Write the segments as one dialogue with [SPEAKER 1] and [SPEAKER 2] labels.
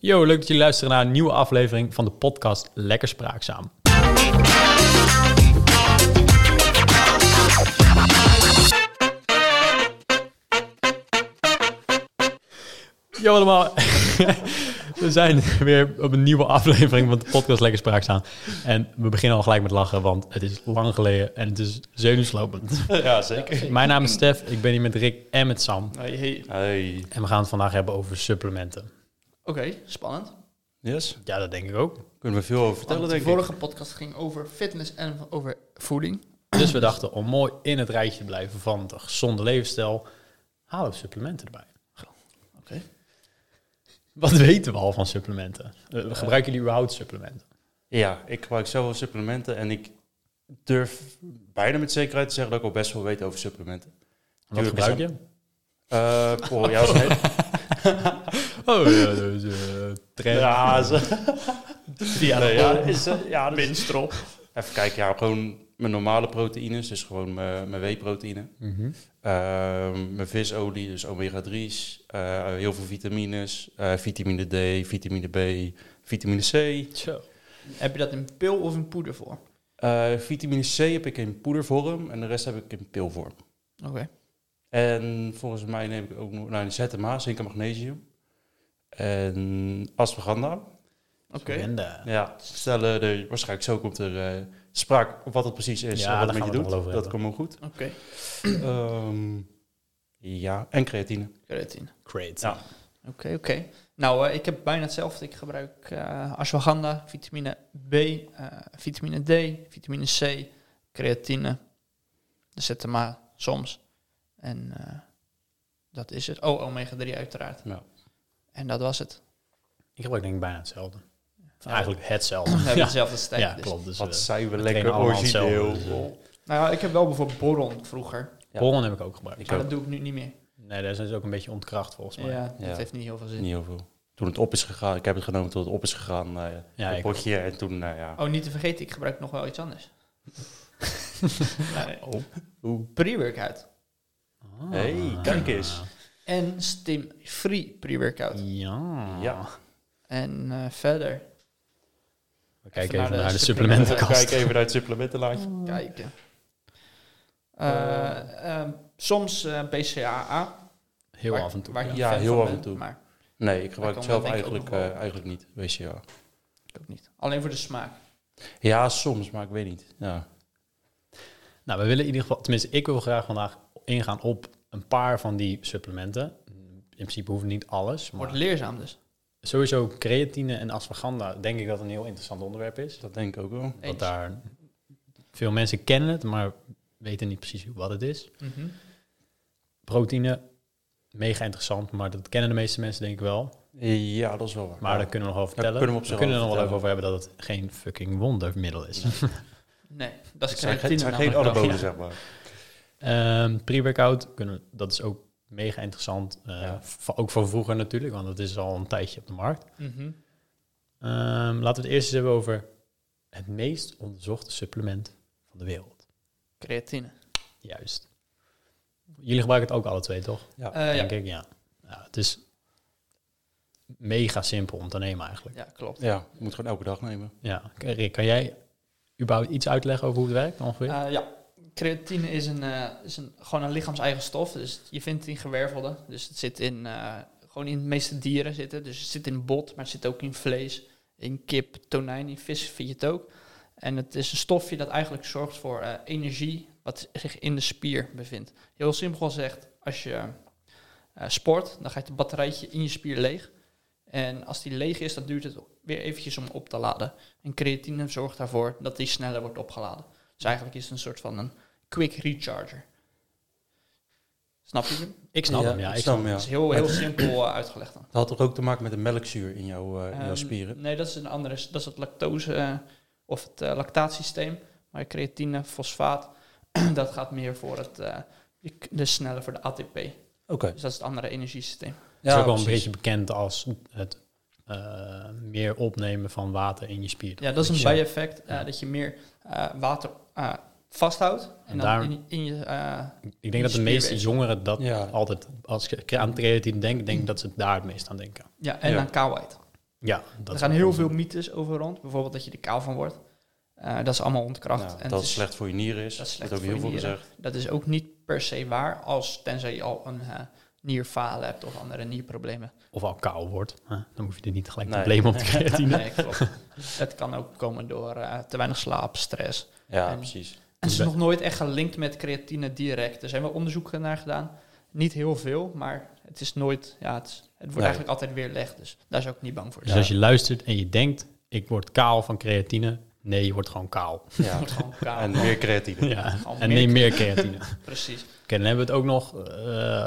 [SPEAKER 1] Yo, leuk dat jullie luisteren naar een nieuwe aflevering van de podcast Lekker Spraakzaam. Yo allemaal, we zijn weer op een nieuwe aflevering van de podcast Lekker Spraakzaam. En we beginnen al gelijk met lachen, want het is lang geleden en het is zenuwslopend.
[SPEAKER 2] Ja, zeker.
[SPEAKER 1] Mijn naam is Stef, ik ben hier met Rick en met Sam.
[SPEAKER 3] Hey, hey.
[SPEAKER 2] Hey.
[SPEAKER 1] En we gaan het vandaag hebben over supplementen.
[SPEAKER 3] Oké, spannend.
[SPEAKER 2] Yes,
[SPEAKER 1] Ja, dat denk ik ook.
[SPEAKER 2] kunnen we veel over vertellen,
[SPEAKER 3] Want de
[SPEAKER 2] denk ik.
[SPEAKER 3] vorige podcast ging over fitness en over voeding.
[SPEAKER 1] Dus we dachten om mooi in het rijtje te blijven van de gezonde levensstijl, halen we supplementen erbij.
[SPEAKER 3] Oké.
[SPEAKER 1] Wat weten we al van supplementen? Eh, Gebruiken jullie überhaupt supplementen?
[SPEAKER 2] Ja, ik gebruik zoveel supplementen en ik durf bijna met zekerheid te zeggen dat ik al best wel weet over supplementen.
[SPEAKER 1] Wat
[SPEAKER 2] Tuurlijk,
[SPEAKER 1] gebruik je?
[SPEAKER 2] Eh Paul, jou is het-
[SPEAKER 1] Oh ja, dus eh
[SPEAKER 2] Ja, ze- ja, nee, ja, is, eh, ja dus-
[SPEAKER 3] Minstrel.
[SPEAKER 2] Even kijken, ja, gewoon mijn normale proteïnes, dus gewoon mijn, mijn W-proteïne. Ehm, mijn visolie, dus omega-3's, eh, heel veel vitamines, eh, vitamine D, vitamine B, vitamine C.
[SPEAKER 1] Zo.
[SPEAKER 3] Heb je dat in pil of in poeder voor?
[SPEAKER 2] Eh, vitamine C heb ik in poedervorm en de rest heb ik in pilvorm.
[SPEAKER 3] Oké.
[SPEAKER 2] En volgens mij neem ik ook nog nou, ZMA, zink en magnesium. En ashwagandha.
[SPEAKER 3] Oké.
[SPEAKER 1] Agenda.
[SPEAKER 2] Ja, stellen er waarschijnlijk zo komt er eh, sprake op wat het precies is
[SPEAKER 1] Ja,
[SPEAKER 2] en wat
[SPEAKER 1] daar
[SPEAKER 2] het
[SPEAKER 1] gaan we
[SPEAKER 2] met
[SPEAKER 1] het nog
[SPEAKER 2] je doet.
[SPEAKER 1] wel over
[SPEAKER 2] Dat komt wel goed.
[SPEAKER 3] Oké.
[SPEAKER 2] Ehm, ja, en creatine.
[SPEAKER 3] Creatine.
[SPEAKER 1] Great.
[SPEAKER 2] Ja.
[SPEAKER 3] Oké, oké. Nou, eh, ik heb bijna hetzelfde. Ik gebruik eh ashwagandha, vitamine B, eh, vitamine D, vitamine C, creatine, de ZMA soms. En eh, dat is het. Oh, omega-3 uiteraard.
[SPEAKER 2] Nou,
[SPEAKER 3] En dat was het.
[SPEAKER 1] Ik gebruik denk ik bijna hetzelfde. Eigenlijk hetzelfde.
[SPEAKER 3] We hebben
[SPEAKER 1] ja.
[SPEAKER 3] hetzelfde stijl.
[SPEAKER 1] ja,
[SPEAKER 3] dus.
[SPEAKER 1] klopt. Dus,
[SPEAKER 2] wat
[SPEAKER 1] eh,
[SPEAKER 2] zijn we
[SPEAKER 1] trainen
[SPEAKER 2] lekker
[SPEAKER 1] allemaal hetzelfde,
[SPEAKER 2] origineel. Oh,
[SPEAKER 1] dus,
[SPEAKER 3] Nou ja, ik heb wel bijvoorbeeld boron vroeger.
[SPEAKER 2] Ja.
[SPEAKER 1] Pollen heb ik ook gebruikt.
[SPEAKER 2] Ik
[SPEAKER 3] Maar
[SPEAKER 2] ook.
[SPEAKER 3] dat doe ik nu niet meer.
[SPEAKER 1] Nee, daar zijn ze ook een beetje ontkracht volgens mij.
[SPEAKER 3] Ja, dat
[SPEAKER 2] Ja.
[SPEAKER 3] heeft niet heel veel
[SPEAKER 1] eh,
[SPEAKER 3] zin.
[SPEAKER 2] Niet heel veel. Toen het op is gegaan, ik heb het genomen tot het op is gegaan. eh
[SPEAKER 1] Ja,
[SPEAKER 2] een
[SPEAKER 1] ik
[SPEAKER 2] potje en toen, nou ja.
[SPEAKER 3] Oh, niet te vergeten, ik gebruik nog wel iets anders. nee.
[SPEAKER 2] Oh. Oeh.
[SPEAKER 3] Pre-workout.
[SPEAKER 1] Ah.
[SPEAKER 2] Hey, kijk eens.
[SPEAKER 3] En stim-free pre-workout.
[SPEAKER 1] Ja.
[SPEAKER 2] Ja.
[SPEAKER 3] En eh, verder
[SPEAKER 1] We kijken
[SPEAKER 3] Even
[SPEAKER 1] even
[SPEAKER 3] naar
[SPEAKER 1] naar de
[SPEAKER 3] de supplementen.
[SPEAKER 1] supplementenkast.
[SPEAKER 2] Kijk even naar het supplementenlaadje.
[SPEAKER 3] kijken. Eh, ehm, soms eh, BCAA.
[SPEAKER 1] Heel
[SPEAKER 3] waar-
[SPEAKER 1] af en toe.
[SPEAKER 3] waar ik
[SPEAKER 1] ja.
[SPEAKER 3] niet
[SPEAKER 2] Ja,
[SPEAKER 3] fan
[SPEAKER 2] heel
[SPEAKER 3] van
[SPEAKER 2] af en
[SPEAKER 3] ben,
[SPEAKER 2] toe.
[SPEAKER 3] Maar
[SPEAKER 2] Nee, ik gebruik
[SPEAKER 3] Daar
[SPEAKER 2] het
[SPEAKER 3] komen
[SPEAKER 2] zelf
[SPEAKER 3] we denk
[SPEAKER 2] eigenlijk,
[SPEAKER 3] ik ook nog wel
[SPEAKER 2] eh, eigenlijk niet, WCA.
[SPEAKER 3] ik ook niet. Alleen voor de smaak.
[SPEAKER 2] Ja, soms, maar ik weet niet. Ja.
[SPEAKER 1] Nou, we willen in ieder geval, tenminste, ik wil graag vandaag ingaan op een paar van die supplementen. In principe hoeft niet alles,
[SPEAKER 3] Wordt
[SPEAKER 1] maar
[SPEAKER 3] leerzaam dus.
[SPEAKER 1] sowieso creatine en ashwagandha denk ik dat een heel interessant onderwerp is.
[SPEAKER 2] Dat denk ik ook wel.
[SPEAKER 3] Eens.
[SPEAKER 1] Want daar veel mensen kennen het, maar weten niet precies wat het is.
[SPEAKER 3] Mhm.
[SPEAKER 1] Proteïne, mega interessant, maar dat kennen de meeste mensen denk ik wel.
[SPEAKER 2] Ja, dat is wel waar.
[SPEAKER 1] Maar
[SPEAKER 2] Ja.
[SPEAKER 1] daar kunnen we nog over
[SPEAKER 2] Daar
[SPEAKER 1] vertellen.
[SPEAKER 2] kunnen we op
[SPEAKER 1] we
[SPEAKER 2] zich
[SPEAKER 1] kunnen er nog
[SPEAKER 2] over
[SPEAKER 1] wel even over hebben dat het geen fucking wondermiddel is.
[SPEAKER 3] Nee, dat is
[SPEAKER 2] het zijn, geen-
[SPEAKER 3] creatine.
[SPEAKER 2] het zijn geen
[SPEAKER 3] namelijk wel.
[SPEAKER 2] anabolen,
[SPEAKER 3] Ja.
[SPEAKER 2] zeg maar.
[SPEAKER 1] Ehm, Pre-workout, kunnen we- dat is ook mega interessant. Eh,
[SPEAKER 2] Ja.
[SPEAKER 1] v- Ook van vroeger natuurlijk, want het is al een tijdje op de markt.
[SPEAKER 3] Mhm.
[SPEAKER 1] Ehm, laten we het eerst eens hebben over het meest onderzochte supplement van de wereld.
[SPEAKER 3] Creatine.
[SPEAKER 1] Juist. Jullie gebruiken het ook alle twee, toch?
[SPEAKER 3] Eh, ja.
[SPEAKER 1] Denk ik, ja. ja. Het is mega simpel om te nemen eigenlijk.
[SPEAKER 3] ja, klopt.
[SPEAKER 2] Ja, je moet gewoon elke dag nemen.
[SPEAKER 1] Ja. Rick, kan jij überhaupt iets uitleggen over hoe het werkt ongeveer?
[SPEAKER 3] Eh, ja, creatine is, een, eh, is een, gewoon een lichaams-eigen stof. Dus je vindt het in gewervelden. Dus het zit in, eh, gewoon in de meeste dieren zitten. Dus het zit in bot, maar het zit ook in vlees, in kip, tonijn, in vis vind je het ook. En het is een stofje dat eigenlijk zorgt voor eh, energie wat zich in de spier bevindt. Heel simpel gezegd, als je eh, sport, dan gaat het batterijtje in je spier leeg. En als die leeg is, dan duurt het weer eventjes om op te laden. En creatine zorgt daarvoor dat die sneller wordt opgeladen. Dus eigenlijk is het een soort van een quick recharger. Snap je? hem?
[SPEAKER 1] ik snap hem, ja. Ik snap
[SPEAKER 2] hem, ja.
[SPEAKER 3] Dat is heel, heel simpel eh, uitgelegd dan.
[SPEAKER 2] Dat had toch ook te maken met de melkzuur in, jouw eh, in jouw
[SPEAKER 3] Ehm,
[SPEAKER 2] spieren?
[SPEAKER 3] Nee, dat is een andere. Dat is het lactose eh, of het eh, lactaatsysteem. Maar creatine, fosfaat, dat gaat meer voor het, eh, je k- de snelle voor de ATP.
[SPEAKER 2] Oké.
[SPEAKER 3] Dus dat is het andere energiesysteem.
[SPEAKER 1] Het is ook wel
[SPEAKER 2] precies.
[SPEAKER 1] een beetje bekend als het eh, meer opnemen van water in je spieren.
[SPEAKER 3] Ja, dat is een
[SPEAKER 1] Beetje-
[SPEAKER 3] bijeffect. eh,
[SPEAKER 1] Ja.
[SPEAKER 3] dat je meer eh, water eh, vasthoudt. En,
[SPEAKER 1] En
[SPEAKER 3] dan
[SPEAKER 1] daar-
[SPEAKER 3] in, in je... eh,
[SPEAKER 1] Ik denk dat de meeste
[SPEAKER 3] spierweefsel.
[SPEAKER 1] jongeren dat
[SPEAKER 2] Ja.
[SPEAKER 1] altijd, als ik aan creatine denk, denk ik dat ze daar het meest aan denken.
[SPEAKER 3] ja, en
[SPEAKER 2] Ja.
[SPEAKER 3] aan kaalheid.
[SPEAKER 1] Ja, dat
[SPEAKER 3] er
[SPEAKER 1] is
[SPEAKER 3] gaan
[SPEAKER 1] wel
[SPEAKER 3] heel
[SPEAKER 1] onzin.
[SPEAKER 3] veel mythes over rond. Bijvoorbeeld dat je er kaal van wordt. Eh, dat is allemaal ontkracht.
[SPEAKER 2] Nou,
[SPEAKER 3] en
[SPEAKER 2] dat
[SPEAKER 3] het
[SPEAKER 2] het
[SPEAKER 3] is-
[SPEAKER 2] slecht voor je nieren is.
[SPEAKER 3] dat is
[SPEAKER 2] Dat
[SPEAKER 3] slecht
[SPEAKER 2] wordt ook
[SPEAKER 3] voor
[SPEAKER 2] heel veel
[SPEAKER 3] je nieren.
[SPEAKER 2] gezegd.
[SPEAKER 3] dat is ook niet per se waar, als tenzij je al een eh, nierfalen hebt of andere nierproblemen.
[SPEAKER 1] Of al kaal wordt. hè, Dan hoef je er niet gelijk
[SPEAKER 2] Nee.
[SPEAKER 1] problemen op te creatine.
[SPEAKER 3] Nee, klopt. Dat kan ook komen door eh, te weinig slaap, stress.
[SPEAKER 2] Ja,
[SPEAKER 3] En-
[SPEAKER 2] precies.
[SPEAKER 3] En ze
[SPEAKER 1] Dus
[SPEAKER 3] is nog nooit echt gelinkt met creatine direct. Er zijn wel onderzoeken naar gedaan. Niet heel veel, maar het is nooit. Ja, het, is- het wordt
[SPEAKER 2] Nee.
[SPEAKER 3] eigenlijk altijd weerlegd. Dus daar zou ik niet bang voor
[SPEAKER 1] Dus
[SPEAKER 3] zijn.
[SPEAKER 1] als je luistert en je denkt, ik word kaal van creatine. Nee, je wordt gewoon kaal.
[SPEAKER 2] Ja.
[SPEAKER 3] Het wordt gewoon kaal.
[SPEAKER 2] en meer creatine.
[SPEAKER 1] Ja.
[SPEAKER 3] Gewoon
[SPEAKER 1] En
[SPEAKER 3] meer
[SPEAKER 1] neem meer creatine.
[SPEAKER 3] Precies.
[SPEAKER 1] Oké, dan hebben we het ook nog eh,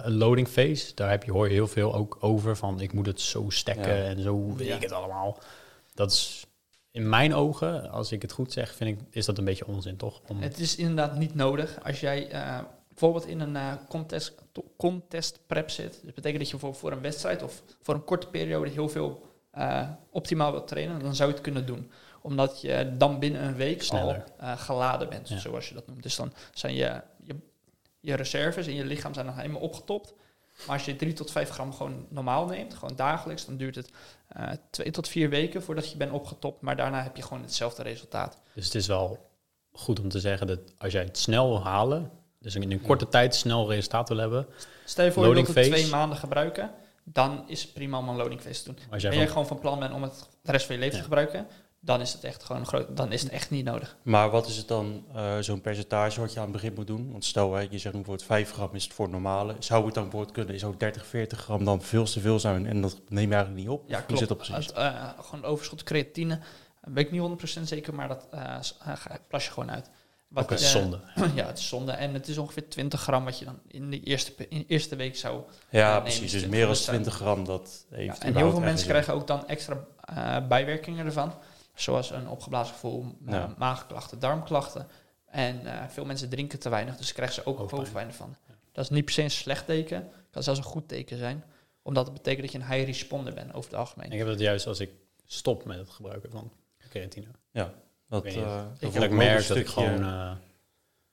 [SPEAKER 1] een loading phase. Daar heb je, hoor je heel veel ook over van ik moet het zo stekken
[SPEAKER 2] Ja.
[SPEAKER 1] en zo weet
[SPEAKER 3] Ja.
[SPEAKER 1] ik het allemaal. Dat is in mijn ogen, als ik het goed zeg, vind ik, is dat een beetje onzin, toch? Om,
[SPEAKER 3] Het is inderdaad niet nodig als jij eh, bijvoorbeeld in een eh, contest, to- contest prep zit. Dus dat betekent dat je voor, voor een wedstrijd of voor een korte periode heel veel eh, optimaal wilt trainen. Dan zou je het kunnen doen. Omdat je dan binnen een week
[SPEAKER 1] Sneller.
[SPEAKER 3] al eh, geladen bent,
[SPEAKER 1] Ja.
[SPEAKER 3] zoals je dat noemt. Dus dan zijn je, je, je reserves in je lichaam zijn nog helemaal opgetopt. Maar als je 3 tot 5 gram gewoon normaal neemt, gewoon dagelijks, dan duurt het eh 2 tot 4 weken voordat je bent opgetopt. Maar daarna heb je gewoon hetzelfde resultaat.
[SPEAKER 1] Dus het is wel goed om te zeggen dat als jij het snel wil halen, dus in een korte tijd snel resultaat wil hebben,
[SPEAKER 3] Stel je voor, je
[SPEAKER 1] Loading
[SPEAKER 3] wilt het
[SPEAKER 1] phase.
[SPEAKER 3] twee maanden gebruiken. Dan is het prima om een loading phase te doen.
[SPEAKER 1] als
[SPEAKER 3] Ben
[SPEAKER 1] jij
[SPEAKER 3] jij
[SPEAKER 1] van,
[SPEAKER 3] gewoon van plan bent om het de rest van je leven
[SPEAKER 1] Ja.
[SPEAKER 3] te gebruiken, dan is het echt gewoon een groot. Dan is het echt niet nodig.
[SPEAKER 2] Maar wat is het dan, eh, zo'n percentage wat je aan het begin moet doen? Want stel, hè, je zegt nu voor het 5 gram is het voor het normale. Zou het dan voor het kunnen, zou 30, 40 gram dan veel te veel zijn? En dat neem je eigenlijk niet op?
[SPEAKER 3] Ja,
[SPEAKER 2] Hoe
[SPEAKER 3] klopt.
[SPEAKER 2] zit dat precies?
[SPEAKER 3] Het, eh, gewoon overschot creatine. eh, Weet ik niet 100% zeker, maar dat eh, s- eh, ga- plas je gewoon uit. Wat,
[SPEAKER 1] oké,
[SPEAKER 3] eh,
[SPEAKER 1] zonde.
[SPEAKER 3] ja, het is zonde. En het is ongeveer 20 gram wat je dan in de eerste, pe- in de eerste week zou.
[SPEAKER 2] Ja,
[SPEAKER 3] nee,
[SPEAKER 2] precies.
[SPEAKER 3] dus
[SPEAKER 2] Dus
[SPEAKER 3] het
[SPEAKER 2] meer dan
[SPEAKER 3] is, eh,
[SPEAKER 2] 20 gram, dat heeft
[SPEAKER 3] Ja, en heel
[SPEAKER 2] überhaupt
[SPEAKER 3] veel
[SPEAKER 2] ergens
[SPEAKER 3] mensen
[SPEAKER 2] in.
[SPEAKER 3] krijgen ook dan extra eh, bijwerkingen ervan. Zoals een opgeblazen gevoel, eh,
[SPEAKER 2] Ja.
[SPEAKER 3] maagklachten, darmklachten. En eh, veel mensen drinken te weinig, dus krijgen ze ook
[SPEAKER 1] Hoofdpijn.
[SPEAKER 3] hoofdpijn, ervan. Dat is niet per se een slecht teken. Kan zelfs een goed teken zijn. Omdat het betekent dat je een high responder bent over het algemeen.
[SPEAKER 1] Ik heb dat juist als ik stop met het gebruiken van creatine.
[SPEAKER 2] Dat,
[SPEAKER 1] Ik weet niet.
[SPEAKER 2] eh,
[SPEAKER 1] Ik,
[SPEAKER 2] voel
[SPEAKER 1] dat ik
[SPEAKER 2] ook
[SPEAKER 1] merk
[SPEAKER 2] een
[SPEAKER 1] dat ik
[SPEAKER 2] stukje-
[SPEAKER 1] gewoon... eh,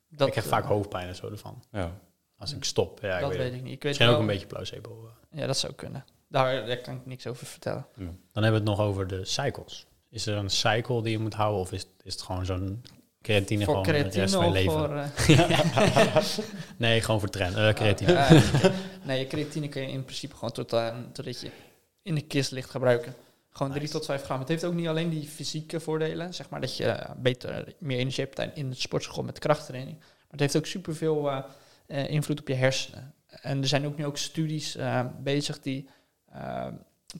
[SPEAKER 3] dat,
[SPEAKER 1] ik krijg
[SPEAKER 3] eh,
[SPEAKER 1] vaak hoofdpijn en zo ervan.
[SPEAKER 2] Ja.
[SPEAKER 1] Als ik stop, ja, ik
[SPEAKER 3] dat
[SPEAKER 1] weet,
[SPEAKER 3] weet,
[SPEAKER 1] het.
[SPEAKER 3] ik niet. Ik weet
[SPEAKER 1] Misschien
[SPEAKER 3] wel-
[SPEAKER 1] ook een beetje placebo. eh.
[SPEAKER 3] Ja, dat zou kunnen. Daar, daar kan ik niks over vertellen.
[SPEAKER 1] Dan hebben we het nog over de cycles. Is er een cycle die je moet houden of is, is het gewoon zo'n creatine
[SPEAKER 3] voor
[SPEAKER 1] gewoon de rest
[SPEAKER 3] creatine
[SPEAKER 1] van je
[SPEAKER 3] of
[SPEAKER 1] leven?
[SPEAKER 3] voor... eh,
[SPEAKER 1] Nee, gewoon voor trainen. eh, creatine.
[SPEAKER 3] Ah, eh, nee, je creatine kun je in principe gewoon tot, aan totdat je in de kist ligt gebruiken. Gewoon 3
[SPEAKER 1] Nice.
[SPEAKER 3] tot 5 gram. Het heeft ook niet alleen die fysieke voordelen, zeg maar dat je eh, beter, meer energie hebt tijdens- in de sportschool met krachttraining. Maar het heeft ook superveel eh eh, invloed op je hersenen. En er zijn ook nu ook studies eh, bezig die eh,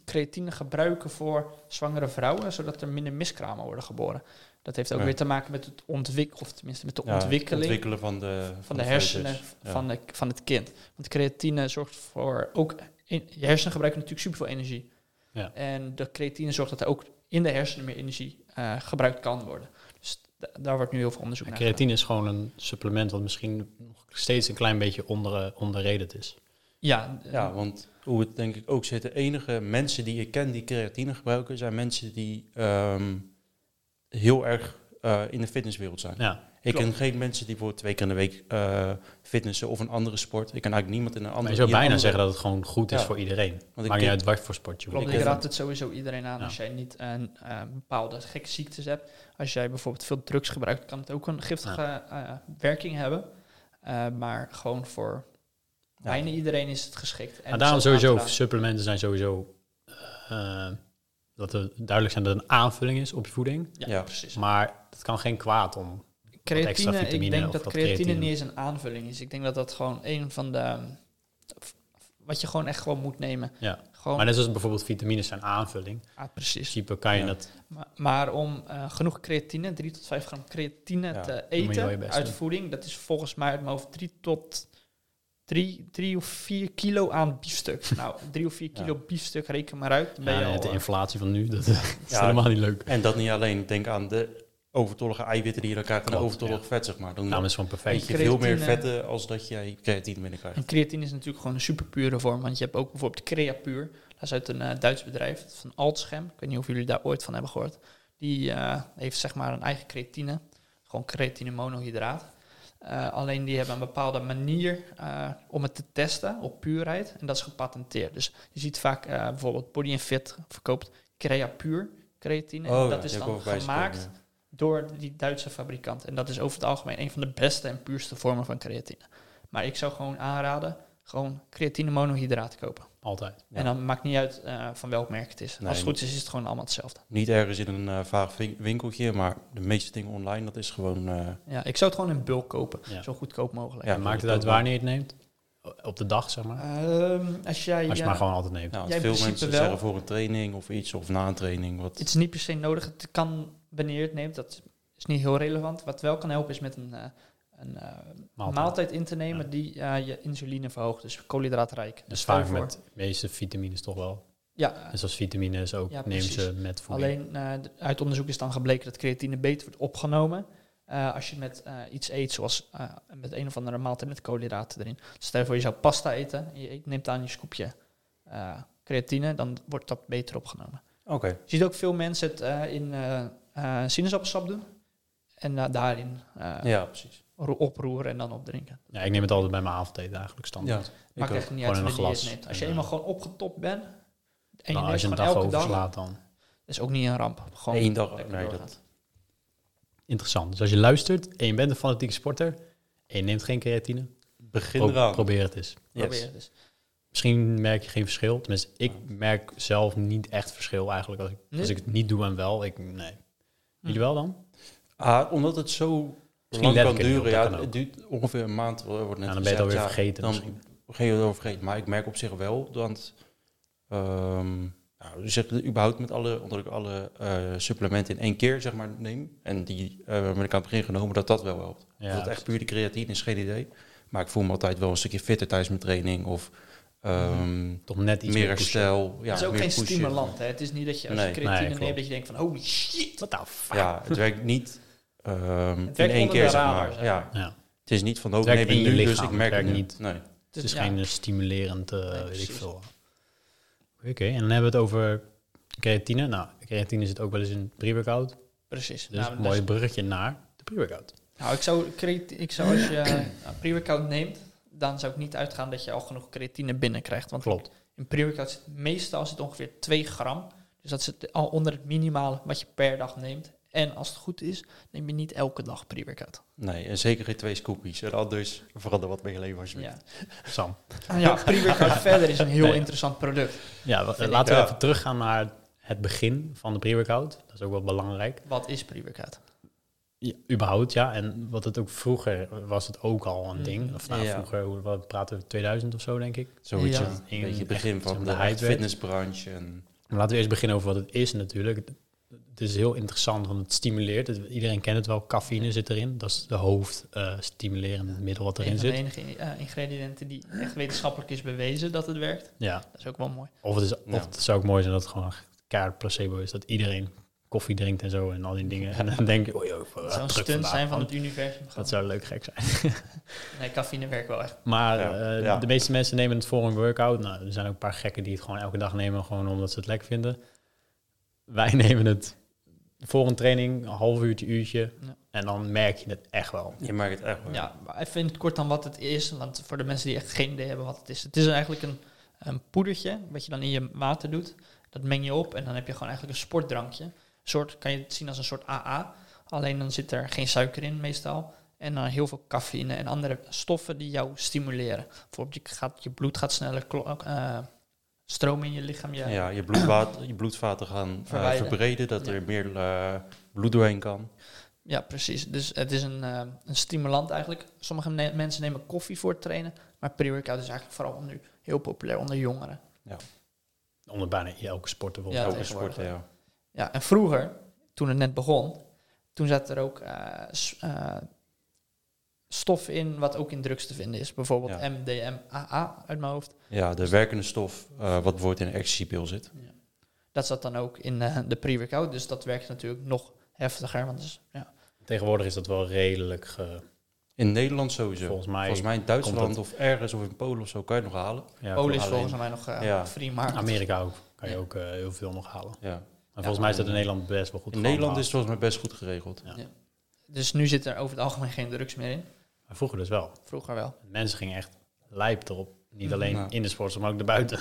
[SPEAKER 3] creatine gebruiken voor zwangere vrouwen, zodat er minder miskramen worden geboren. Dat heeft ook
[SPEAKER 2] Ja.
[SPEAKER 3] weer te maken met het ontwikkelen, of tenminste met de
[SPEAKER 2] Ja, het
[SPEAKER 3] ontwikkeling
[SPEAKER 2] ontwikkelen van de, van
[SPEAKER 3] van de
[SPEAKER 2] foetus.
[SPEAKER 3] hersenen
[SPEAKER 2] Ja.
[SPEAKER 3] van, de, van het kind. Want creatine zorgt voor ook... in- je hersenen gebruiken natuurlijk superveel energie.
[SPEAKER 1] Ja.
[SPEAKER 3] En de creatine zorgt dat er ook in de hersenen meer energie eh, gebruikt kan worden. Dus da- daar wordt nu heel veel onderzoek
[SPEAKER 1] En
[SPEAKER 3] naar
[SPEAKER 1] creatine is gewoon een supplement wat misschien nog steeds een klein beetje onder, eh, onderrated is.
[SPEAKER 3] gedaan. Ja, eh,
[SPEAKER 2] Ja, want hoe het denk ik ook zit, de enige mensen die ik ken die creatine gebruiken, zijn mensen die ehm, heel erg eh, in de fitnesswereld zijn.
[SPEAKER 1] Ja,
[SPEAKER 2] ik
[SPEAKER 3] klopt.
[SPEAKER 2] ken geen mensen die voor twee keer in de week eh, fitnessen of een andere sport. Ik ken eigenlijk niemand in een andere
[SPEAKER 1] maar je zou
[SPEAKER 2] die een
[SPEAKER 1] bijna
[SPEAKER 2] andere-
[SPEAKER 1] zeggen dat het gewoon goed is
[SPEAKER 2] Ja.
[SPEAKER 1] voor iedereen.
[SPEAKER 2] ik
[SPEAKER 1] Maakt niet
[SPEAKER 2] ken-
[SPEAKER 1] uit wat voor sport je
[SPEAKER 3] Klopt,
[SPEAKER 1] wil.
[SPEAKER 2] Ik
[SPEAKER 3] ik
[SPEAKER 2] ken
[SPEAKER 3] raad
[SPEAKER 2] het.
[SPEAKER 3] het sowieso iedereen aan
[SPEAKER 1] Ja.
[SPEAKER 3] als jij niet een eh, bepaalde gekke ziektes hebt. Als jij bijvoorbeeld veel drugs gebruikt, kan het ook een giftige eh, werking hebben. Eh, maar gewoon voor
[SPEAKER 2] Ja.
[SPEAKER 3] bijna iedereen is het geschikt. En
[SPEAKER 1] Maar daarom
[SPEAKER 3] het is ook aan
[SPEAKER 1] sowieso,
[SPEAKER 3] te raden.
[SPEAKER 1] supplementen zijn sowieso... eh, dat er duidelijk zijn dat het een aanvulling is op je voeding.
[SPEAKER 3] Ja,
[SPEAKER 2] Ja.
[SPEAKER 3] precies.
[SPEAKER 1] Maar het kan geen kwaad om... extra
[SPEAKER 3] Creatine, ik
[SPEAKER 1] vitamine
[SPEAKER 3] denk
[SPEAKER 1] of
[SPEAKER 3] dat
[SPEAKER 1] wat
[SPEAKER 3] creatine,
[SPEAKER 1] creatine.
[SPEAKER 3] niet eens een aanvulling is. Ik denk dat dat gewoon een van de... ehm, f- f- Wat je gewoon echt gewoon moet nemen.
[SPEAKER 1] Ja.
[SPEAKER 3] Gewoon,
[SPEAKER 1] Maar net zoals bijvoorbeeld vitamines zijn aanvulling. In
[SPEAKER 3] ah, precies.
[SPEAKER 1] principe kan je
[SPEAKER 2] Ja.
[SPEAKER 1] dat...
[SPEAKER 3] Maar, maar om eh, genoeg creatine, 3 tot 5 gram creatine
[SPEAKER 2] Ja,
[SPEAKER 3] te
[SPEAKER 1] je wel je
[SPEAKER 3] eten
[SPEAKER 1] best
[SPEAKER 3] uit
[SPEAKER 1] doen.
[SPEAKER 3] voeding... dat is volgens mij uit mijn hoofd 3 tot... 3, 3 of 4 kilo aan biefstuk. nou, 3 of 4
[SPEAKER 2] Ja.
[SPEAKER 3] kilo biefstuk, reken maar uit. Dan ben
[SPEAKER 1] Ja,
[SPEAKER 3] je al,
[SPEAKER 1] de
[SPEAKER 3] eh,
[SPEAKER 1] inflatie van nu, dat, is
[SPEAKER 2] Ja.
[SPEAKER 1] helemaal niet leuk.
[SPEAKER 2] En dat niet alleen, denk aan de overtollige eiwitten die je dan krijgt en
[SPEAKER 1] Klopt, Nou,
[SPEAKER 2] overtollig vet, zeg maar. Dan
[SPEAKER 1] Daarom is het gewoon perfect.
[SPEAKER 2] eet je veel meer
[SPEAKER 3] Creatine.
[SPEAKER 2] vetten als dat jij creatine binnenkrijgt.
[SPEAKER 3] En creatine is natuurlijk gewoon een superpure vorm. Want je hebt ook bijvoorbeeld Creapure. Dat is uit een eh, Duits bedrijf van Altschem. Ik weet niet of jullie daar ooit van hebben gehoord. Die eh, heeft zeg maar een eigen creatine. Gewoon creatine monohydraat. Eh, alleen die hebben een bepaalde manier eh, om het te testen op puurheid. En dat is gepatenteerd. Dus je ziet vaak eh, bijvoorbeeld Body Fit verkoopt creapuur creatine.
[SPEAKER 2] Oh,
[SPEAKER 3] en dat
[SPEAKER 2] ja,
[SPEAKER 3] is
[SPEAKER 2] die heb ik
[SPEAKER 3] dan
[SPEAKER 2] ook voorbij zien
[SPEAKER 3] gemaakt
[SPEAKER 2] komen, ja.
[SPEAKER 3] door die Duitse fabrikant. En dat is over het algemeen een van de beste en puurste vormen van creatine. Maar ik zou gewoon aanraden, gewoon creatine monohydraat kopen.
[SPEAKER 1] Altijd.
[SPEAKER 2] Ja.
[SPEAKER 3] En dan maakt niet uit eh, van welk merk het is.
[SPEAKER 2] Nee,
[SPEAKER 3] Als het goed is, is het gewoon allemaal hetzelfde.
[SPEAKER 2] Niet ergens in een eh, vaag win- winkeltje, maar de meeste dingen online, dat is gewoon... eh,
[SPEAKER 3] Ja, ik zou het gewoon in bulk kopen.
[SPEAKER 1] Ja.
[SPEAKER 3] Zo goedkoop mogelijk.
[SPEAKER 2] Ja,
[SPEAKER 1] en maakt het
[SPEAKER 2] dat
[SPEAKER 1] uit
[SPEAKER 2] ook wel.
[SPEAKER 1] wanneer je het neemt? Op de dag, zeg maar.
[SPEAKER 3] Ehm, als jij,
[SPEAKER 1] Als je
[SPEAKER 3] ja,
[SPEAKER 1] maar gewoon altijd neemt.
[SPEAKER 2] nou,
[SPEAKER 3] Ja, in
[SPEAKER 2] veel
[SPEAKER 3] principe
[SPEAKER 2] mensen
[SPEAKER 3] wel.
[SPEAKER 2] zeggen voor een training of iets, of na een training. Wat,
[SPEAKER 3] Het is niet per se nodig. Het kan wanneer je het neemt. Dat is niet heel relevant. Wat wel kan helpen is met een, eh, een eh, maaltijd. in te nemen die eh, je insuline verhoogt. Dus koolhydraatrijk.
[SPEAKER 1] Dus
[SPEAKER 3] stel je
[SPEAKER 1] vaak
[SPEAKER 3] voor-
[SPEAKER 1] met de meeste vitamines toch wel.
[SPEAKER 3] Ja,
[SPEAKER 1] En zoals vitamines ook
[SPEAKER 3] Ja,
[SPEAKER 1] neem ze
[SPEAKER 3] precies.
[SPEAKER 1] met voeding.
[SPEAKER 3] alleen eh, d- uit onderzoek is dan gebleken dat creatine beter wordt opgenomen. eh, als je met eh, iets eet, zoals eh, met een of andere maaltijd met koolhydraten erin. Dus stel je voor, je zou pasta eten. en Je eet- neemt aan je scoopje eh, creatine. Dan wordt dat beter opgenomen.
[SPEAKER 2] Oké,
[SPEAKER 3] Je ziet ook veel mensen het eh, in eh eh, sinaasappelsap doen. En eh, daarin eh,
[SPEAKER 2] ja, precies.
[SPEAKER 3] ro- oproeren en dan opdrinken.
[SPEAKER 1] Ja, ik neem het altijd bij mijn avondeten eigenlijk
[SPEAKER 2] Ja,
[SPEAKER 1] standaard.
[SPEAKER 2] ik
[SPEAKER 3] Maakt
[SPEAKER 2] ook.
[SPEAKER 3] echt niet
[SPEAKER 1] Gewoon
[SPEAKER 3] uit
[SPEAKER 1] in een
[SPEAKER 3] wanneer je het
[SPEAKER 1] glas.
[SPEAKER 3] neemt. Als je
[SPEAKER 1] En,
[SPEAKER 3] eenmaal
[SPEAKER 1] eh,
[SPEAKER 3] gewoon opgetopt bent en je
[SPEAKER 1] Nou,
[SPEAKER 3] neemt
[SPEAKER 1] als je een
[SPEAKER 3] gewoon
[SPEAKER 1] dag
[SPEAKER 3] elke dag,
[SPEAKER 1] overslaat dan.
[SPEAKER 3] is ook niet een ramp. Gewoon
[SPEAKER 2] Eén dag,
[SPEAKER 3] lekker
[SPEAKER 2] nee,
[SPEAKER 3] doorgaan.
[SPEAKER 1] Interessant. Dus als je luistert en je bent een fanatieke sporter en je neemt geen creatine,
[SPEAKER 2] Begin
[SPEAKER 1] pro-
[SPEAKER 2] eraan.
[SPEAKER 1] probeer het eens.
[SPEAKER 2] Yes.
[SPEAKER 3] Probeer het dus. eens.
[SPEAKER 1] Misschien merk je geen verschil. Tenminste, ik merk zelf niet echt verschil eigenlijk. Als ik,
[SPEAKER 3] Nee?
[SPEAKER 1] als ik het niet doe en wel, ik, nee. Jullie
[SPEAKER 3] Hm.
[SPEAKER 1] wel dan? Nou,
[SPEAKER 2] Ah, omdat het zo
[SPEAKER 1] Misschien
[SPEAKER 2] lang
[SPEAKER 1] let
[SPEAKER 2] kan
[SPEAKER 1] ik er niet op,
[SPEAKER 2] duren.
[SPEAKER 1] dat
[SPEAKER 2] Ja,
[SPEAKER 1] kan
[SPEAKER 2] het duurt ongeveer een maand. eh, Wordt net
[SPEAKER 1] Ja, dan ben je het
[SPEAKER 2] gezegd,
[SPEAKER 1] alweer
[SPEAKER 2] ja,
[SPEAKER 1] vergeten
[SPEAKER 2] Dan
[SPEAKER 1] misschien.
[SPEAKER 2] ben je het alweer vergeten. Maar ik merk op zich wel dat... ehm nou, zeg, überhaupt met alle, omdat ik alle eh, supplementen in één keer zeg maar, neem. En die eh ben ik aan het begin genomen, dat dat wel helpt.
[SPEAKER 1] Ja,
[SPEAKER 2] Of dat echt puur de creatine is, geen idee. Maar ik voel me altijd wel een stukje fitter tijdens mijn training. Of ehm,
[SPEAKER 1] Toch net Mm-hmm. iets
[SPEAKER 2] meer
[SPEAKER 1] meer pushen.
[SPEAKER 2] herstel. Ja,
[SPEAKER 3] het is ook
[SPEAKER 2] meer
[SPEAKER 3] geen
[SPEAKER 2] pushen.
[SPEAKER 3] stimulant. Hè. Het is niet dat je als
[SPEAKER 2] Nee.
[SPEAKER 3] je creatine
[SPEAKER 1] Nee, klopt.
[SPEAKER 3] neemt dat je denkt van holy shit.
[SPEAKER 1] What the fuck?
[SPEAKER 2] Ja, het werkt niet ehm,
[SPEAKER 3] werkt
[SPEAKER 2] in één
[SPEAKER 3] onder
[SPEAKER 2] keer,
[SPEAKER 3] de
[SPEAKER 2] zeg
[SPEAKER 3] radar,
[SPEAKER 2] maar.
[SPEAKER 3] zeg
[SPEAKER 2] Ja.
[SPEAKER 3] maar.
[SPEAKER 1] Ja.
[SPEAKER 2] Het is niet van, oh,
[SPEAKER 1] Het werkt
[SPEAKER 2] nee, ik ben
[SPEAKER 1] in je
[SPEAKER 2] nu, dus
[SPEAKER 1] lichaam,
[SPEAKER 2] ik merk
[SPEAKER 1] het
[SPEAKER 2] het
[SPEAKER 1] werkt
[SPEAKER 2] nu.
[SPEAKER 1] niet.
[SPEAKER 2] Nee.
[SPEAKER 1] Het
[SPEAKER 3] Dus
[SPEAKER 1] is
[SPEAKER 3] ja,
[SPEAKER 1] geen eh, stimulerend, eh, weet ik
[SPEAKER 3] precies.
[SPEAKER 1] veel. Oké, en dan hebben we het over creatine. Nou, creatine zit ook wel eens in pre-workout.
[SPEAKER 3] precies.
[SPEAKER 1] Dus
[SPEAKER 3] Nou,
[SPEAKER 1] een
[SPEAKER 3] dat is-
[SPEAKER 1] mooi bruggetje naar de pre-workout.
[SPEAKER 3] Nou, ik zou, creat- ik zou als je eh, een pre-workout neemt, dan zou ik niet uitgaan dat je al genoeg creatine binnenkrijgt. Want
[SPEAKER 1] Klopt.
[SPEAKER 3] in pre-workout zit meestal zit ongeveer 2 gram. Dus dat zit al onder het minimale wat je per dag neemt. En als het goed is, neem je niet elke dag pre-workout.
[SPEAKER 2] Nee, en zeker geen twee scoopies. En anders verander dus wat bij je leven alsjeblieft.
[SPEAKER 3] Ja, Ah,
[SPEAKER 1] Sam.
[SPEAKER 3] ja pre-workout verder is een heel
[SPEAKER 1] Nee.
[SPEAKER 3] interessant product.
[SPEAKER 1] Ja, wa-
[SPEAKER 3] Vind
[SPEAKER 1] Eh, laten we
[SPEAKER 2] ik.
[SPEAKER 1] even teruggaan naar het begin van de pre-workout. Dat is ook wel belangrijk.
[SPEAKER 3] Wat is pre-workout?
[SPEAKER 1] Ja, überhaupt, ja. En wat het ook vroeger was het ook al een
[SPEAKER 3] Mhm.
[SPEAKER 1] ding. Of nou,
[SPEAKER 2] Ja.
[SPEAKER 1] vroeger, hoe- wat praten we, 2000 of zo, denk ik.
[SPEAKER 2] Zoiets,
[SPEAKER 3] Ja.
[SPEAKER 2] ja. Een beetje het begin
[SPEAKER 1] Echt, zeg
[SPEAKER 2] van de,
[SPEAKER 1] maar, de
[SPEAKER 2] echt
[SPEAKER 1] hype werd.
[SPEAKER 2] fitnessbranche. En,
[SPEAKER 1] Maar Nou, laten we eerst beginnen over wat het is natuurlijk. Het- Het is heel interessant, want het stimuleert. Het- iedereen kent het wel, cafeïne zit erin. Dat is de hoofdstimulerende middel wat
[SPEAKER 3] Een
[SPEAKER 1] erin
[SPEAKER 3] van de
[SPEAKER 1] zit.
[SPEAKER 3] enige eh, ingrediënten die echt wetenschappelijk is bewezen dat het werkt.
[SPEAKER 1] Ja.
[SPEAKER 3] Dat is ook wel mooi.
[SPEAKER 1] Of het, is, of
[SPEAKER 2] Ja.
[SPEAKER 1] het zou ook mooi zijn dat het gewoon kaart placebo is. Dat iedereen koffie drinkt en zo en al die dingen. En dan denk je, oei, oei,
[SPEAKER 3] Het
[SPEAKER 1] wat
[SPEAKER 3] zou een
[SPEAKER 1] druk
[SPEAKER 3] stunt
[SPEAKER 1] vandaag,
[SPEAKER 3] zijn van
[SPEAKER 1] man.
[SPEAKER 3] het universum.
[SPEAKER 1] Dat zou leuk gek zijn.
[SPEAKER 3] Nee, cafeïne werkt wel echt.
[SPEAKER 1] Maar
[SPEAKER 2] Ja,
[SPEAKER 1] eh,
[SPEAKER 2] ja.
[SPEAKER 1] de meeste mensen nemen het voor een workout. Nou, er zijn ook een paar gekken die het gewoon elke dag nemen, gewoon omdat ze het lekker vinden. Wij nemen het voor een training, een half uurtje, uurtje.
[SPEAKER 3] Ja.
[SPEAKER 1] En dan merk je het echt wel.
[SPEAKER 2] je merkt het echt wel.
[SPEAKER 3] Ja, maar even in het kort dan wat het is. Want voor de mensen die echt geen idee hebben wat het is. Het is eigenlijk een, een poedertje wat je dan in je water doet. Dat meng je op en dan heb je gewoon eigenlijk een sportdrankje. Een soort, kan je het zien als een soort AA. Alleen dan zit er geen suiker in meestal. En dan heel veel cafeïne en andere stoffen die jou stimuleren. Bijvoorbeeld je, gaat, je bloed gaat sneller klo- eh, stromen in je lichaam. Je,
[SPEAKER 2] Ja, je, bloedwater, je bloedvaten gaan eh,
[SPEAKER 3] Verwijderen.
[SPEAKER 2] verbreden, dat
[SPEAKER 3] Ja.
[SPEAKER 2] er meer eh, bloed doorheen kan.
[SPEAKER 3] Ja, precies. Dus het is een, eh, een stimulant eigenlijk. Sommige ne- mensen nemen koffie voor het trainen. Maar pre-workout is eigenlijk vooral nu heel populair onder jongeren.
[SPEAKER 1] Onder bijna elke sporter wil.
[SPEAKER 3] Ja,
[SPEAKER 2] Elke
[SPEAKER 3] tegenwoordig.
[SPEAKER 2] sport, ja.
[SPEAKER 3] Ja, en vroeger, toen het net begon, toen zat er ook eh, s- eh, stof in wat ook in drugs te vinden is. Bijvoorbeeld
[SPEAKER 2] Ja.
[SPEAKER 3] MDMA uit mijn hoofd.
[SPEAKER 2] Ja, de werkende stof eh, wat bijvoorbeeld in een ecstasypil zit.
[SPEAKER 3] Dat zat dan ook in eh, de pre-workout. Dus dat werkt natuurlijk nog heftiger. Want dus, ja.
[SPEAKER 1] Tegenwoordig is dat wel redelijk. eh, ge-
[SPEAKER 2] In Nederland sowieso. Volgens
[SPEAKER 1] volgens mij.
[SPEAKER 2] mij, in
[SPEAKER 1] komt
[SPEAKER 2] Duitsland
[SPEAKER 1] dat-
[SPEAKER 2] of ergens of in Polen of zo kan je het nog halen.
[SPEAKER 1] ja,
[SPEAKER 3] Polen is
[SPEAKER 2] alleen-
[SPEAKER 3] volgens mij nog eh,
[SPEAKER 2] Ja.
[SPEAKER 3] free market.
[SPEAKER 1] Amerika ook. Kan je ook eh, heel veel nog halen. Maar
[SPEAKER 2] Ja.
[SPEAKER 1] volgens mij is dat in Nederland best wel goed.
[SPEAKER 2] In Nederland is het volgens mij best goed geregeld.
[SPEAKER 1] Ja.
[SPEAKER 3] Dus nu zit er over het algemeen geen drugs meer in.
[SPEAKER 1] Maar vroeger dus wel.
[SPEAKER 3] Vroeger wel.
[SPEAKER 1] Mensen gingen echt lijp erop. Niet
[SPEAKER 3] Mhm.
[SPEAKER 1] alleen
[SPEAKER 2] Ja.
[SPEAKER 1] in de sportzaal, maar ook erbuiten.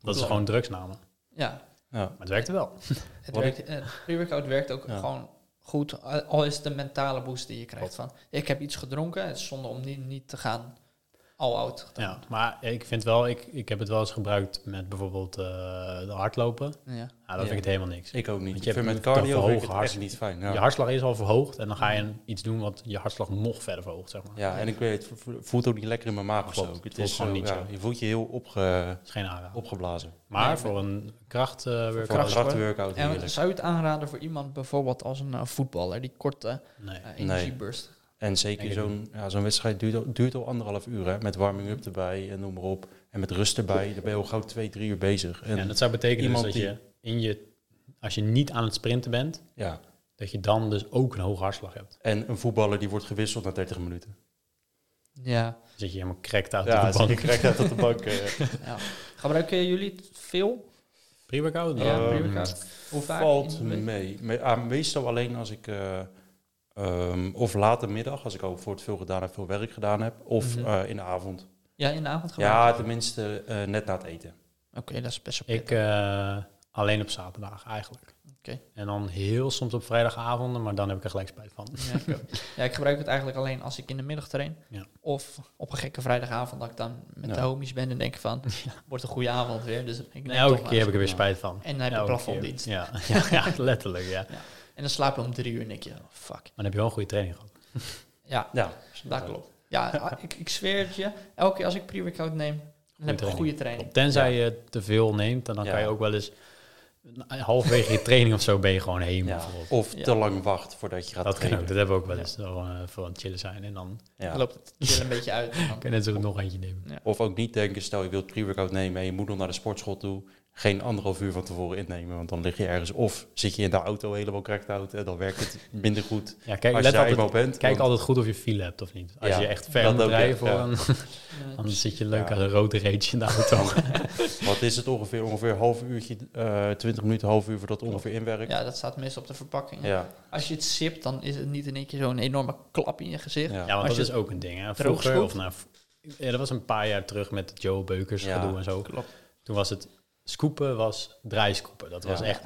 [SPEAKER 1] dat ze gewoon drugs namen.
[SPEAKER 3] Ja.
[SPEAKER 2] Ja.
[SPEAKER 1] het werkte wel.
[SPEAKER 3] Het
[SPEAKER 2] Wat
[SPEAKER 3] werkt, eh, pre-workout werkt ook
[SPEAKER 2] Ja.
[SPEAKER 3] gewoon goed, al- al is het de mentale boost die je krijgt van, ik heb iets gedronken, het is zonde om niet, niet te gaan all out.
[SPEAKER 1] Ja, maar ik vind wel, ik, ik heb het wel eens gebruikt met bijvoorbeeld eh, de hardlopen.
[SPEAKER 3] Ja.
[SPEAKER 1] Nou, dat
[SPEAKER 2] Ja.
[SPEAKER 1] vind ik het helemaal niks.
[SPEAKER 2] Ik ook niet.
[SPEAKER 1] Want je
[SPEAKER 2] Ik vind
[SPEAKER 1] hebt
[SPEAKER 2] met
[SPEAKER 1] een
[SPEAKER 2] cardio vind ik het
[SPEAKER 1] verhoogde
[SPEAKER 2] echt niet fijn. Ja.
[SPEAKER 1] Je hartslag is al verhoogd en dan ga je iets doen wat je hartslag nog verder verhoogt, zeg maar.
[SPEAKER 2] Ja, en ik weet, het vo- voelt ook niet lekker in mijn maag of
[SPEAKER 1] Klopt,
[SPEAKER 2] zo.
[SPEAKER 1] het voelt gewoon
[SPEAKER 2] zo,
[SPEAKER 1] niet
[SPEAKER 2] ja,
[SPEAKER 1] zo.
[SPEAKER 2] Je voelt je heel opge,
[SPEAKER 1] Dat is geen aanrader.
[SPEAKER 2] opgeblazen.
[SPEAKER 1] Maar
[SPEAKER 3] Nee,
[SPEAKER 1] voor een kracht, eh, weer-
[SPEAKER 2] Voor een
[SPEAKER 3] krachtsport.
[SPEAKER 2] krachtworkout
[SPEAKER 3] En
[SPEAKER 2] heerlijk.
[SPEAKER 3] zou je het aanraden voor iemand bijvoorbeeld als een eh, voetballer, die korte
[SPEAKER 1] nee.
[SPEAKER 3] eh, energieburst?
[SPEAKER 2] En
[SPEAKER 1] Denk
[SPEAKER 2] zeker
[SPEAKER 1] ik
[SPEAKER 2] zo'n ja, zo'n wedstrijd duurt al, duurt al anderhalf uur, hè, met warming-up erbij en noem maar op. En met rust erbij, dan ben je al gauw twee, drie uur bezig. En,
[SPEAKER 1] Ja, en dat zou betekenen dus
[SPEAKER 2] iemand
[SPEAKER 1] dat je in je, als je niet aan het sprinten bent,
[SPEAKER 2] ja.
[SPEAKER 1] dat je dan dus ook een hoge hartslag hebt.
[SPEAKER 2] en een voetballer die wordt gewisseld na 30 minuten.
[SPEAKER 3] Ja.
[SPEAKER 1] Dan zit je helemaal cracked uit
[SPEAKER 2] ja,
[SPEAKER 1] op de
[SPEAKER 2] ik
[SPEAKER 1] bank.
[SPEAKER 2] krijg dat op de bank. eh.
[SPEAKER 3] ja. Gebruiken jullie het veel?
[SPEAKER 1] Pre-workout?
[SPEAKER 3] Ja,
[SPEAKER 2] Ehm,
[SPEAKER 3] pre-workout. Hoe vaak?
[SPEAKER 2] Valt
[SPEAKER 3] in de week?
[SPEAKER 2] mee. Me- ah, meestal alleen als ik... eh, ehm, of late middag, als ik al voor het veel gedaan heb, veel werk gedaan heb. Of
[SPEAKER 3] Mhm.
[SPEAKER 2] eh, in de avond.
[SPEAKER 3] Ja, in de avond gebruiken?
[SPEAKER 2] Ja, tenminste eh, net na het eten.
[SPEAKER 3] Oké, dat is best wel
[SPEAKER 1] Ik eh, alleen op zaterdag eigenlijk.
[SPEAKER 3] Oké.
[SPEAKER 1] En dan heel soms op vrijdagavonden, maar dan heb ik er gelijk spijt van.
[SPEAKER 3] Ja, ik ook. ja, ik gebruik het eigenlijk alleen als ik in de middag train.
[SPEAKER 1] Ja.
[SPEAKER 3] Of op een gekke vrijdagavond dat ik dan met
[SPEAKER 2] Ja.
[SPEAKER 3] de homies ben en denk van, wordt een goede avond weer. Dus ik neem
[SPEAKER 1] En elke
[SPEAKER 3] toch maar.
[SPEAKER 1] keer heb ik er weer
[SPEAKER 2] Ja.
[SPEAKER 1] spijt van.
[SPEAKER 3] En dan heb je
[SPEAKER 1] Elke
[SPEAKER 3] plafonddienst.
[SPEAKER 1] keer. Ja, ja, ja, letterlijk, ja.
[SPEAKER 3] En dan slaap je om drie uur en denk je, oh, fuck.
[SPEAKER 1] Maar dan heb je wel een goede training gehad.
[SPEAKER 3] Ja,
[SPEAKER 2] Ja,
[SPEAKER 3] dat klopt. Ja, ah, ik, ik zweer het je. Elke keer als ik pre-workout neem, dan heb ik een
[SPEAKER 1] training.
[SPEAKER 3] goede training.
[SPEAKER 1] Tenzij je te veel neemt, en dan
[SPEAKER 2] Ja.
[SPEAKER 1] kan je ook wel eens halverwege je training of zo ben je gewoon helemaal
[SPEAKER 2] Ja.
[SPEAKER 1] verrot.
[SPEAKER 2] Of
[SPEAKER 3] Ja.
[SPEAKER 2] te lang wacht voordat je gaat
[SPEAKER 1] Dat kan ook,
[SPEAKER 2] trainen.
[SPEAKER 1] dat hebben we ook wel eens. Dat we gewoon, eh, voor aan het chillen zijn en dan
[SPEAKER 2] Ja.
[SPEAKER 3] Dan loopt het chill een beetje uit. en dan-
[SPEAKER 1] kan je net zo goed nog eentje nemen.
[SPEAKER 2] Of ook niet denken, stel je wilt pre-workout nemen en je moet nog naar de sportschool toe. Geen anderhalf uur van tevoren innemen, want dan lig je ergens. Of zit je in de auto helemaal cracked out en dan werkt het minder goed.
[SPEAKER 1] Ja, kijk,
[SPEAKER 2] als je
[SPEAKER 1] let
[SPEAKER 2] daar
[SPEAKER 1] altijd,
[SPEAKER 2] eenmaal bent.
[SPEAKER 1] kijk
[SPEAKER 2] want-
[SPEAKER 1] altijd goed of je file hebt of niet. Als
[SPEAKER 2] Ja,
[SPEAKER 1] je echt ver
[SPEAKER 2] dat
[SPEAKER 1] moet
[SPEAKER 2] ook, ja.
[SPEAKER 1] rijden voor
[SPEAKER 2] Ja.
[SPEAKER 1] een...
[SPEAKER 3] Ja,
[SPEAKER 1] Anders zit je
[SPEAKER 2] Ja.
[SPEAKER 1] leuk aan een rode reetje in de auto.
[SPEAKER 2] Wat is het ongeveer? Ongeveer een half uurtje, eh, twintig minuten, half uur voordat het ongeveer inwerkt. Ja.
[SPEAKER 3] ja, dat staat meestal op de verpakking.
[SPEAKER 2] Ja.
[SPEAKER 3] Als je het sipt, dan is het niet in één keer zo'n enorme klap in je gezicht.
[SPEAKER 1] Ja, want
[SPEAKER 3] Als
[SPEAKER 1] dat
[SPEAKER 3] je
[SPEAKER 1] is ook een ding. Hè.
[SPEAKER 3] droog
[SPEAKER 1] Vroeger,
[SPEAKER 3] spoelt.
[SPEAKER 1] of nou, ja, dat was een paar jaar terug met Joe Beukers
[SPEAKER 2] Ja,
[SPEAKER 1] gedoe en zo.
[SPEAKER 3] klopt.
[SPEAKER 1] Toen was het scoopen was draaiskoepen. Dat was
[SPEAKER 2] Ja.
[SPEAKER 1] echt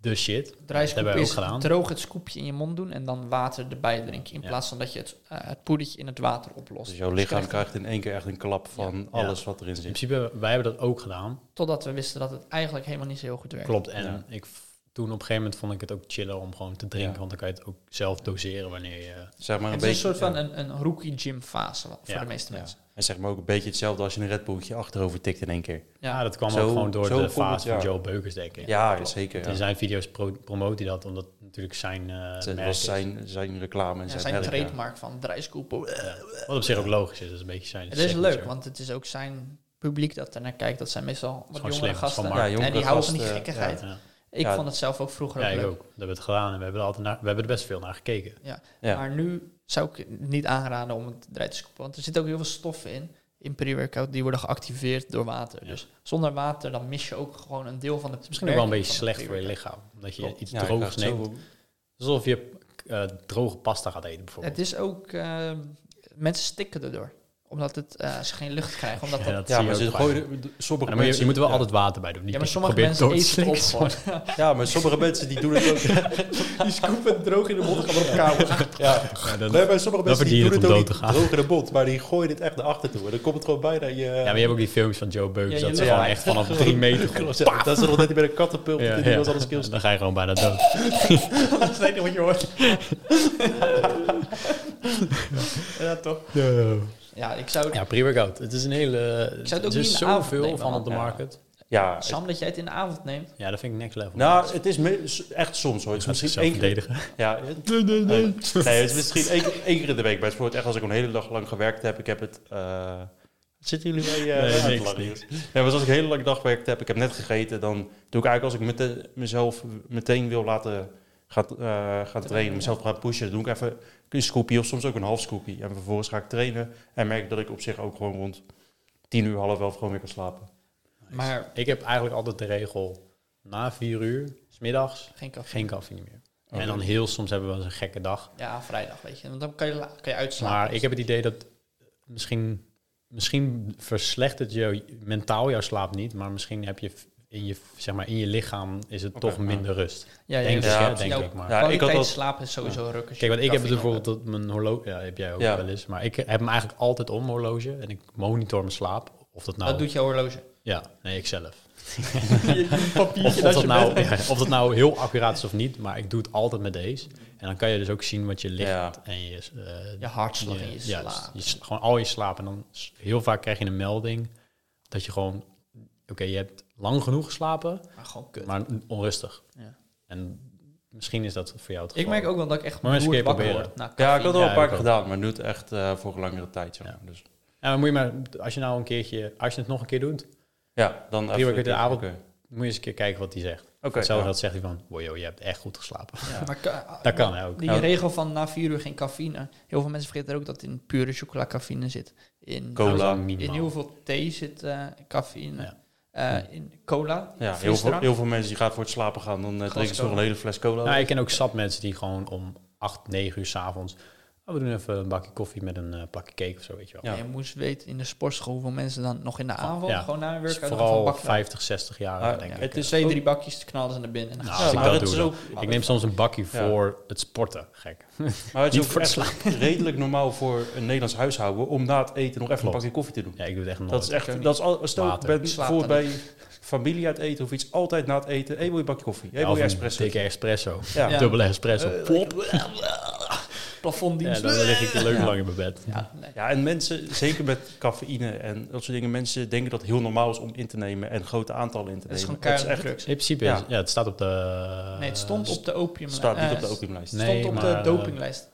[SPEAKER 1] de shit.
[SPEAKER 3] Draaiscoop
[SPEAKER 1] hebben we ook
[SPEAKER 3] is
[SPEAKER 1] gedaan.
[SPEAKER 3] droog het scoopje in je mond doen en dan water erbij drinken. In
[SPEAKER 1] Ja.
[SPEAKER 3] plaats van dat je het, eh, het poedertje in het water oplost.
[SPEAKER 2] Dus jouw
[SPEAKER 3] Dus
[SPEAKER 2] lichaam
[SPEAKER 3] krijgt-
[SPEAKER 2] krijgt in één keer echt een klap van alles wat erin
[SPEAKER 1] In
[SPEAKER 2] zit.
[SPEAKER 1] principe, wij hebben dat ook gedaan.
[SPEAKER 3] Totdat we wisten dat het eigenlijk helemaal niet zo heel goed werkt.
[SPEAKER 1] Klopt. En
[SPEAKER 2] Ja.
[SPEAKER 1] ik, v- toen op een gegeven moment vond ik het ook chiller om gewoon te drinken.
[SPEAKER 2] Ja.
[SPEAKER 1] Want dan kan je het ook zelf doseren wanneer je...
[SPEAKER 2] Zeg maar een
[SPEAKER 3] Het is
[SPEAKER 2] beetje,
[SPEAKER 3] een soort van
[SPEAKER 2] ja.
[SPEAKER 3] een, een rookie gym fase wat- voor
[SPEAKER 1] Ja.
[SPEAKER 3] de meeste
[SPEAKER 2] Ja.
[SPEAKER 3] mensen.
[SPEAKER 2] En zeg maar ook een beetje hetzelfde als je een Red Bulltje achterover tikt in één keer.
[SPEAKER 1] Ja,
[SPEAKER 3] Ja,
[SPEAKER 1] Ah, dat kwam
[SPEAKER 2] Zo-
[SPEAKER 1] ook gewoon door
[SPEAKER 2] zo
[SPEAKER 1] de
[SPEAKER 2] komt
[SPEAKER 1] fase
[SPEAKER 2] het,
[SPEAKER 1] van
[SPEAKER 2] ja.
[SPEAKER 1] Joe Beukers, denk ik. Dus
[SPEAKER 2] Ja,
[SPEAKER 3] klopt.
[SPEAKER 2] zeker.
[SPEAKER 1] In
[SPEAKER 2] Ja.
[SPEAKER 1] zijn video's pro- promoot hij dat, omdat het natuurlijk zijn eh
[SPEAKER 2] Het
[SPEAKER 1] merk
[SPEAKER 2] was
[SPEAKER 1] is.
[SPEAKER 2] zijn, zijn reclame en
[SPEAKER 3] Ja,
[SPEAKER 2] zijn,
[SPEAKER 3] zijn
[SPEAKER 2] merk, ja.
[SPEAKER 3] trademark van draaiscoop.
[SPEAKER 1] Wat op zich ook logisch is. Dat is een beetje zijn
[SPEAKER 3] Het is
[SPEAKER 1] signature.
[SPEAKER 3] leuk, want het is ook zijn publiek dat er naar kijkt. Dat zijn meestal wat
[SPEAKER 1] gewoon
[SPEAKER 3] jongere
[SPEAKER 1] slim, het is
[SPEAKER 3] gasten.
[SPEAKER 1] gewoon
[SPEAKER 2] Ja, jongere
[SPEAKER 3] en die houden van die
[SPEAKER 2] gasten,
[SPEAKER 3] gekkigheid.
[SPEAKER 1] Ja.
[SPEAKER 3] Ik
[SPEAKER 2] Ja.
[SPEAKER 3] vond het zelf ook vroeger
[SPEAKER 1] Ja,
[SPEAKER 3] ook
[SPEAKER 1] ik
[SPEAKER 3] leuk.
[SPEAKER 1] ook. Dat hebben we het gedaan en we hebben er, altijd naar, we hebben er best veel naar gekeken.
[SPEAKER 3] Ja.
[SPEAKER 2] Ja.
[SPEAKER 3] Maar nu zou ik het niet aanraden om het eruit te scopen. Want er zitten ook heel veel stoffen in, in pre-workout, die worden geactiveerd door water.
[SPEAKER 1] Ja.
[SPEAKER 3] Dus zonder water, dan mis je ook gewoon een deel van de
[SPEAKER 1] Misschien ook wel een
[SPEAKER 3] werking
[SPEAKER 1] beetje
[SPEAKER 3] van de
[SPEAKER 1] slecht voor je
[SPEAKER 3] pre-workout.
[SPEAKER 1] lichaam. Omdat je
[SPEAKER 3] Oh,
[SPEAKER 2] Klopt.
[SPEAKER 1] iets
[SPEAKER 2] Ja, je
[SPEAKER 1] droogs
[SPEAKER 2] krijgt
[SPEAKER 1] neemt.
[SPEAKER 2] zoveel-
[SPEAKER 1] Alsof je eh, droge pasta gaat eten bijvoorbeeld.
[SPEAKER 3] Het is ook, eh, mensen stikken erdoor. Omdat het, eh, ze geen lucht krijgen. Omdat
[SPEAKER 1] Ja,
[SPEAKER 3] dat-
[SPEAKER 1] dat
[SPEAKER 2] Ja,
[SPEAKER 1] zie
[SPEAKER 2] maar
[SPEAKER 1] je
[SPEAKER 2] ze
[SPEAKER 1] ook vaak.
[SPEAKER 2] gooien... de-
[SPEAKER 1] Maar
[SPEAKER 2] Sommige
[SPEAKER 1] dan moet je,
[SPEAKER 2] mensen,
[SPEAKER 1] je moet er wel
[SPEAKER 2] ja.
[SPEAKER 1] altijd water bij doen.
[SPEAKER 3] ja, maar sommige mensen eten het op gewoon.
[SPEAKER 2] Ja, maar sommige mensen die doen het ook.
[SPEAKER 3] Die scoopen het droog in de mond en gaan op elkaar.
[SPEAKER 2] Ja. Nee, maar sommige mensen die
[SPEAKER 1] verdien je
[SPEAKER 2] doen
[SPEAKER 1] het
[SPEAKER 2] het
[SPEAKER 1] om dood
[SPEAKER 2] ook niet
[SPEAKER 1] te gaan.
[SPEAKER 2] droog in de bot, maar die gooien het echt naar achter toe. En dan komt het gewoon bijna in je...
[SPEAKER 1] Ja, maar je hebt ook die films van Joe Beukers.
[SPEAKER 3] Ja,
[SPEAKER 1] dat
[SPEAKER 3] je
[SPEAKER 1] ze gewoon
[SPEAKER 2] loopt.
[SPEAKER 1] echt vanaf drie meter gewoon-
[SPEAKER 2] Klopt, ja. Dat is nog net niet met een kattenpulp
[SPEAKER 1] Ja,
[SPEAKER 2] en die
[SPEAKER 1] ja.
[SPEAKER 2] was alles
[SPEAKER 1] Dan ga je gewoon bijna dood.
[SPEAKER 3] Dat is het enige wat je hoort. ja, toch? Ja, ik zou...
[SPEAKER 1] Ja, pre-workout. Het is een hele...
[SPEAKER 3] Ik zou het ook
[SPEAKER 1] er
[SPEAKER 3] niet
[SPEAKER 1] is
[SPEAKER 3] in de avond
[SPEAKER 1] zoveel
[SPEAKER 3] nemen,
[SPEAKER 1] van op de
[SPEAKER 2] man. Ja.
[SPEAKER 1] market.
[SPEAKER 2] Ja, het-
[SPEAKER 3] Sam, dat jij het in de avond neemt.
[SPEAKER 1] Ja, dat vind ik next level.
[SPEAKER 2] nou, het is me- s- echt soms hoor.
[SPEAKER 3] dus
[SPEAKER 2] Het is
[SPEAKER 1] Gaat
[SPEAKER 2] misschien
[SPEAKER 1] zichzelf
[SPEAKER 2] één keer...
[SPEAKER 1] verdedigen.
[SPEAKER 2] Ja, het- nee, het is misschien één, keer- één keer in de week. Maar het wordt echt als ik een hele dag lang gewerkt heb. Ik heb het... eh, Zitten jullie bij eh,
[SPEAKER 1] Nee,
[SPEAKER 2] uit te
[SPEAKER 1] niks,
[SPEAKER 2] lachen,
[SPEAKER 1] niks.
[SPEAKER 2] jongens? Nee, maar als ik een hele lange dag gewerkt heb, ik heb net gegeten, dan doe ik eigenlijk als ik mete- mezelf meteen wil laten gaan, eh, gaan trainen, mezelf gaan pushen, dan doe ik even een scoopie of soms ook een half scoopie. En vervolgens ga ik trainen en merk ik dat ik op zich ook gewoon rond tien uur, half elf gewoon weer kan slapen.
[SPEAKER 3] Maar
[SPEAKER 1] Ik heb eigenlijk altijd de regel na vier uur, smiddags,
[SPEAKER 3] geen café.
[SPEAKER 1] geen koffie meer.
[SPEAKER 2] Oh,
[SPEAKER 1] en dan heel soms hebben we wel eens een gekke dag.
[SPEAKER 3] Ja, vrijdag, weet je. Want dan kan je, la- kan je uitslapen.
[SPEAKER 1] Maar ik heb het idee dat misschien, misschien verslechtert je mentaal jouw slaap niet, maar misschien heb je, in je, zeg maar, in je lichaam is het
[SPEAKER 2] Oké,
[SPEAKER 1] toch
[SPEAKER 2] ja.
[SPEAKER 1] minder rust.
[SPEAKER 3] Ja, ja,
[SPEAKER 1] denk
[SPEAKER 2] ja,
[SPEAKER 1] ik, hè,
[SPEAKER 2] precies
[SPEAKER 1] denk
[SPEAKER 3] ook.
[SPEAKER 1] ik maar.
[SPEAKER 2] Ja, ik had
[SPEAKER 3] Kwaliteit
[SPEAKER 2] dat-
[SPEAKER 3] slaap is sowieso ruk. als je
[SPEAKER 1] Kijk, want ik heb het
[SPEAKER 3] cafeïne
[SPEAKER 1] bijvoorbeeld dat mijn horloge... Ja, heb jij ook
[SPEAKER 2] Ja.
[SPEAKER 1] wel eens. Maar ik heb hem eigenlijk altijd om, horloge. En ik monitor mijn slaap. Of dat
[SPEAKER 3] hebt.
[SPEAKER 1] nou...
[SPEAKER 3] Dat doet je horloge.
[SPEAKER 1] Ja, nee, ik zelf.
[SPEAKER 3] je papiertje
[SPEAKER 1] Of, of, dat nou, ja, of dat nou heel accuraat is of niet, maar ik doe het altijd met deze. En dan kan je dus ook zien wat je ligt
[SPEAKER 2] Ja.
[SPEAKER 1] en je, eh,
[SPEAKER 3] Je hartslag
[SPEAKER 1] je-
[SPEAKER 3] in je
[SPEAKER 1] ja,
[SPEAKER 3] slaap.
[SPEAKER 1] je s- gewoon al je slaap. En dan s- heel vaak krijg je een melding dat je gewoon, oké, je hebt lang genoeg geslapen,
[SPEAKER 3] Maar gewoon kut.
[SPEAKER 1] maar onrustig.
[SPEAKER 3] Ja.
[SPEAKER 1] En misschien is dat voor jou het
[SPEAKER 3] Ik
[SPEAKER 1] geval.
[SPEAKER 3] merk ook wel dat ik echt
[SPEAKER 1] Maar mensen
[SPEAKER 3] beroerd
[SPEAKER 1] kun je
[SPEAKER 3] wakker
[SPEAKER 1] proberen.
[SPEAKER 3] word. na
[SPEAKER 2] Ja, ik
[SPEAKER 3] cafeïne.
[SPEAKER 2] had het al
[SPEAKER 1] Ja,
[SPEAKER 2] een paar
[SPEAKER 1] ik
[SPEAKER 2] keer
[SPEAKER 1] ook.
[SPEAKER 2] gedaan, maar nu het echt eh, voor langere tijd. Zeg maar. Dus,
[SPEAKER 1] Ja, maar moet je maar, als je nou een keertje, als je het nog een keer doet,
[SPEAKER 2] ja, dan
[SPEAKER 1] Prima, ik weet de
[SPEAKER 2] even-
[SPEAKER 1] avond.
[SPEAKER 2] Oké.
[SPEAKER 1] moet je eens een keer kijken wat hij zegt.
[SPEAKER 2] Oké,
[SPEAKER 1] Hetzelfde
[SPEAKER 2] ja.
[SPEAKER 1] dat zegt hij van, wow, joh, je hebt echt goed geslapen. Nou,
[SPEAKER 3] Ja, maar ka-
[SPEAKER 1] Dat kan hè, ook.
[SPEAKER 3] Die
[SPEAKER 2] Ja.
[SPEAKER 3] regel van na vier uur geen cafeïne. Heel veel mensen vergeten ook dat in pure chocola cafeïne zit. In,
[SPEAKER 2] Cola.
[SPEAKER 3] in heel veel thee zit eh, cafeïne.
[SPEAKER 1] Ja.
[SPEAKER 3] Eh, in cola,
[SPEAKER 2] Ja, heel, veel,
[SPEAKER 3] frisdrank.
[SPEAKER 2] heel veel mensen die gaan voor het slapen gaan, dan eh, drinken ze nog
[SPEAKER 3] cola.
[SPEAKER 2] een hele fles cola.
[SPEAKER 1] Nou, ik ken ook zat mensen die gewoon om 8, 9 uur s'avonds. Oh, we doen even een bakje koffie met een eh, plakje cake of zo, weet je wel.
[SPEAKER 2] Ja.
[SPEAKER 3] En Je moest weten in de sportschool hoeveel mensen dan nog in de avond,
[SPEAKER 1] ja.
[SPEAKER 3] gewoon na een
[SPEAKER 1] Dus
[SPEAKER 3] workout, nog een
[SPEAKER 1] vooral
[SPEAKER 3] bakje.
[SPEAKER 1] 50, 60 jaar,
[SPEAKER 2] Ah,
[SPEAKER 1] denk
[SPEAKER 3] ja.
[SPEAKER 1] ik.
[SPEAKER 2] Het is
[SPEAKER 3] twee,
[SPEAKER 2] ook-
[SPEAKER 3] drie bakjes te knallen ze naar binnen. En dan
[SPEAKER 1] Nou,
[SPEAKER 3] gaan
[SPEAKER 1] als
[SPEAKER 3] ze
[SPEAKER 1] ik
[SPEAKER 2] maar
[SPEAKER 1] dat
[SPEAKER 2] het
[SPEAKER 1] doe,
[SPEAKER 2] is
[SPEAKER 1] dan-
[SPEAKER 2] ook,
[SPEAKER 1] ik neem soms een bakje voor het sporten, gek.
[SPEAKER 2] maar het is
[SPEAKER 1] niet
[SPEAKER 2] ook
[SPEAKER 1] voor het
[SPEAKER 2] echt redelijk normaal voor een Nederlands huishouden om na het eten nog even
[SPEAKER 1] Klopt.
[SPEAKER 2] een pakje koffie te doen.
[SPEAKER 1] Ja, ik doe het echt nooit.
[SPEAKER 2] Dat is
[SPEAKER 3] Ik ook
[SPEAKER 2] echt,
[SPEAKER 3] niet.
[SPEAKER 2] dat is al, stel ik
[SPEAKER 1] Later.
[SPEAKER 2] ben
[SPEAKER 3] Ik slaap
[SPEAKER 2] bijvoorbeeld
[SPEAKER 3] dan
[SPEAKER 2] bij familie uit eten of iets, altijd na het eten, hé, wil je een bakje koffie? Hé,
[SPEAKER 1] Ja,
[SPEAKER 2] wil
[SPEAKER 1] of
[SPEAKER 2] je
[SPEAKER 1] een
[SPEAKER 2] espresso?
[SPEAKER 1] dikke espresso.
[SPEAKER 2] Ja.
[SPEAKER 3] Ja.
[SPEAKER 1] Dubbele espresso.
[SPEAKER 3] Eh,
[SPEAKER 1] Plop. Ja,
[SPEAKER 3] plafonddienst.
[SPEAKER 1] dan lig ik leuk lang in mijn bed.
[SPEAKER 3] Ja, nee.
[SPEAKER 2] Ja, en mensen, zeker met cafeïne en dat soort dingen, mensen denken dat het heel normaal is om in te nemen en grote aantallen in te
[SPEAKER 3] Het is
[SPEAKER 2] nemen.
[SPEAKER 3] gewoon keihard
[SPEAKER 2] echt,
[SPEAKER 3] drugs.
[SPEAKER 1] In principe,
[SPEAKER 2] Ja.
[SPEAKER 1] is, ja, het staat op de...
[SPEAKER 3] Nee, het stond op de opium.
[SPEAKER 2] staat niet
[SPEAKER 3] eh,
[SPEAKER 2] op de opiumlijst.
[SPEAKER 1] Nee.
[SPEAKER 3] stond op
[SPEAKER 1] maar,
[SPEAKER 3] de dopinglijst.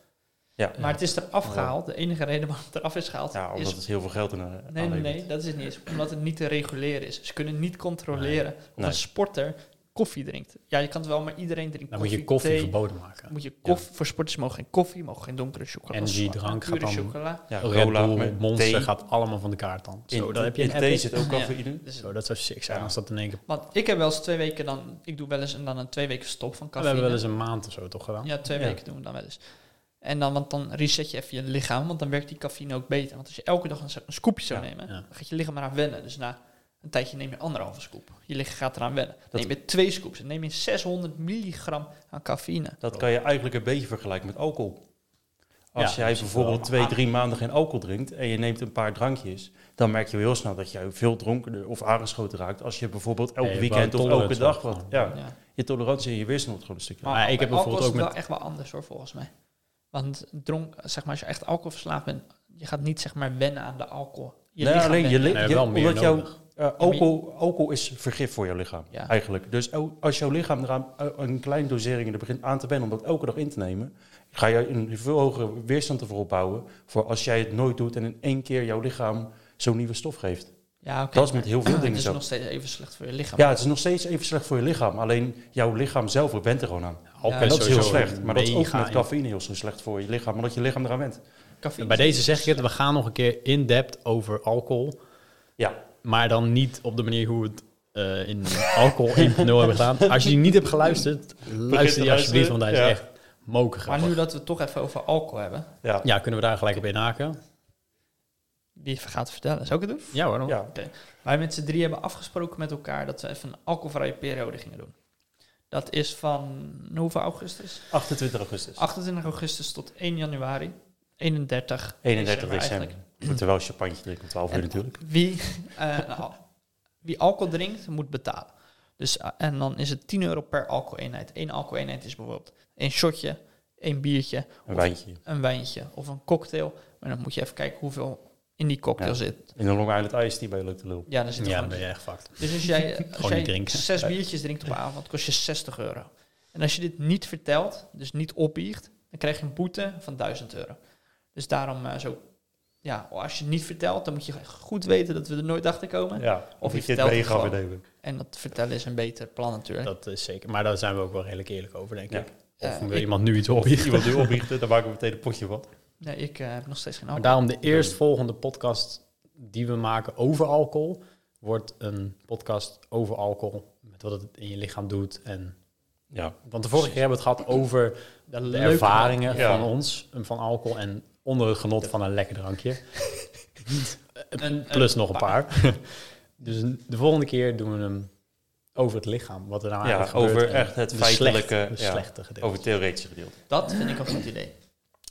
[SPEAKER 2] Ja,
[SPEAKER 3] Maar het is eraf gehaald. De enige reden waarom het eraf is gehaald
[SPEAKER 2] ja, omdat
[SPEAKER 3] is
[SPEAKER 2] het heel veel geld in eh,
[SPEAKER 3] Nee, nee,
[SPEAKER 2] aanlevert.
[SPEAKER 3] nee, dat is het niet eens. Omdat het niet te reguleren is. Ze kunnen niet controleren of
[SPEAKER 2] Nee.
[SPEAKER 3] een sporter koffie drinkt. Ja, je kan het wel, maar iedereen drinkt
[SPEAKER 1] Dan moet
[SPEAKER 3] koffie.
[SPEAKER 1] je koffie
[SPEAKER 3] thee.
[SPEAKER 1] verboden maken.
[SPEAKER 3] Moet je koffie, Voor sporters mogen geen koffie, mogen geen donkere chocola.
[SPEAKER 1] Energiedrank
[SPEAKER 3] pure
[SPEAKER 1] gaat dan-
[SPEAKER 3] chocola.
[SPEAKER 2] Ja,
[SPEAKER 1] Red
[SPEAKER 2] cola,
[SPEAKER 1] Bull,
[SPEAKER 2] maar
[SPEAKER 1] Monster
[SPEAKER 2] thee.
[SPEAKER 1] gaat allemaal van de kaart dan. Zo,
[SPEAKER 2] in,
[SPEAKER 1] dan heb je
[SPEAKER 2] in
[SPEAKER 1] een
[SPEAKER 2] thee
[SPEAKER 1] app.
[SPEAKER 2] zit ook
[SPEAKER 3] Ja.
[SPEAKER 2] cafeïne.
[SPEAKER 3] Dus
[SPEAKER 1] Zo, dat zou sick zijn
[SPEAKER 2] Ja.
[SPEAKER 1] als dat in één keer...
[SPEAKER 3] want ik heb wel eens twee weken dan... Ik doe wel eens en dan een twee weken stop van
[SPEAKER 1] We
[SPEAKER 3] cafeïne.
[SPEAKER 1] hebben wel eens een maand of zo toch gedaan?
[SPEAKER 3] Ja, twee
[SPEAKER 2] Ja.
[SPEAKER 3] weken doen we dan wel eens. En dan, want dan reset je even je lichaam, want dan werkt die cafeïne ook beter. Want als je elke dag een, een scoopje zou
[SPEAKER 2] Ja,
[SPEAKER 3] nemen,
[SPEAKER 1] ja.
[SPEAKER 3] dan gaat je lichaam eraan wennen. Dus na een tijdje neem je anderhalve scoop. Je lichaam gaat eraan wennen.
[SPEAKER 2] Dat-
[SPEAKER 3] neem je twee scoops en neem je 600 milligram aan cafeïne.
[SPEAKER 2] Dat kan je eigenlijk een beetje vergelijken met alcohol. Als
[SPEAKER 1] Ja,
[SPEAKER 2] jij
[SPEAKER 1] dat is
[SPEAKER 2] bijvoorbeeld
[SPEAKER 1] wel.
[SPEAKER 2] twee, drie maanden geen alcohol drinkt en je neemt een paar drankjes, dan merk je heel snel dat jij veel dronkener of aangeschoten raakt. Als je bijvoorbeeld elk
[SPEAKER 1] Ja, je
[SPEAKER 2] weekend of
[SPEAKER 1] bouwt
[SPEAKER 2] elke
[SPEAKER 1] tolerantie
[SPEAKER 2] dag
[SPEAKER 1] op,
[SPEAKER 2] wat.
[SPEAKER 1] gewoon.
[SPEAKER 2] Ja, je tolerantie en je weerstand wordt gewoon een stukje.
[SPEAKER 1] Maar ik heb
[SPEAKER 3] bij
[SPEAKER 1] bijvoorbeeld
[SPEAKER 3] alcohol is
[SPEAKER 1] ook
[SPEAKER 3] het
[SPEAKER 1] met-
[SPEAKER 3] wel echt wel anders hoor, volgens mij. Want dronk, zeg maar, als je echt alcoholverslaafd bent, je gaat niet zeg maar wennen aan de alcohol. Je
[SPEAKER 2] nee,
[SPEAKER 3] lichaam
[SPEAKER 2] alleen je,
[SPEAKER 3] wennt.
[SPEAKER 2] li-
[SPEAKER 1] Nee,
[SPEAKER 2] je-
[SPEAKER 1] wel meer
[SPEAKER 2] omdat jouw
[SPEAKER 1] nodig.
[SPEAKER 2] eh, alcohol, alcohol is vergif voor je lichaam
[SPEAKER 3] Ja.
[SPEAKER 2] eigenlijk. Dus el- als jouw lichaam eraan eh, een kleine dosering er begint aan te wennen om dat elke dag in te nemen, ga je een veel hogere weerstand ervoor opbouwen voor als jij het nooit doet en in één keer jouw lichaam zo'n nieuwe stof geeft.
[SPEAKER 3] ja, oké,
[SPEAKER 2] Dat is
[SPEAKER 3] maar
[SPEAKER 2] met heel veel
[SPEAKER 3] Het
[SPEAKER 2] dingen
[SPEAKER 3] is
[SPEAKER 2] zo.
[SPEAKER 3] nog steeds even slecht voor je lichaam.
[SPEAKER 2] Ja, het is nog steeds even slecht voor je lichaam. Alleen jouw lichaam zelf bent er gewoon aan.
[SPEAKER 1] Alcohol
[SPEAKER 3] Ja,
[SPEAKER 2] en
[SPEAKER 1] is
[SPEAKER 2] dat is heel
[SPEAKER 1] sowieso
[SPEAKER 2] slecht. Maar dat is ook
[SPEAKER 1] mega
[SPEAKER 2] met cafeïne heel zo slecht voor je lichaam. Omdat je lichaam eraan went.
[SPEAKER 3] Cafeïne
[SPEAKER 1] En Bij
[SPEAKER 3] is-
[SPEAKER 1] deze zeg ik het, we gaan nog een keer in-depth over alcohol.
[SPEAKER 2] Ja,
[SPEAKER 1] Maar dan niet op de manier hoe we het eh, in alcohol 1.0 hebben gedaan. Als je die niet hebt geluisterd, luister die
[SPEAKER 2] luisteren,
[SPEAKER 1] alsjeblieft, want hij is
[SPEAKER 2] ja.
[SPEAKER 1] echt moker
[SPEAKER 3] Maar nu
[SPEAKER 1] grappig.
[SPEAKER 3] dat we het toch even over alcohol hebben,
[SPEAKER 2] ja.
[SPEAKER 1] Ja, kunnen we daar gelijk op inhaken?
[SPEAKER 3] wie gaat vertellen? Zou ik het doen?
[SPEAKER 1] Ja hoor. dan-
[SPEAKER 2] ja.
[SPEAKER 3] Wij met z'n drie hebben afgesproken met elkaar dat we even een alcoholvrije periode gingen doen. Dat is van hoeveel augustus?
[SPEAKER 2] 28 augustus.
[SPEAKER 3] 28 augustus tot 1 januari. 31.
[SPEAKER 2] 31 december.
[SPEAKER 3] eigenlijk.
[SPEAKER 2] We moeten wel een champagne drinken om 12 uur
[SPEAKER 3] En
[SPEAKER 2] natuurlijk.
[SPEAKER 3] Wie, eh, nou, wie alcohol drinkt, moet betalen. Dus, eh, en dan is het 10 euro per alcoholeenheid. Eén alcoholeenheid is bijvoorbeeld één shotje, één biertje,
[SPEAKER 2] Een wijntje.
[SPEAKER 3] een wijntje of een cocktail. Maar dan moet je even kijken hoeveel in die cocktail
[SPEAKER 2] Ja.
[SPEAKER 3] zit.
[SPEAKER 2] In een Long Island Ice die bij je loopt te lul.
[SPEAKER 3] Ja, dan zit er
[SPEAKER 1] Ja, dan
[SPEAKER 3] gewoon
[SPEAKER 1] ben je echt fucked.
[SPEAKER 3] Dus als jij, als
[SPEAKER 1] niet
[SPEAKER 3] jij
[SPEAKER 1] drinken.
[SPEAKER 3] zes biertjes drinkt op avond, kost je 60 euro. En als je dit niet vertelt, dus niet opbiecht, dan krijg je een boete van 1000 euro. Dus daarom eh, zo, ja, als je het niet vertelt, dan moet je goed weten dat we er nooit achter komen.
[SPEAKER 2] Ja,
[SPEAKER 3] Of je
[SPEAKER 2] ik dit
[SPEAKER 3] vertelt
[SPEAKER 2] mee
[SPEAKER 3] het
[SPEAKER 2] ga
[SPEAKER 3] gewoon.
[SPEAKER 2] vernemen.
[SPEAKER 3] En dat vertellen is een beter plan natuurlijk.
[SPEAKER 1] Dat is zeker. Maar daar zijn we ook wel redelijk eerlijk over, denk
[SPEAKER 2] Ja.
[SPEAKER 1] ik.
[SPEAKER 3] Eh,
[SPEAKER 1] Of wil
[SPEAKER 3] ik-
[SPEAKER 1] iemand nu iets
[SPEAKER 2] Of
[SPEAKER 1] opbiechten.
[SPEAKER 2] iemand nu opbiechten, dan maken we meteen een potje wat.
[SPEAKER 3] Nee, ik eh, heb nog steeds geen
[SPEAKER 1] Maar
[SPEAKER 3] alcohol.
[SPEAKER 1] daarom de eerstvolgende podcast die we maken over alcohol... wordt een podcast over alcohol. Met wat het in je lichaam doet en
[SPEAKER 2] Ja,
[SPEAKER 1] Want de vorige keer hebben we het gehad over de,
[SPEAKER 3] leuke
[SPEAKER 1] ervaringen
[SPEAKER 2] drank. Ja.
[SPEAKER 1] van ons, van alcohol en onder het genot van een lekker drankje.
[SPEAKER 3] Een-
[SPEAKER 1] Plus nog een paar. dus de volgende keer doen we hem over het lichaam. Wat er nou
[SPEAKER 2] Ja,
[SPEAKER 1] eigenlijk gebeurt.
[SPEAKER 2] over
[SPEAKER 1] en
[SPEAKER 2] echt het
[SPEAKER 1] de
[SPEAKER 2] feitelijke,
[SPEAKER 1] slechte- de
[SPEAKER 2] ja,
[SPEAKER 1] slechte gedeelte.
[SPEAKER 2] Over het theoretische gedeelte.
[SPEAKER 3] Dat vind ik een goed idee.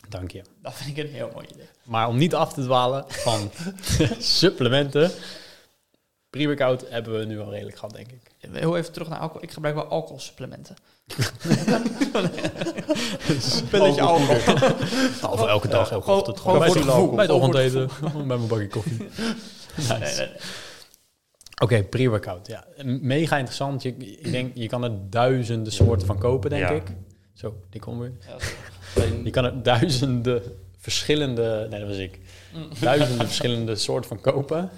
[SPEAKER 1] Dank je.
[SPEAKER 3] Dat vind ik een heel mooi idee.
[SPEAKER 1] Maar om niet af te dwalen van supplementen. Pre-workout hebben we nu al redelijk gehad, denk ik.
[SPEAKER 3] Heel even terug naar alcohol. Ik gebruik wel alcoholsupplementen.
[SPEAKER 1] Een
[SPEAKER 3] pilletje
[SPEAKER 1] Of elke dag, elke
[SPEAKER 3] Ja,
[SPEAKER 1] ochtend.
[SPEAKER 3] gewoon
[SPEAKER 1] Gewoon bij
[SPEAKER 3] voor het
[SPEAKER 1] het-
[SPEAKER 3] gevoel.
[SPEAKER 1] bij het
[SPEAKER 3] Gewoon voor het
[SPEAKER 1] ochtendeten. Bij mijn bakje koffie. Nice.
[SPEAKER 3] Nee, nee, nee.
[SPEAKER 1] Oké, pre-workout. Ja. Mega interessant. Je, ik denk, je kan er duizenden soorten van kopen, denk
[SPEAKER 2] Ja.
[SPEAKER 1] ik. Zo, die kom weer.
[SPEAKER 3] Ja, dat is-
[SPEAKER 1] Je kan er duizenden verschillende... Nee, dat was ik.
[SPEAKER 3] Mm.
[SPEAKER 1] Duizenden verschillende soorten van kopen.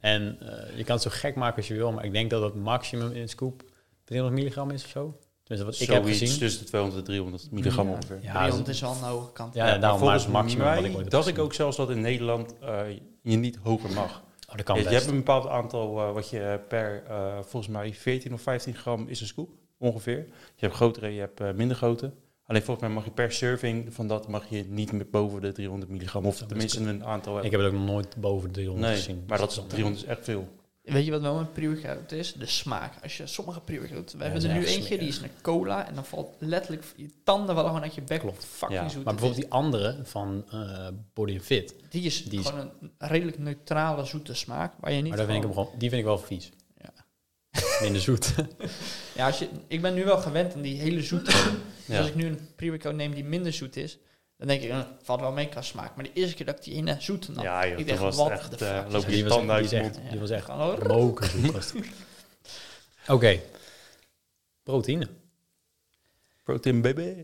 [SPEAKER 1] En eh, je kan het zo gek maken als je wil, maar ik denk dat het maximum in een scoop 300 milligram is of zo. Tenminste, wat ik heb
[SPEAKER 2] Zoiets
[SPEAKER 1] gezien. Mm,
[SPEAKER 2] tussen de 200 en 300 milligram
[SPEAKER 3] Ja.
[SPEAKER 2] ongeveer.
[SPEAKER 1] Ja,
[SPEAKER 3] 300
[SPEAKER 1] dat-
[SPEAKER 3] is wel een hoge kant.
[SPEAKER 1] Ja, daarom maar
[SPEAKER 2] volgens
[SPEAKER 1] het maximum wat ik ooit
[SPEAKER 2] mij
[SPEAKER 1] heb
[SPEAKER 2] dacht ik
[SPEAKER 1] gezien.
[SPEAKER 2] ook zelfs dat in Nederland eh, je niet hoger mag.
[SPEAKER 1] Oh, dat kan
[SPEAKER 2] je,
[SPEAKER 1] best.
[SPEAKER 2] je hebt een bepaald aantal eh, wat je per, eh, volgens mij 14 of 15 gram is een scoop, ongeveer. Je hebt grotere, je hebt eh, minder grote. Alleen volgens mij mag je per serving van dat mag je niet meer boven de 300 milligram. Of
[SPEAKER 1] is
[SPEAKER 2] tenminste een aantal
[SPEAKER 1] Ik
[SPEAKER 2] hebben.
[SPEAKER 1] heb het ook nog nooit boven de 300
[SPEAKER 2] Nee, dus
[SPEAKER 1] gezien. Dus-
[SPEAKER 2] maar dat is 300 is echt veel.
[SPEAKER 3] Weet je wat wel een pre-workout is? De smaak. Als je sommige pre-workout... We
[SPEAKER 1] Ja,
[SPEAKER 3] hebben
[SPEAKER 1] dat
[SPEAKER 3] er
[SPEAKER 1] is
[SPEAKER 3] nu
[SPEAKER 1] echt
[SPEAKER 3] eentje, die
[SPEAKER 1] smerig.
[SPEAKER 3] is naar cola. En dan valt letterlijk je tanden wel gewoon uit je bek.
[SPEAKER 1] Klopt.
[SPEAKER 3] Fucking
[SPEAKER 2] Ja,
[SPEAKER 3] zoet.
[SPEAKER 1] Maar
[SPEAKER 3] het
[SPEAKER 1] bijvoorbeeld die andere van eh, Body Fit.
[SPEAKER 3] is. Die is
[SPEAKER 1] die is-
[SPEAKER 3] gewoon een redelijk neutrale zoete smaak. Waar je niet
[SPEAKER 1] Maar daar vind ik hem
[SPEAKER 3] gewoon-
[SPEAKER 1] gewoon, die vind ik wel vies.
[SPEAKER 3] Ja.
[SPEAKER 1] Minder zoet.
[SPEAKER 3] Ja, als je, ik ben nu wel gewend aan die hele zoete. dus
[SPEAKER 2] Ja.
[SPEAKER 3] als ik nu een pre-workout neem die minder zoet is... Dan denk ik, eh, valt wel mee qua smaak. Maar de eerste keer dat ik die ene zoete nam...
[SPEAKER 2] Ja, joh,
[SPEAKER 3] ik
[SPEAKER 2] toen
[SPEAKER 3] dacht,
[SPEAKER 2] was
[SPEAKER 3] wat
[SPEAKER 2] het
[SPEAKER 3] de
[SPEAKER 2] Nou, echt,
[SPEAKER 3] fuck
[SPEAKER 2] eh,
[SPEAKER 3] is
[SPEAKER 2] loop
[SPEAKER 3] dit?
[SPEAKER 2] je
[SPEAKER 1] Die was-
[SPEAKER 2] tanden uit
[SPEAKER 1] die
[SPEAKER 2] je
[SPEAKER 1] is
[SPEAKER 2] mond.
[SPEAKER 1] echt- die was echt
[SPEAKER 3] Gewoon-
[SPEAKER 1] rokerzoet. was die. Oké. Proteïne.
[SPEAKER 2] Protein baby.
[SPEAKER 1] Daar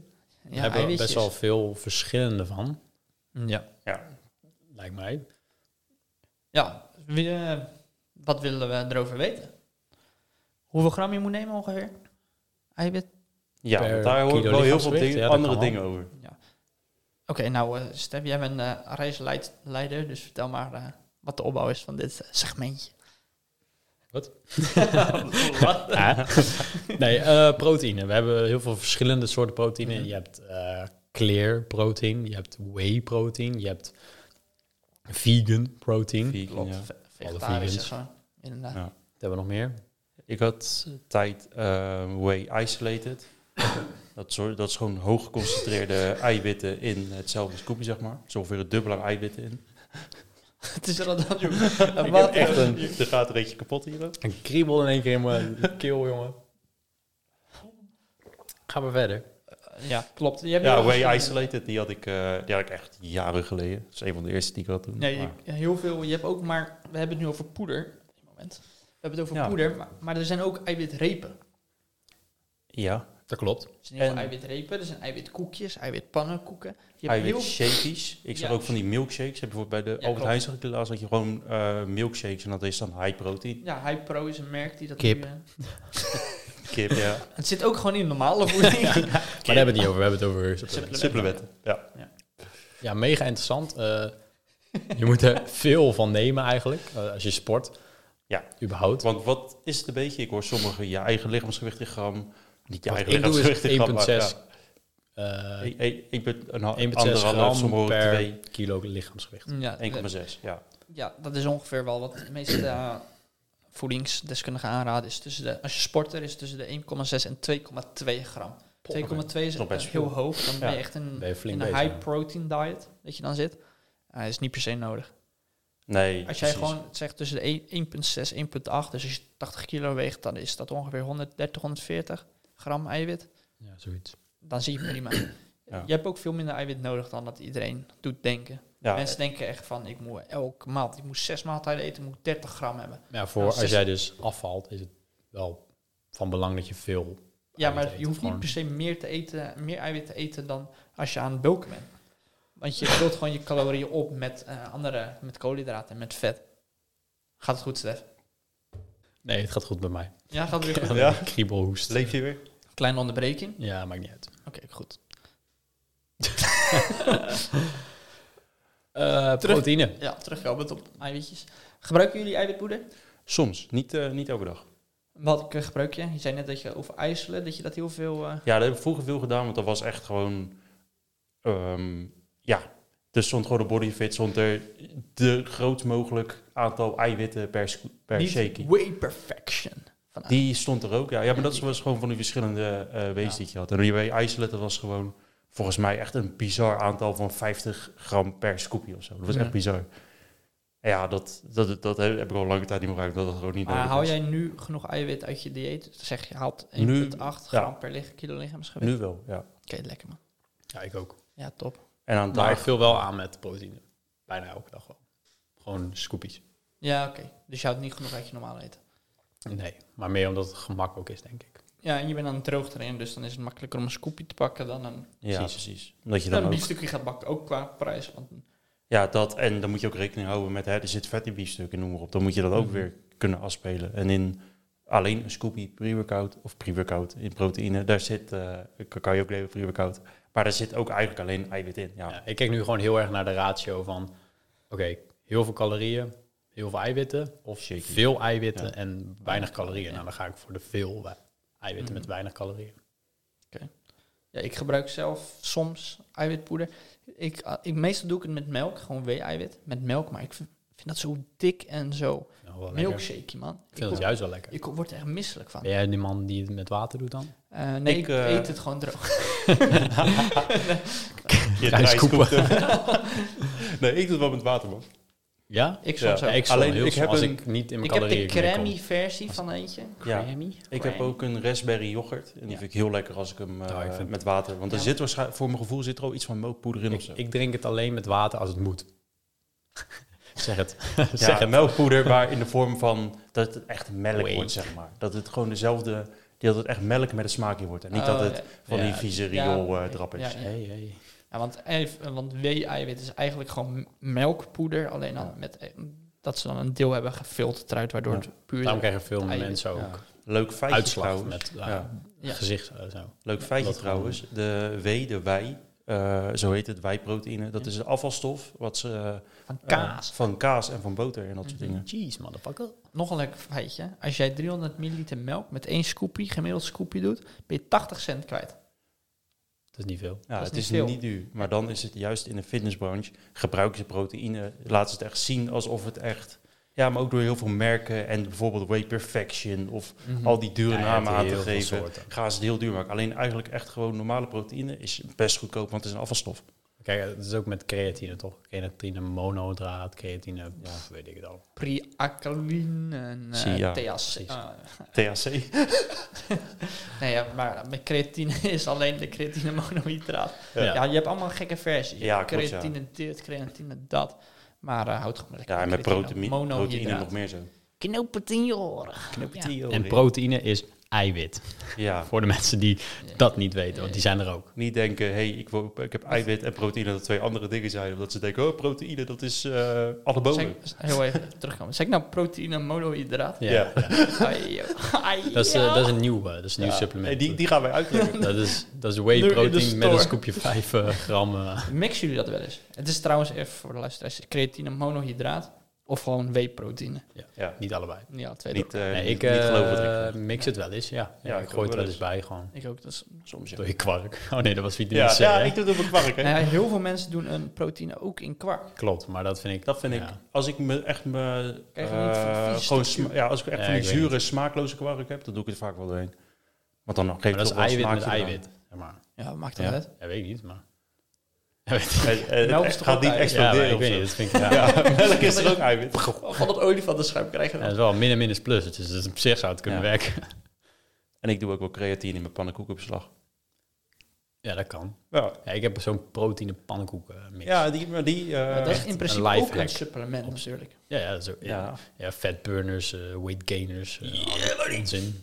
[SPEAKER 3] Ja,
[SPEAKER 1] hebben we
[SPEAKER 3] eiwitjes.
[SPEAKER 1] best wel veel verschillende van,
[SPEAKER 3] Ja.
[SPEAKER 2] Ja,
[SPEAKER 1] lijkt mij.
[SPEAKER 3] Ja, wie, eh, wat willen we erover weten? Hoeveel gram je moet nemen ongeveer? Eiwit?
[SPEAKER 2] ja
[SPEAKER 1] Per
[SPEAKER 2] want daar hoor ik
[SPEAKER 1] kilo
[SPEAKER 2] wel heel veel
[SPEAKER 1] lichaamsgewicht,
[SPEAKER 2] dingen,
[SPEAKER 1] ja, dat
[SPEAKER 2] andere
[SPEAKER 1] kan wel.
[SPEAKER 2] dingen over.
[SPEAKER 3] Oké, nou eh Stef, jij bent eh reisleider, dus vertel maar eh, wat de opbouw is van dit eh, segmentje.
[SPEAKER 1] Wat?
[SPEAKER 3] wat?
[SPEAKER 1] Ah. nee, eh, proteïne. We hebben heel veel verschillende soorten proteïne. Je hebt eh clear protein, je hebt whey protein, je hebt vegan protein. Wat
[SPEAKER 2] Vegan,
[SPEAKER 3] Klopt,
[SPEAKER 2] ja.
[SPEAKER 3] ve- vegetarisch is gewoon. Inderdaad.
[SPEAKER 2] Ja.
[SPEAKER 1] hebben we nog meer?
[SPEAKER 2] Ik had tijd eh whey isolated. dat, soort, dat is gewoon hoog geconcentreerde eiwitten in hetzelfde scoopje, zeg maar. Zo ongeveer het dubbele aan eiwitten in.
[SPEAKER 3] Het is er al dan, joh.
[SPEAKER 2] Ik
[SPEAKER 3] Wat?
[SPEAKER 2] heb echt een... Er gaat er eentje kapot hier. ook.
[SPEAKER 1] Een kriebel in één keer in mijn keel, jongen. Ga maar verder.
[SPEAKER 3] Ja, klopt. Je hebt
[SPEAKER 2] Ja,
[SPEAKER 3] heel
[SPEAKER 2] whey
[SPEAKER 3] veel-
[SPEAKER 2] isolated, die had, ik, eh, die had ik echt jaren geleden. Dat is een van de eerste die ik had toen.
[SPEAKER 3] Nee,
[SPEAKER 2] Maar-
[SPEAKER 3] je- heel veel. Je hebt ook maar... We hebben het nu over poeder. Een moment. We hebben het over
[SPEAKER 2] Ja.
[SPEAKER 3] poeder, maar, maar er zijn ook eiwitrepen. Dus
[SPEAKER 2] ja,
[SPEAKER 1] Dat klopt.
[SPEAKER 3] Er zijn heel
[SPEAKER 2] En-
[SPEAKER 3] veel eiwitrepen, er zijn eiwitkoekjes, eiwitpannenkoeken. Je hebt
[SPEAKER 2] eiwit
[SPEAKER 3] heel
[SPEAKER 2] shakies. Ik zag
[SPEAKER 3] Ja.
[SPEAKER 2] ook van die milkshakes. Heb je bijvoorbeeld bij de
[SPEAKER 3] Ja,
[SPEAKER 2] Albert
[SPEAKER 3] klopt.
[SPEAKER 2] Heijn zag ik laatst dat je gewoon eh, milkshakes en dat is dan high protein.
[SPEAKER 3] Ja, Hypro is een merk die dat
[SPEAKER 1] Kip.
[SPEAKER 3] nu, eh,
[SPEAKER 2] Kip, ja.
[SPEAKER 3] het zit ook gewoon in normale voeding.
[SPEAKER 1] Maar daar hebben we het niet over. We hebben het over supplementen.
[SPEAKER 2] Supplementen. Ja.
[SPEAKER 1] Ja, mega interessant. Eh, je moet er veel van nemen eigenlijk. eh, als je sport.
[SPEAKER 2] Ja.
[SPEAKER 1] Überhaupt.
[SPEAKER 2] Want wat is het een beetje? Ik hoor sommigen je eigen lichaamsgewicht in gram. Niet je
[SPEAKER 1] Wat
[SPEAKER 2] eigen
[SPEAKER 1] ik doe is
[SPEAKER 2] lichaamsgewicht in gram. maar
[SPEAKER 1] 1,6
[SPEAKER 2] ja.
[SPEAKER 1] eh,
[SPEAKER 2] Ik- ik- Ik ben een ha-
[SPEAKER 1] 1,6
[SPEAKER 2] anderhalf,
[SPEAKER 1] gram
[SPEAKER 2] sommigen
[SPEAKER 1] per
[SPEAKER 2] twee.
[SPEAKER 1] kilo lichaamsgewicht.
[SPEAKER 3] ja, eh,
[SPEAKER 2] 1,6. Ja.
[SPEAKER 3] ja, dat is ongeveer wel wat de meeste eh, voedingsdeskundigen aanraden. Is tussen de, als je sporter is tussen de 1,6 en 2,2 gram. 2,2 is
[SPEAKER 2] is nog best
[SPEAKER 3] eh, heel hoog. Dan ben je
[SPEAKER 2] Ja.
[SPEAKER 3] echt in,
[SPEAKER 1] Ben je flink
[SPEAKER 3] in een
[SPEAKER 1] bezig.
[SPEAKER 3] high protein diet dat je dan zit. Eh, is niet per se nodig.
[SPEAKER 2] Nee.
[SPEAKER 3] Als jij
[SPEAKER 2] precies.
[SPEAKER 3] gewoon zegt tussen de 1,6 1,8, dus als je 80 kilo weegt, dan is dat ongeveer 130, 140 gram eiwit.
[SPEAKER 1] Ja, zoiets.
[SPEAKER 3] dan zie je prima.
[SPEAKER 2] Ja.
[SPEAKER 3] Je hebt ook veel minder eiwit nodig dan dat iedereen doet denken.
[SPEAKER 2] Ja,
[SPEAKER 3] Mensen denken echt van, ik moet elke maaltijd, ik moet zes maaltijden eten, ik moet 30 gram hebben.
[SPEAKER 1] Ja, voor
[SPEAKER 3] Nou,
[SPEAKER 1] als
[SPEAKER 3] zes-
[SPEAKER 1] jij dus afvalt, is het wel van belang dat je veel.
[SPEAKER 3] Ja,
[SPEAKER 1] eiwit
[SPEAKER 3] maar
[SPEAKER 1] eet,
[SPEAKER 3] je hoeft niet
[SPEAKER 1] gewoon.
[SPEAKER 3] per se meer, te eten, meer eiwit te eten dan als je aan het bulken bent. Want je vult gewoon je calorieën op met eh, andere, met koolhydraten en met vet. Gaat het goed, Stef?
[SPEAKER 1] Nee, het gaat goed bij mij.
[SPEAKER 3] Ja, gaat het weer goed?
[SPEAKER 2] Ja.
[SPEAKER 1] Kriebelhoest.
[SPEAKER 2] Leef je weer?
[SPEAKER 3] Kleine onderbreking.
[SPEAKER 1] Ja, maakt niet uit.
[SPEAKER 3] Oké, goed.
[SPEAKER 1] Eh,
[SPEAKER 3] Terug-
[SPEAKER 1] proteïne.
[SPEAKER 3] Ja, terugkomend op eiwitjes. Gebruiken jullie eiwitpoeder?
[SPEAKER 2] Soms. Niet, eh, niet elke dag.
[SPEAKER 3] Wat eh, gebruik je? Je zei net dat je over ijselen, dat je dat heel veel... eh,
[SPEAKER 2] Ja, dat heb ik vroeger veel gedaan, want dat was echt gewoon... ehm, ja, dus stond gewoon de bodyfit, stond er de grootst mogelijk aantal eiwitten per, sco- per
[SPEAKER 3] niet
[SPEAKER 2] shaky.
[SPEAKER 3] Way perfection. Van, ah,
[SPEAKER 2] Die stond er ook, ja. Ja, maar dat was gewoon van die verschillende eh wees
[SPEAKER 3] Ja.
[SPEAKER 2] die je had. En die bij IJsletten was gewoon volgens mij echt een bizar aantal van 50 gram per scoopje of zo. Dat was
[SPEAKER 3] Ja.
[SPEAKER 2] echt bizar. En Ja, dat, dat, dat heb ik al lange tijd niet meer gebruikt, dat dat gewoon niet
[SPEAKER 3] maar
[SPEAKER 2] nodig
[SPEAKER 3] haal
[SPEAKER 2] is.
[SPEAKER 3] jij nu genoeg eiwit uit je dieet? Zeg je haalt 1,8
[SPEAKER 2] Nu-
[SPEAKER 3] gram per lig- kilo lichaamsgewicht.
[SPEAKER 2] Nu wel, ja.
[SPEAKER 3] Oké, lekker man.
[SPEAKER 1] Ja, ik ook.
[SPEAKER 3] Ja, top.
[SPEAKER 2] En aan
[SPEAKER 1] Maar ik
[SPEAKER 2] daar...
[SPEAKER 1] vul wel aan met proteïne. Bijna elke dag wel. Gewoon scoopies.
[SPEAKER 3] Ja, oké. Dus je houdt niet genoeg uit je normaal eten.
[SPEAKER 1] Nee, maar meer omdat het gemak ook is, denk ik.
[SPEAKER 3] Ja, en je bent aan het droog trainen, dus dan is het makkelijker om een scoopje te pakken dan een,
[SPEAKER 2] Ja,
[SPEAKER 1] Precies.
[SPEAKER 2] precies. Omdat je
[SPEAKER 3] dan
[SPEAKER 2] dan ook...
[SPEAKER 3] een biefstukje gaat bakken. Ook qua prijs. Want
[SPEAKER 2] Ja, dat. En dan moet je ook rekening houden met, hè, er zit vet in biefstuk en noem maar op. Dan moet je dat ook
[SPEAKER 1] Mhm.
[SPEAKER 2] weer kunnen afspelen. En in alleen een scoopie pre-workout of pre-workout in proteïne, daar zit eh cacao ook leven pre-workout. Maar daar zit ook eigenlijk alleen eiwit in. Ja,
[SPEAKER 1] Ja. ik kijk nu gewoon heel erg naar de ratio van... Oké, heel veel calorieën, heel veel eiwitten. Of
[SPEAKER 2] Shaky.
[SPEAKER 1] veel eiwitten
[SPEAKER 2] Ja.
[SPEAKER 1] en weinig calorieën.
[SPEAKER 3] Ja.
[SPEAKER 1] Nou, dan ga ik voor de veel we- eiwitten met weinig calorieën.
[SPEAKER 3] ja, ik gebruik zelf soms eiwitpoeder. Ik, ah, ik, meestal doe ik het met melk, gewoon wee-eiwit. Met melk, maar ik vind, vind dat zo dik en zo.
[SPEAKER 1] Nou, wel lekker. Ik
[SPEAKER 3] Milkshake, man. Ik,
[SPEAKER 1] vind het
[SPEAKER 3] word-
[SPEAKER 1] juist wel lekker.
[SPEAKER 3] ik word er echt misselijk van.
[SPEAKER 1] Ben jij die man die het met water doet dan?
[SPEAKER 3] Eh, nee,
[SPEAKER 2] Ik,
[SPEAKER 3] ik,
[SPEAKER 2] eh,
[SPEAKER 3] eet het gewoon droog.
[SPEAKER 2] Je
[SPEAKER 1] Ga je
[SPEAKER 2] draait
[SPEAKER 1] scoopen.
[SPEAKER 2] scoop. nee, ik doe het wel met water, man.
[SPEAKER 1] Ja?
[SPEAKER 3] Ik
[SPEAKER 2] Ja,
[SPEAKER 3] soms
[SPEAKER 1] Ja,
[SPEAKER 3] ook.
[SPEAKER 1] ik
[SPEAKER 3] Ik,
[SPEAKER 1] Alleen,
[SPEAKER 2] Alleen,
[SPEAKER 1] heel
[SPEAKER 2] ik
[SPEAKER 1] ik
[SPEAKER 2] heb
[SPEAKER 1] als
[SPEAKER 2] een-
[SPEAKER 1] ik niet in mijn
[SPEAKER 3] heb de
[SPEAKER 1] calorieën meer kom.
[SPEAKER 3] crammy versie van eentje.
[SPEAKER 2] Ja.
[SPEAKER 1] Crammy?
[SPEAKER 2] Ik heb
[SPEAKER 3] Crammy.
[SPEAKER 2] ook een raspberry yoghurt. En die
[SPEAKER 3] Ja.
[SPEAKER 2] vind ik heel lekker als ik hem eh,
[SPEAKER 1] Ja, ik vind-
[SPEAKER 2] met water... Want er
[SPEAKER 3] Ja.
[SPEAKER 2] zit waarschijnlijk, voor mijn gevoel zit er al iets van melkpoeder in of
[SPEAKER 1] Ik,
[SPEAKER 2] zo.
[SPEAKER 1] ik drink het alleen met water als het moet. zeg het.
[SPEAKER 2] Ja,
[SPEAKER 1] zeg het.
[SPEAKER 2] melkpoeder, maar in de vorm van dat het echt melk
[SPEAKER 1] Wait.
[SPEAKER 2] wordt, zeg maar. Dat het gewoon dezelfde, dat het echt melk met een smaakje wordt. En niet
[SPEAKER 3] Oh,
[SPEAKER 2] dat het van
[SPEAKER 1] Ja.
[SPEAKER 2] die vieze
[SPEAKER 3] Ja,
[SPEAKER 2] riool eh,
[SPEAKER 3] ik-
[SPEAKER 2] drap is. Ja,
[SPEAKER 3] ja, ja.
[SPEAKER 1] Hey, hey.
[SPEAKER 3] Ja, want, even- want wee-eiwit is eigenlijk gewoon melkpoeder. Alleen dan
[SPEAKER 2] Ja.
[SPEAKER 3] met, eh, dat ze dan een deel hebben gefilterd eruit, waardoor
[SPEAKER 2] Ja. Nou,
[SPEAKER 3] het puur...
[SPEAKER 1] Daarom krijgen veel
[SPEAKER 3] eiwit,
[SPEAKER 1] mensen ook
[SPEAKER 3] ja.
[SPEAKER 2] Leuk feitje
[SPEAKER 1] uitslag
[SPEAKER 2] trouwens.
[SPEAKER 1] met eh,
[SPEAKER 2] Ja.
[SPEAKER 3] Ja.
[SPEAKER 1] gezicht. eh, zo.
[SPEAKER 2] Leuk feitje
[SPEAKER 1] Dat gewoon-
[SPEAKER 2] trouwens. De W, de wij, eh, zo heet het, wijproteïne. Dat
[SPEAKER 3] Ja.
[SPEAKER 2] is de afvalstof wat ze, eh,
[SPEAKER 3] Van kaas.
[SPEAKER 2] van kaas en van boter en dat soort
[SPEAKER 3] Mhm.
[SPEAKER 2] dingen.
[SPEAKER 1] Jeez, motherfucker.
[SPEAKER 3] Nog een leuk feitje. Als jij 300 milliliter melk met één scoopje, gemiddeld scoopje doet, ben je 80 cent kwijt.
[SPEAKER 1] Dat is niet veel.
[SPEAKER 2] Ja,
[SPEAKER 3] Dat is
[SPEAKER 2] het
[SPEAKER 3] niet
[SPEAKER 2] is
[SPEAKER 3] veel.
[SPEAKER 2] niet duur. Maar dan is het juist in de fitnessbranche, gebruiken ze proteïne, laten ze het echt zien alsof het echt... Ja, maar ook door heel veel merken en bijvoorbeeld Way Perfection of
[SPEAKER 1] Mhm.
[SPEAKER 2] al die dure
[SPEAKER 1] Ja, je
[SPEAKER 2] namen
[SPEAKER 1] hebt
[SPEAKER 2] aan te
[SPEAKER 1] heel veel
[SPEAKER 2] geven.
[SPEAKER 1] soorten.
[SPEAKER 2] Gaan ze het heel duur maken. Alleen eigenlijk echt gewoon normale proteïne is best goedkoop, want het is een afvalstof.
[SPEAKER 1] Kijk, het is ook met creatine toch? Creatine, monodraad, creatine, pff, weet ik het al.
[SPEAKER 3] Priacalin en
[SPEAKER 2] Zie je, ja,
[SPEAKER 3] eh THC.
[SPEAKER 1] precies.
[SPEAKER 3] Ah,
[SPEAKER 2] THC.
[SPEAKER 3] nee, ja, maar met creatine is alleen de creatine monohydraat.
[SPEAKER 1] Ja.
[SPEAKER 3] Ja. je hebt allemaal gekke versies. Je
[SPEAKER 2] Ja,
[SPEAKER 3] hebt
[SPEAKER 2] klopt, ja.
[SPEAKER 3] creatine dit, creatine dat. Maar eh houd gewoon maar lekker
[SPEAKER 2] Ja, en met proteïne, proteïne nog
[SPEAKER 3] meer.
[SPEAKER 2] meer zo.
[SPEAKER 3] Knopen in je oren. Ja.
[SPEAKER 1] En proteïne is eiwit.
[SPEAKER 2] Ja,
[SPEAKER 1] Voor de mensen die
[SPEAKER 3] Ja.
[SPEAKER 1] dat niet weten, want die zijn er ook.
[SPEAKER 2] niet denken, hé, hey, ik, wil- ik heb eiwit en proteïne, dat twee andere dingen zijn. Omdat ze denken, oh, proteïne, dat is eh
[SPEAKER 3] Zeg
[SPEAKER 2] anabolen.
[SPEAKER 3] ik- heel even terugkomen. Zeg ik nou proteïne monohydraat?
[SPEAKER 1] Ja.
[SPEAKER 2] Ja.
[SPEAKER 3] Ai, joh. Ai,
[SPEAKER 1] Dat, is, eh,
[SPEAKER 3] joh.
[SPEAKER 1] dat is een nieuw, eh, dat is een nieuw
[SPEAKER 2] Ja.
[SPEAKER 1] supplement.
[SPEAKER 2] En die, die gaan wij uitleggen.
[SPEAKER 1] Dat is, dat is
[SPEAKER 3] Nu in
[SPEAKER 1] whey
[SPEAKER 3] de
[SPEAKER 1] protein met een
[SPEAKER 3] store.
[SPEAKER 1] scoopje 5 eh, gram. eh.
[SPEAKER 3] Mixen jullie dat wel eens? Het is trouwens even voor de luisteraars: creatine monohydraat of gewoon wee-proteïne.
[SPEAKER 2] ja,
[SPEAKER 1] niet allebei.
[SPEAKER 3] Ja, twee
[SPEAKER 2] niet,
[SPEAKER 3] door.
[SPEAKER 2] eh,
[SPEAKER 1] Nee,
[SPEAKER 2] niet,
[SPEAKER 1] ik
[SPEAKER 2] niet geloof wat ik
[SPEAKER 1] eh,
[SPEAKER 2] zeg.
[SPEAKER 1] mix het wel eens, ja. ja,
[SPEAKER 2] Ja,
[SPEAKER 1] ik
[SPEAKER 2] ik
[SPEAKER 1] gooi
[SPEAKER 2] ook
[SPEAKER 1] het
[SPEAKER 2] wel
[SPEAKER 1] wel eens bij gewoon.
[SPEAKER 3] Ik ook. Dat is,
[SPEAKER 2] Soms, ja.
[SPEAKER 1] eh, Door je kwark. Oh nee, dat was vitamine
[SPEAKER 2] Ja,
[SPEAKER 1] C.
[SPEAKER 2] ja,
[SPEAKER 1] hè?
[SPEAKER 2] ik doe het op een kwark, hè.
[SPEAKER 3] Nou ja, heel veel mensen doen een proteïne ook in kwark.
[SPEAKER 1] Klopt, maar dat vind ik...
[SPEAKER 2] Dat vind
[SPEAKER 1] ja.
[SPEAKER 2] ik, als ik me echt me,
[SPEAKER 3] Krijg je niet van
[SPEAKER 2] eh,
[SPEAKER 3] vies
[SPEAKER 2] gewoon
[SPEAKER 3] stukje?
[SPEAKER 2] sma- ja, als ik echt
[SPEAKER 1] Ja,
[SPEAKER 2] van die
[SPEAKER 1] ik weet
[SPEAKER 2] zure smaakloze kwark heb, dan doe ik het vaak wel doorheen. Want dan geeft
[SPEAKER 1] Maar dat
[SPEAKER 2] het
[SPEAKER 1] is
[SPEAKER 2] nog wel
[SPEAKER 1] eiwit met
[SPEAKER 2] smaakje eraan.
[SPEAKER 1] eiwit. Zeg maar.
[SPEAKER 3] Ja, maakt dat
[SPEAKER 1] Ja.
[SPEAKER 3] uit.
[SPEAKER 1] Ja, weet ik niet, maar...
[SPEAKER 2] Het, Eh, het-
[SPEAKER 3] Melk Nou is
[SPEAKER 2] het
[SPEAKER 3] toch ook
[SPEAKER 2] gaat niet
[SPEAKER 3] eiwit?
[SPEAKER 1] Ja, maar
[SPEAKER 2] exploderen
[SPEAKER 1] ik
[SPEAKER 2] of
[SPEAKER 1] weet
[SPEAKER 2] zo.
[SPEAKER 1] niet, dat vind ik... Ja.
[SPEAKER 2] Ja, melk is er ook eiwit.
[SPEAKER 3] Van het olifantenschap krijgen
[SPEAKER 1] Ja,
[SPEAKER 3] we
[SPEAKER 1] dat
[SPEAKER 3] dan.
[SPEAKER 1] is wel min en min is plus. Dus dat is op zich zou het kunnen
[SPEAKER 2] Ja.
[SPEAKER 1] werken.
[SPEAKER 2] En ik doe ook wel creatine in mijn pannenkoekenopslag.
[SPEAKER 1] Ja, dat kan.
[SPEAKER 2] Ja,
[SPEAKER 1] Ja, ik heb zo'n proteïne pannenkoek eh, mix. Ja.
[SPEAKER 2] ja die, maar die... eh,
[SPEAKER 3] Maar dat is in principe
[SPEAKER 1] een
[SPEAKER 3] ook
[SPEAKER 1] lifehack.
[SPEAKER 3] een supplement natuurlijk.
[SPEAKER 1] Ja, dat is ook, ja.
[SPEAKER 2] Ja.
[SPEAKER 1] ja, fat burners, eh, weight gainers. eh, allemaal onzin.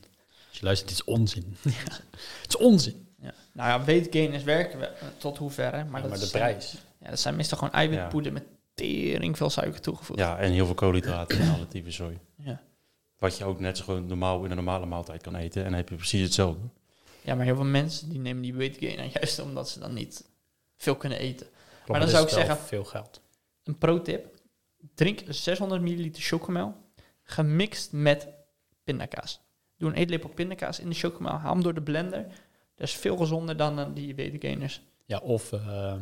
[SPEAKER 1] Als je luistert, het is onzin. het is onzin.
[SPEAKER 3] Ja. Nou ja, weight gainers werken we eh, tot hoeverre.
[SPEAKER 1] Maar,
[SPEAKER 3] Maar, dat
[SPEAKER 1] de
[SPEAKER 3] is- eh,
[SPEAKER 1] prijs.
[SPEAKER 3] Ja, dat zijn meestal gewoon eiwitpoeder met tering veel suiker toegevoegd.
[SPEAKER 2] ja, en heel veel koolhydraten en alle type zooi.
[SPEAKER 3] Ja.
[SPEAKER 2] Wat je ook net zo gewoon normaal in een normale maaltijd kan eten. En dan heb je precies hetzelfde.
[SPEAKER 3] Ja, maar heel veel mensen die nemen die weight gainer juist omdat ze dan niet veel kunnen eten.
[SPEAKER 1] Klopt,
[SPEAKER 3] dan
[SPEAKER 1] is
[SPEAKER 3] zou ik
[SPEAKER 1] wel
[SPEAKER 3] zeggen-
[SPEAKER 1] Veel geld.
[SPEAKER 3] Een pro-tip. Drink 600 milliliter chocomel gemixt met pindakaas. Doe een eetlepel pindakaas in de chocomel. Haal hem door de blender. Dat is veel gezonder dan eh, die weight gainers.
[SPEAKER 1] Ja, of eh,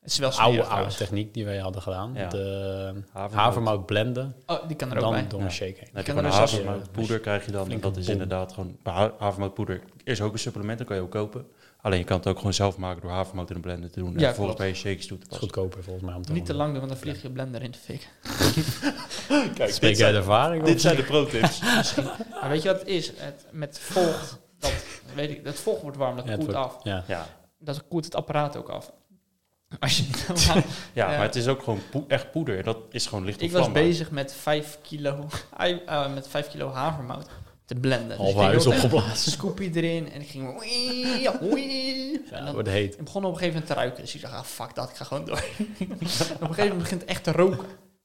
[SPEAKER 3] Het is wel smerig
[SPEAKER 1] Oude, oude
[SPEAKER 3] trouwens.
[SPEAKER 1] techniek die wij hadden gedaan.
[SPEAKER 2] Ja.
[SPEAKER 1] De
[SPEAKER 2] Havermout.
[SPEAKER 1] havermout blenden.
[SPEAKER 3] Oh, die kan er ook bij.
[SPEAKER 1] Dan door een
[SPEAKER 2] Ja.
[SPEAKER 1] shake heen.
[SPEAKER 2] Dan heb je
[SPEAKER 3] kan
[SPEAKER 2] gewoon
[SPEAKER 3] er
[SPEAKER 2] een
[SPEAKER 3] zelfs-
[SPEAKER 2] havermoutpoeder krijg je dan. En
[SPEAKER 1] Flinke
[SPEAKER 2] dat is
[SPEAKER 1] bom.
[SPEAKER 2] inderdaad gewoon... bij ha- Havermoutpoeder is ook een supplement, dat kan je ook kopen. Alleen je kan het ook gewoon zelf maken door havermout in een blender te doen.
[SPEAKER 3] Ja,
[SPEAKER 2] en vervolgens
[SPEAKER 3] klopt.
[SPEAKER 2] bij je shakes toe te
[SPEAKER 1] Dat is
[SPEAKER 2] passen.
[SPEAKER 1] goedkoper volgens mij. Om te
[SPEAKER 3] Niet te lang doen, want dan vlieg je blender in de fik.
[SPEAKER 2] Kijk,
[SPEAKER 1] Spreek jij uit ervaring?
[SPEAKER 2] dit zijn de pro-tips.
[SPEAKER 3] Maar weet je wat het is? Het, met vocht, dat, weet ik, dat vocht wordt warm, dat
[SPEAKER 1] Ja, het
[SPEAKER 3] koelt
[SPEAKER 1] wordt-
[SPEAKER 3] af.
[SPEAKER 1] Ja.
[SPEAKER 2] ja.
[SPEAKER 3] Dat koelt het apparaat ook af. Als je,
[SPEAKER 2] Ja,
[SPEAKER 3] Ja.
[SPEAKER 2] maar het is ook gewoon poe- echt poeder. En dat is gewoon licht op
[SPEAKER 3] ik was
[SPEAKER 2] vlam, maar-
[SPEAKER 3] bezig met 5 kilo, ei- eh, met 5 kilo havermout te blenden. Dus
[SPEAKER 1] Half
[SPEAKER 3] ik ging
[SPEAKER 1] huis
[SPEAKER 3] heel de tijd
[SPEAKER 1] opgeblazen.
[SPEAKER 3] Scoopie erin en ik ging... oei, oei.
[SPEAKER 1] Ja,
[SPEAKER 3] En
[SPEAKER 1] het
[SPEAKER 3] dan-
[SPEAKER 1] wordt heet.
[SPEAKER 3] Ik begon op een gegeven moment te ruiken. Dus ik dacht, ah, fuck dat, ik ga gewoon door. op een gegeven moment begint het echt te roken.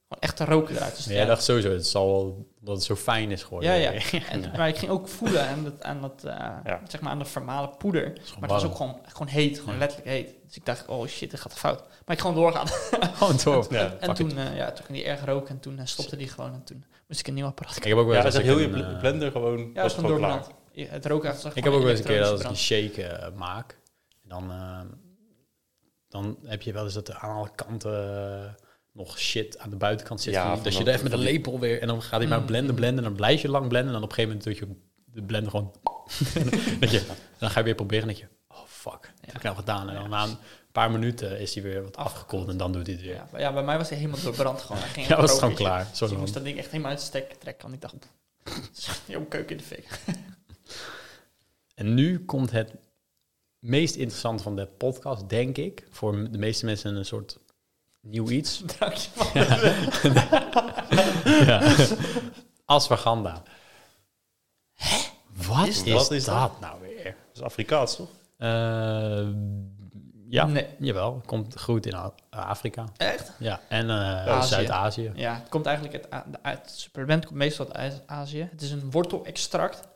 [SPEAKER 3] Gewoon echt te roken eruit. Dus
[SPEAKER 1] Maar jij dacht sowieso, het zal wel dat het zo fijn is geworden.
[SPEAKER 3] ja, ja. En, maar ik ging ook voelen aan dat, aan dat eh, zeg maar aan de formale poeder. Maar het was
[SPEAKER 1] warm.
[SPEAKER 3] ook gewoon, gewoon heet, gewoon letterlijk heet. Dus ik dacht, oh shit, dit gaat fout. Maar ik gewoon doorgaan.
[SPEAKER 1] Gewoon door.
[SPEAKER 2] Ja.
[SPEAKER 3] En
[SPEAKER 1] Fuck
[SPEAKER 3] toen, eh, ja, toen ging die erg roken en toen eh, stopte die gewoon. En toen moest ik een nieuw apparaat
[SPEAKER 1] Ik
[SPEAKER 3] kopen.
[SPEAKER 1] heb ook wel
[SPEAKER 2] Ja,
[SPEAKER 1] eens
[SPEAKER 2] hij
[SPEAKER 1] als
[SPEAKER 2] zegt
[SPEAKER 1] ik
[SPEAKER 2] heel je
[SPEAKER 1] een,
[SPEAKER 2] bl-
[SPEAKER 1] eh,
[SPEAKER 2] blender gewoon...
[SPEAKER 3] Ja,
[SPEAKER 2] was
[SPEAKER 3] gewoon
[SPEAKER 2] gewoon klaar.
[SPEAKER 3] doorbrand. Ja, Het roken was
[SPEAKER 1] Ik heb ook wel eens een keer dat als ik een shake eh, maak, dan, eh, dan heb je wel eens dat er aan alle kanten eh, nog shit aan de buitenkant zit.
[SPEAKER 2] Ja,
[SPEAKER 1] van,
[SPEAKER 2] van
[SPEAKER 1] dat je
[SPEAKER 2] dat-
[SPEAKER 1] er even met een
[SPEAKER 2] van die-
[SPEAKER 1] lepel weer en dan gaat hij maar
[SPEAKER 3] Mm.
[SPEAKER 1] blenden, blenden. En dan blijf je lang blenden. En dan op een gegeven moment doe je de blender gewoon. dat je, dan ga je weer proberen. En dan denk je, oh fuck, dat heb ik nou gedaan. En dan na een paar minuten is hij weer wat afgekoeld en dan doet hij het weer.
[SPEAKER 3] Ja, maar ja, bij mij was hij helemaal doorbrand gewoon. Hij ging
[SPEAKER 1] Ja, was het
[SPEAKER 3] roken,
[SPEAKER 1] gewoon klaar.
[SPEAKER 3] Dus
[SPEAKER 1] Sorry
[SPEAKER 3] ik
[SPEAKER 1] man.
[SPEAKER 3] moest dat ding echt helemaal uit de stekker trekken. Want ik dacht, pff, het is echt jouw keuken in de fik.
[SPEAKER 1] En nu komt het meest interessante van de podcast, denk ik. Voor de meeste mensen een soort nieuw iets.
[SPEAKER 3] Drankje van.
[SPEAKER 1] ja. Ashwagandha. Hè? Wat is,
[SPEAKER 2] Is dat-
[SPEAKER 1] dat,
[SPEAKER 2] is
[SPEAKER 1] nou weer?
[SPEAKER 2] Dat is Afrikaans, toch?
[SPEAKER 1] Eh, ja,
[SPEAKER 3] Nee.
[SPEAKER 1] jawel. Komt goed in A- Afrika.
[SPEAKER 3] Echt?
[SPEAKER 1] Ja, en eh,
[SPEAKER 3] Azië.
[SPEAKER 1] Zuid-Azië.
[SPEAKER 3] Ja, het komt eigenlijk uit, A- de- uit het supplement komt meestal uit IJs- Azië. Het is een wortelextract.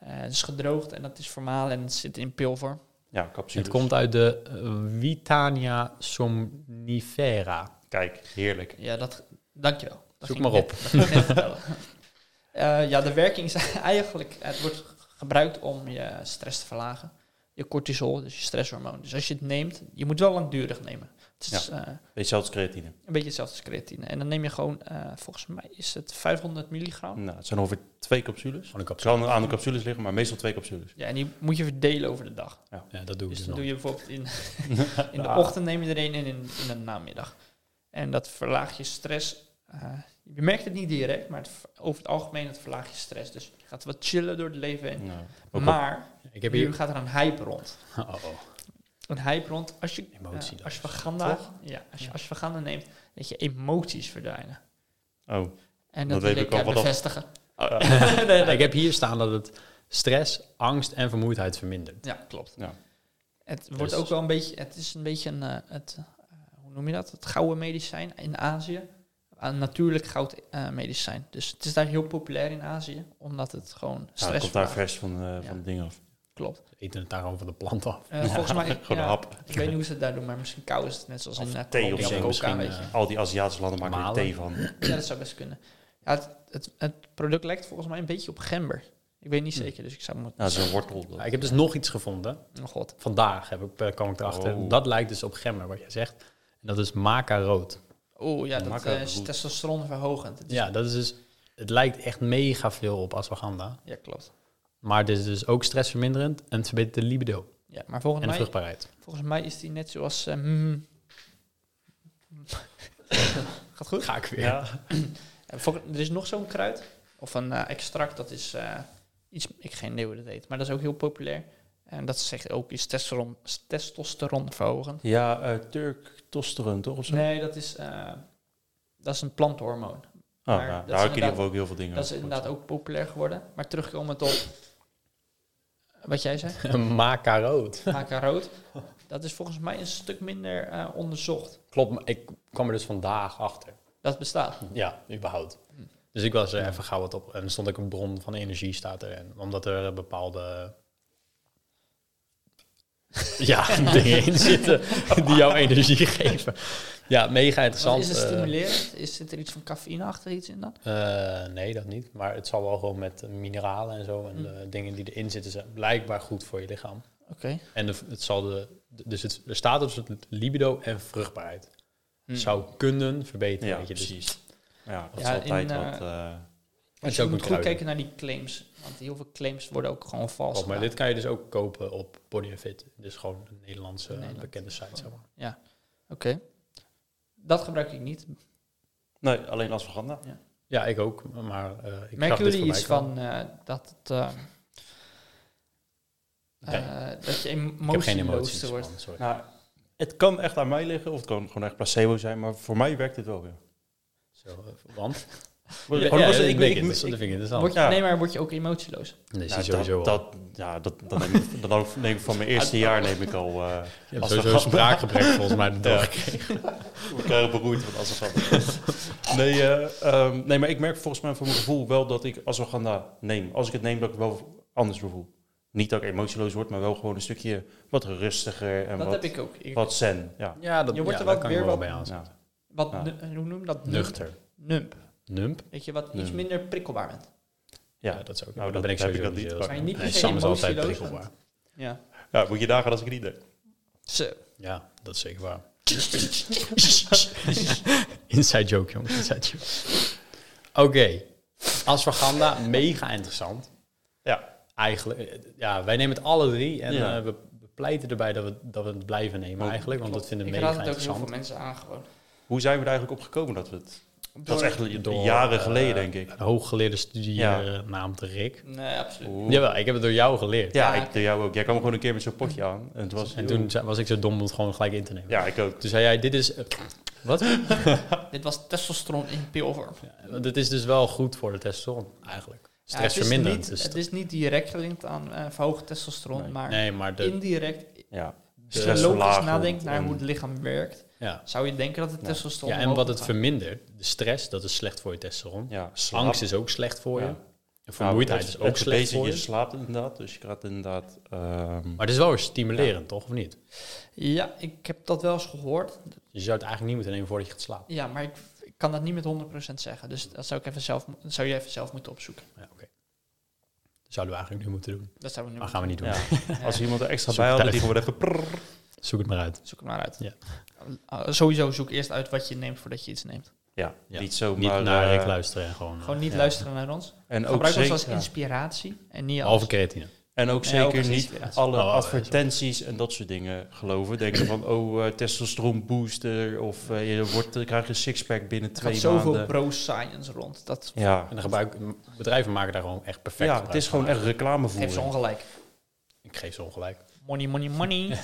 [SPEAKER 3] Eh, het is gedroogd en dat is formaal en het zit in pilvorm.
[SPEAKER 2] Ja, capsules.
[SPEAKER 1] Het komt uit de eh, Witania somnifera.
[SPEAKER 2] Kijk, heerlijk.
[SPEAKER 3] Ja, dat... Dankjewel. Dat
[SPEAKER 1] Zoek
[SPEAKER 3] ging ik
[SPEAKER 1] maar
[SPEAKER 3] net- dat ging ik net vertellen. Eh, ja, de werking is eigenlijk... eh, Het wordt gebruikt om je stress te verlagen. Je cortisol, dus je stresshormoon. Dus als je het neemt... Je moet wel langdurig nemen. Het is eh,
[SPEAKER 2] Weet je, zelfs creatine.
[SPEAKER 3] een beetje hetzelfde als creatine. En dan neem je gewoon... eh, volgens mij is het 500 milligram.
[SPEAKER 1] Mm.
[SPEAKER 2] Nou, het zijn ongeveer twee capsules.
[SPEAKER 1] Gewoon een
[SPEAKER 2] Het
[SPEAKER 1] capsule.
[SPEAKER 2] kan aan de capsules liggen, maar meestal twee capsules.
[SPEAKER 3] Ja, en die moet je verdelen over de dag.
[SPEAKER 1] Ja, dat doe ik
[SPEAKER 3] Dus
[SPEAKER 1] dus
[SPEAKER 3] dan
[SPEAKER 1] nog.
[SPEAKER 3] doe je bijvoorbeeld in, in
[SPEAKER 1] Nou.
[SPEAKER 3] de ochtend neem je er een en in, in de namiddag. En dat verlaagt je stress. eh, je merkt het niet direct, maar het ver- over het algemeen het verlaagt je stress. Dus je gaat wat chillen door het leven heen.
[SPEAKER 2] Nou, ook op-
[SPEAKER 3] maar
[SPEAKER 1] Ik heb
[SPEAKER 3] nu
[SPEAKER 1] hier...
[SPEAKER 3] gaat er een hype rond.
[SPEAKER 1] Oh, oh.
[SPEAKER 3] Een hype rond. Als je, eh,
[SPEAKER 1] Emotie dan.
[SPEAKER 3] als je vaganda,
[SPEAKER 1] Toch?
[SPEAKER 3] ja, als je,
[SPEAKER 1] Ja.
[SPEAKER 3] als je vaganda neemt, dat je emoties verdwijnen.
[SPEAKER 2] oh,
[SPEAKER 3] En dat,
[SPEAKER 2] Dat
[SPEAKER 3] wil
[SPEAKER 2] weet
[SPEAKER 3] ik
[SPEAKER 2] ik al
[SPEAKER 3] eh,
[SPEAKER 2] wat dat-
[SPEAKER 3] bevestigen.
[SPEAKER 2] Ja.
[SPEAKER 3] Nee, nee.
[SPEAKER 1] Ik heb hier staan dat het stress, angst en vermoeidheid vermindert.
[SPEAKER 3] Ja, klopt.
[SPEAKER 2] Ja.
[SPEAKER 3] Het wordt ook wel een beetje, het is een beetje een, eh, het, eh, hoe noem je dat? Het gouden medicijn in Azië. Een natuurlijk goud eh, medicijn. Dus het is daar heel populair in Azië, omdat het gewoon
[SPEAKER 2] ja, dat
[SPEAKER 3] stress
[SPEAKER 2] komt daar
[SPEAKER 3] verlaagt.
[SPEAKER 2] vers van, eh,
[SPEAKER 3] Ja.
[SPEAKER 2] van de dingen af.
[SPEAKER 3] Klopt.
[SPEAKER 1] Ze eten het daar gewoon van de plant af.
[SPEAKER 3] Eh, Volgens mij,
[SPEAKER 2] Gewoon
[SPEAKER 3] ja,
[SPEAKER 2] een hap.
[SPEAKER 3] ik weet niet hoe ze het daar doen, maar misschien kou is het net zoals
[SPEAKER 2] Of
[SPEAKER 3] in eh,
[SPEAKER 2] thee of
[SPEAKER 3] Colombia
[SPEAKER 2] zo, eh.
[SPEAKER 3] coca,
[SPEAKER 1] misschien,
[SPEAKER 3] weet je.
[SPEAKER 1] eh,
[SPEAKER 2] Al die Aziatische landen maken er
[SPEAKER 1] Malen.
[SPEAKER 2] thee van.
[SPEAKER 3] Ja, dat zou best kunnen. Ja, het, het, het product lijkt volgens mij een beetje op gember. Ik weet niet
[SPEAKER 2] Hm.
[SPEAKER 3] zeker, dus ik zou moeten...
[SPEAKER 2] Nou, zo'n wortel.
[SPEAKER 1] Ja, ik heb dus nog iets gevonden.
[SPEAKER 3] Oh god.
[SPEAKER 1] Vandaag heb ik, eh, kwam ik erachter.
[SPEAKER 2] Oh.
[SPEAKER 1] Dat lijkt dus op gemmer, wat jij zegt. En dat is maca rood.
[SPEAKER 3] Oeh, ja, dat
[SPEAKER 2] Makkelijk
[SPEAKER 3] eh, is
[SPEAKER 2] goed.
[SPEAKER 3] testosteron verhogend.
[SPEAKER 1] Ja, dat is dus... Het lijkt echt mega veel op ashwagandha.
[SPEAKER 3] ja, klopt.
[SPEAKER 1] Maar dit is dus ook stressverminderend en het verbetert de libido
[SPEAKER 3] Ja, maar volgens
[SPEAKER 1] en de
[SPEAKER 3] mij
[SPEAKER 1] vruchtbaarheid.
[SPEAKER 3] Volgens mij is die net zoals. eh, mm. Gaat goed?
[SPEAKER 1] Ga ik weer.
[SPEAKER 2] Ja.
[SPEAKER 3] Eh, vol- er is nog zo'n kruid. Of een eh, extract, dat is eh, iets. Ik geen idee hoe dat heet. Maar dat is ook heel populair. En dat zegt ook is testosteron, testosteron verhogen.
[SPEAKER 2] Ja, eh, Turk tosteron, toch? Of zo?
[SPEAKER 3] Nee, dat is. eh, dat is een plantenhormoon.
[SPEAKER 2] Oh,
[SPEAKER 3] maar
[SPEAKER 2] ja,
[SPEAKER 3] dat
[SPEAKER 2] daar hou ik
[SPEAKER 3] is
[SPEAKER 2] in ieder
[SPEAKER 3] inderdaad-
[SPEAKER 2] geval ook heel veel dingen
[SPEAKER 3] dat is
[SPEAKER 2] over.
[SPEAKER 3] inderdaad ook populair geworden. Maar terugkomend op. Wat jij zei?
[SPEAKER 1] maca rood.
[SPEAKER 3] Maca rood. Dat is volgens mij een stuk minder eh, onderzocht.
[SPEAKER 1] Klopt, maar ik kwam er dus vandaag achter.
[SPEAKER 3] Dat bestaat.
[SPEAKER 1] Ja, überhaupt. Dus ik was er even gauw wat op. En er stond ook een bron van energie staat er. En omdat er eh, bepaalde... ja, dingen in zitten die jou energie geven. Ja, mega
[SPEAKER 3] Want
[SPEAKER 1] interessant.
[SPEAKER 3] Is het
[SPEAKER 1] eh,
[SPEAKER 3] stimulerend? Is, zit er iets van cafeïne achter iets in dan?
[SPEAKER 1] Eh, nee, dat niet. Maar het zal wel gewoon met eh, mineralen en zo en de dingen die erin zitten, zijn blijkbaar goed voor je lichaam.
[SPEAKER 3] Oké.
[SPEAKER 1] En de, het zal de, Dus het, er staat dus het libido en vruchtbaarheid.
[SPEAKER 3] Hm.
[SPEAKER 1] Zou kunnen verbeteren.
[SPEAKER 2] Ja,
[SPEAKER 1] weet je. Dus
[SPEAKER 2] precies. Ja, dat
[SPEAKER 3] Ja,
[SPEAKER 2] is altijd
[SPEAKER 3] in, eh,
[SPEAKER 2] wat... eh,
[SPEAKER 1] het
[SPEAKER 3] Dus
[SPEAKER 1] is
[SPEAKER 3] je
[SPEAKER 1] ook
[SPEAKER 3] moet
[SPEAKER 1] een
[SPEAKER 3] goed
[SPEAKER 1] kruiden.
[SPEAKER 3] kijken naar die claims. Want heel veel claims worden ook gewoon vals.
[SPEAKER 1] Klopt, maar
[SPEAKER 3] gedaan.
[SPEAKER 1] dit kan je dus ook kopen op Body Fit. Dus gewoon een Nederlandse eh,
[SPEAKER 3] Nederland.
[SPEAKER 1] bekende site. Zeg maar.
[SPEAKER 3] Oké. Dat gebruik ik niet.
[SPEAKER 2] nee, alleen ashwagandha.
[SPEAKER 1] Ja, ik ook. Maar eh, ik zag
[SPEAKER 3] Merken
[SPEAKER 1] dit
[SPEAKER 3] jullie
[SPEAKER 1] voorbij
[SPEAKER 3] iets
[SPEAKER 1] komen.
[SPEAKER 3] van eh, dat het... eh,
[SPEAKER 1] Nee.
[SPEAKER 3] eh, dat je
[SPEAKER 1] Ik heb geen
[SPEAKER 3] emotieloos
[SPEAKER 1] emoties.
[SPEAKER 3] wordt.
[SPEAKER 1] man, sorry.
[SPEAKER 2] Nou, het kan echt aan mij liggen of het kan gewoon echt placebo zijn, maar voor mij werkt het wel weer.
[SPEAKER 1] Zo, eh, want?
[SPEAKER 2] Gewoon
[SPEAKER 1] Ja,
[SPEAKER 2] als-
[SPEAKER 1] dat
[SPEAKER 2] oh, ik-
[SPEAKER 1] weet
[SPEAKER 2] ik-
[SPEAKER 1] ik
[SPEAKER 2] ik-
[SPEAKER 1] niet. Dat vind ik interessant.
[SPEAKER 3] Word je,
[SPEAKER 2] Ja.
[SPEAKER 3] Nee, maar word je ook emotieloos?
[SPEAKER 1] Nee,
[SPEAKER 2] Nou,
[SPEAKER 1] zie je sowieso
[SPEAKER 2] dat,
[SPEAKER 1] al.
[SPEAKER 2] dat, ja, dat, dat neem ik, dat neem ik van mijn eerste jaar neem ik al. eh
[SPEAKER 1] Je hebt
[SPEAKER 2] als
[SPEAKER 1] sowieso
[SPEAKER 2] een
[SPEAKER 1] spraakgebrek volgens mij. de dag.
[SPEAKER 2] we krijgen beroerd van ashwagandha. nee, eh, ehm, nee, maar ik merk volgens mij voor mijn gevoel wel dat ik ashwagandha neem. Als ik het neem, dat ik het wel anders voel. Niet dat ik emotieloos word, maar wel gewoon een stukje wat rustiger en
[SPEAKER 3] dat
[SPEAKER 2] wat,
[SPEAKER 3] heb ik ook. Ik-
[SPEAKER 2] wat zen. Ja.
[SPEAKER 1] Ja, dat,
[SPEAKER 3] Je wordt
[SPEAKER 1] ja,
[SPEAKER 3] er
[SPEAKER 1] daar
[SPEAKER 3] wel
[SPEAKER 1] kan ik
[SPEAKER 3] weer
[SPEAKER 1] me wel
[SPEAKER 3] wat-
[SPEAKER 1] bij aansluiten.
[SPEAKER 2] Ja.
[SPEAKER 3] wat
[SPEAKER 2] Ja.
[SPEAKER 3] nu- hoe noem je dat?
[SPEAKER 1] Nuchter.
[SPEAKER 3] Nump.
[SPEAKER 1] Nump?
[SPEAKER 3] Weet je, wat iets
[SPEAKER 2] Nump.
[SPEAKER 3] minder prikkelbaar bent.
[SPEAKER 1] Ja,
[SPEAKER 2] Ja.
[SPEAKER 1] dat is ook. dan
[SPEAKER 2] Nou, dat
[SPEAKER 1] ben ik
[SPEAKER 2] heb
[SPEAKER 1] sowieso
[SPEAKER 2] ik
[SPEAKER 1] niet.
[SPEAKER 2] dat niet,
[SPEAKER 1] heel
[SPEAKER 2] maar-
[SPEAKER 1] erg-
[SPEAKER 3] Maar niet
[SPEAKER 1] Nee,
[SPEAKER 3] per se
[SPEAKER 1] Sam is altijd
[SPEAKER 3] emotieloos
[SPEAKER 1] prikkelbaar.
[SPEAKER 3] Ja.
[SPEAKER 2] Ja, moet je nagaan als ik het niet neem.
[SPEAKER 3] Zo.
[SPEAKER 1] Ja, dat is zeker waar. Inside joke, jongens. Inside joke. Oké. Ashwagandha, mega interessant.
[SPEAKER 2] Ja.
[SPEAKER 1] Eigenlijk, eh, ja, wij nemen het alle drie en
[SPEAKER 2] Ja. Oh,
[SPEAKER 1] eh, we, we pleiten erbij dat we, dat we het blijven nemen
[SPEAKER 2] Klopt,
[SPEAKER 1] eigenlijk, want dat vinden we
[SPEAKER 3] ik
[SPEAKER 1] mega
[SPEAKER 3] raad het ook heel veel
[SPEAKER 1] interessant.
[SPEAKER 3] mensen aan gewoon.
[SPEAKER 2] Hoe zijn we er eigenlijk op gekomen dat we het... Dat is
[SPEAKER 3] Door-
[SPEAKER 2] echt
[SPEAKER 1] Door,
[SPEAKER 2] jaren
[SPEAKER 1] eh,
[SPEAKER 2] geleden, denk ik.
[SPEAKER 1] Een hooggeleerde
[SPEAKER 2] Ja.
[SPEAKER 1] studienaam te Rick.
[SPEAKER 3] Nee, absoluut.
[SPEAKER 2] Oeh.
[SPEAKER 1] Jawel, ik heb het door jou geleerd.
[SPEAKER 2] Ja,
[SPEAKER 3] Ja.
[SPEAKER 2] ik doe jou ook. Jij kwam gewoon een keer met zo'n potje aan. En, het was,
[SPEAKER 1] En toen zei- was ik zo dom om het gewoon gelijk in te nemen.
[SPEAKER 2] Ja, ik ook.
[SPEAKER 1] Toen zei jij, dit is... eh, wat?
[SPEAKER 3] Dit was testosteron in pilvorm.
[SPEAKER 1] Want het is dus wel goed voor de testosteron, eigenlijk. Dus
[SPEAKER 3] Ja, het, is
[SPEAKER 1] Stressverminderend.
[SPEAKER 3] niet,
[SPEAKER 2] dus
[SPEAKER 1] is
[SPEAKER 3] het
[SPEAKER 1] het.
[SPEAKER 3] is niet direct gelinkt aan eh verhoogd testosteron,
[SPEAKER 1] nee.
[SPEAKER 3] maar
[SPEAKER 1] nee, maar de,
[SPEAKER 3] indirect,
[SPEAKER 2] Ja.
[SPEAKER 3] als je
[SPEAKER 2] Stress
[SPEAKER 3] logisch
[SPEAKER 2] verlagen
[SPEAKER 3] nadenkt naar
[SPEAKER 2] en-
[SPEAKER 3] hoe het lichaam werkt,
[SPEAKER 1] ja.
[SPEAKER 3] zou je denken dat het
[SPEAKER 2] Ja.
[SPEAKER 3] testosteron...
[SPEAKER 1] ja, en
[SPEAKER 3] omhoog
[SPEAKER 1] wat
[SPEAKER 3] moet
[SPEAKER 1] het
[SPEAKER 3] gaan.
[SPEAKER 1] vermindert, de stress, dat is slecht voor je testosteron.
[SPEAKER 2] ja slaap.
[SPEAKER 1] Angst is ook slecht voor je.
[SPEAKER 2] Ja.
[SPEAKER 1] En
[SPEAKER 2] Nou,
[SPEAKER 1] vermoeidheid
[SPEAKER 2] het-
[SPEAKER 1] is
[SPEAKER 2] het
[SPEAKER 1] ook slecht
[SPEAKER 2] bezig,
[SPEAKER 1] voor
[SPEAKER 2] Je
[SPEAKER 1] je.
[SPEAKER 2] slaapt inderdaad, dus je gaat inderdaad... ehm,
[SPEAKER 1] Maar het is wel weer stimulerend, toch? Of niet?
[SPEAKER 3] Ja, ik heb dat wel eens gehoord.
[SPEAKER 1] Dus je zou het eigenlijk niet moeten nemen voordat je gaat slapen.
[SPEAKER 3] Ja, maar ik, ik kan dat niet met 100% zeggen. Dus dat zou, ik even zelf, mo- zou je even zelf moeten opzoeken.
[SPEAKER 1] Ja, oké. Dat zouden we eigenlijk nu moeten doen.
[SPEAKER 3] Dat zouden we nu
[SPEAKER 1] Maar gaan we niet doen.
[SPEAKER 2] ja.
[SPEAKER 3] doen.
[SPEAKER 2] Als
[SPEAKER 3] Ja.
[SPEAKER 2] iemand er extra
[SPEAKER 1] Zoek
[SPEAKER 2] bij had,
[SPEAKER 1] thuis.
[SPEAKER 2] die gewoon even... prrr.
[SPEAKER 1] Zoek het maar uit.
[SPEAKER 3] Zoek het maar uit.
[SPEAKER 1] Ja.
[SPEAKER 3] Uh, sowieso zoek eerst uit wat je neemt voordat je iets neemt.
[SPEAKER 2] Ja,
[SPEAKER 1] Ja.
[SPEAKER 2] niet zomaar...
[SPEAKER 1] niet naar
[SPEAKER 2] eh,
[SPEAKER 1] Rick luisteren. en Gewoon, eh,
[SPEAKER 3] Gewoon niet
[SPEAKER 2] Ja.
[SPEAKER 3] luisteren naar ons.
[SPEAKER 2] En ook
[SPEAKER 3] Gebruik ons
[SPEAKER 2] zeker,
[SPEAKER 3] als
[SPEAKER 2] ja.
[SPEAKER 3] inspiratie en niet als...
[SPEAKER 1] Behalve creatine.
[SPEAKER 2] En ook
[SPEAKER 3] Nee,
[SPEAKER 2] zeker
[SPEAKER 3] ook als
[SPEAKER 2] niet
[SPEAKER 3] inspiratie.
[SPEAKER 2] alle
[SPEAKER 1] Oh, ja,
[SPEAKER 2] advertenties en dat soort dingen geloven. Denken van, oh, eh, testosteron booster of eh, je wordt, eh, krijgt een sixpack binnen
[SPEAKER 3] Er
[SPEAKER 2] twee
[SPEAKER 3] gaat
[SPEAKER 2] maanden.
[SPEAKER 3] zoveel pro-science rond. Dat
[SPEAKER 2] Ja,
[SPEAKER 1] En dan gebruik, bedrijven maken daar gewoon echt perfect
[SPEAKER 2] ja
[SPEAKER 1] gebruik
[SPEAKER 2] het is
[SPEAKER 1] van.
[SPEAKER 2] gewoon echt
[SPEAKER 3] geeft ze
[SPEAKER 2] reclamevoering.
[SPEAKER 3] ongelijk.
[SPEAKER 1] Ik geef ze ongelijk.
[SPEAKER 3] Money, money, money.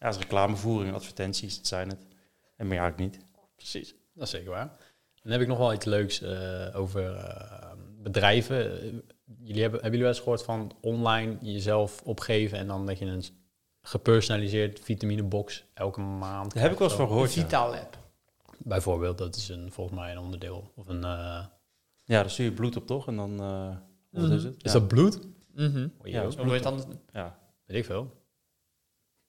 [SPEAKER 2] Ja, het is reclamevoering, advertenties, dat zijn het. En meer eigenlijk niet.
[SPEAKER 1] Precies. Dat is zeker waar. Dan heb ik nog wel iets leuks eh, over eh, bedrijven. Jullie hebben, hebben jullie wel eens gehoord van online jezelf opgeven en dan dat je een gepersonaliseerd vitaminebox elke maand.
[SPEAKER 2] Daar
[SPEAKER 1] krijgt
[SPEAKER 2] heb ik wel eens
[SPEAKER 1] of
[SPEAKER 2] van gehoord. Ja,
[SPEAKER 3] Vital Lab.
[SPEAKER 1] zo? Bijvoorbeeld, dat is een, volgens mij een onderdeel. Of een, eh,
[SPEAKER 2] Ja, daar stuur je bloed op toch? En dan. eh, wat is het?
[SPEAKER 1] Is
[SPEAKER 2] ja.
[SPEAKER 1] dat bloed?
[SPEAKER 3] Mhm.
[SPEAKER 1] Oh,
[SPEAKER 2] Ja,
[SPEAKER 1] joh.
[SPEAKER 3] Hoe moet je het dan...
[SPEAKER 2] Ja,
[SPEAKER 1] Weet ik veel.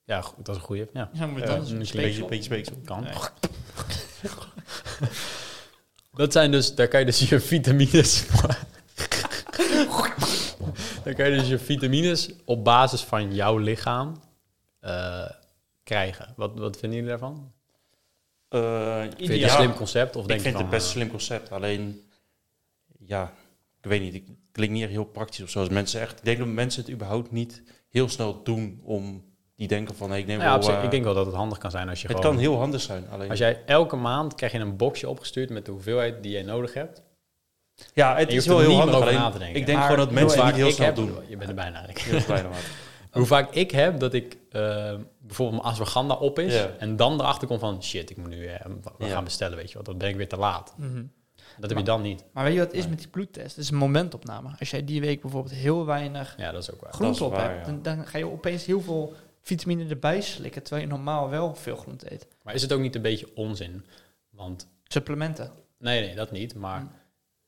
[SPEAKER 1] Ja, goed, dat is een goede. Ja.
[SPEAKER 3] Ja, hoe moet je
[SPEAKER 1] Ja,
[SPEAKER 3] het
[SPEAKER 1] een
[SPEAKER 3] dan...
[SPEAKER 2] Eh, een beetje,
[SPEAKER 3] speeksel?
[SPEAKER 2] een beetje speeksel.
[SPEAKER 1] Kan.
[SPEAKER 3] Nee.
[SPEAKER 1] Dat zijn dus, daar kan je dus je vitamines. daar kan je dus je vitamines op basis van jouw lichaam eh, krijgen. Wat, wat vinden jullie daarvan?
[SPEAKER 2] Eh,
[SPEAKER 1] Vind je
[SPEAKER 2] ja,
[SPEAKER 1] het een slim concept? Of denk
[SPEAKER 2] ik
[SPEAKER 1] je
[SPEAKER 2] vind
[SPEAKER 1] van,
[SPEAKER 2] het best een
[SPEAKER 1] eh,
[SPEAKER 2] slim concept. Alleen, ja, ik weet niet. ik- Het klinkt niet echt heel praktisch of zoals mensen echt. Ik denk dat mensen het überhaupt niet heel snel doen om die denken van hey, ik neem
[SPEAKER 1] nou ja, op
[SPEAKER 2] wel.
[SPEAKER 1] zich,
[SPEAKER 2] eh,
[SPEAKER 1] ik denk wel dat het handig kan zijn als je
[SPEAKER 2] het
[SPEAKER 1] gewoon...
[SPEAKER 2] kan heel handig zijn. Alleen,
[SPEAKER 1] als jij elke maand krijg je een boxje opgestuurd met de hoeveelheid die jij nodig hebt.
[SPEAKER 2] ja, het
[SPEAKER 1] je hoeft
[SPEAKER 2] is wel
[SPEAKER 1] er
[SPEAKER 2] heel
[SPEAKER 1] niet meer
[SPEAKER 2] handig.
[SPEAKER 1] over
[SPEAKER 2] Alleen,
[SPEAKER 1] na te denken.
[SPEAKER 2] ik denk
[SPEAKER 1] Maar
[SPEAKER 2] gewoon dat mensen het
[SPEAKER 1] vaak
[SPEAKER 2] niet heel
[SPEAKER 1] ik
[SPEAKER 2] snel
[SPEAKER 1] heb-
[SPEAKER 2] doen.
[SPEAKER 1] Je bent er bijna. Rick.
[SPEAKER 2] Heel klein, maar.
[SPEAKER 1] Hoe vaak ik heb dat ik eh, bijvoorbeeld mijn ashwagandha op is
[SPEAKER 2] Ja.
[SPEAKER 1] en dan erachter kom van shit, ik moet nu eh, we
[SPEAKER 2] Ja.
[SPEAKER 1] gaan bestellen, weet je wat? Dan ben ik weer te laat.
[SPEAKER 3] Mhm.
[SPEAKER 1] Dat heb je dan niet.
[SPEAKER 3] Maar weet je wat het is met die bloedtest? Het is een momentopname. Als jij die week bijvoorbeeld heel weinig
[SPEAKER 1] Ja, dat is ook waar.
[SPEAKER 3] groente
[SPEAKER 2] dat
[SPEAKER 3] op
[SPEAKER 2] is waar,
[SPEAKER 3] hebt,
[SPEAKER 2] ja.
[SPEAKER 3] dan, dan ga je opeens heel veel vitamine erbij slikken, terwijl je normaal wel veel groente eet.
[SPEAKER 1] Maar is het ook niet een beetje onzin? Want
[SPEAKER 3] Supplementen.
[SPEAKER 1] nee, nee, dat niet. Maar
[SPEAKER 3] Hm.
[SPEAKER 1] in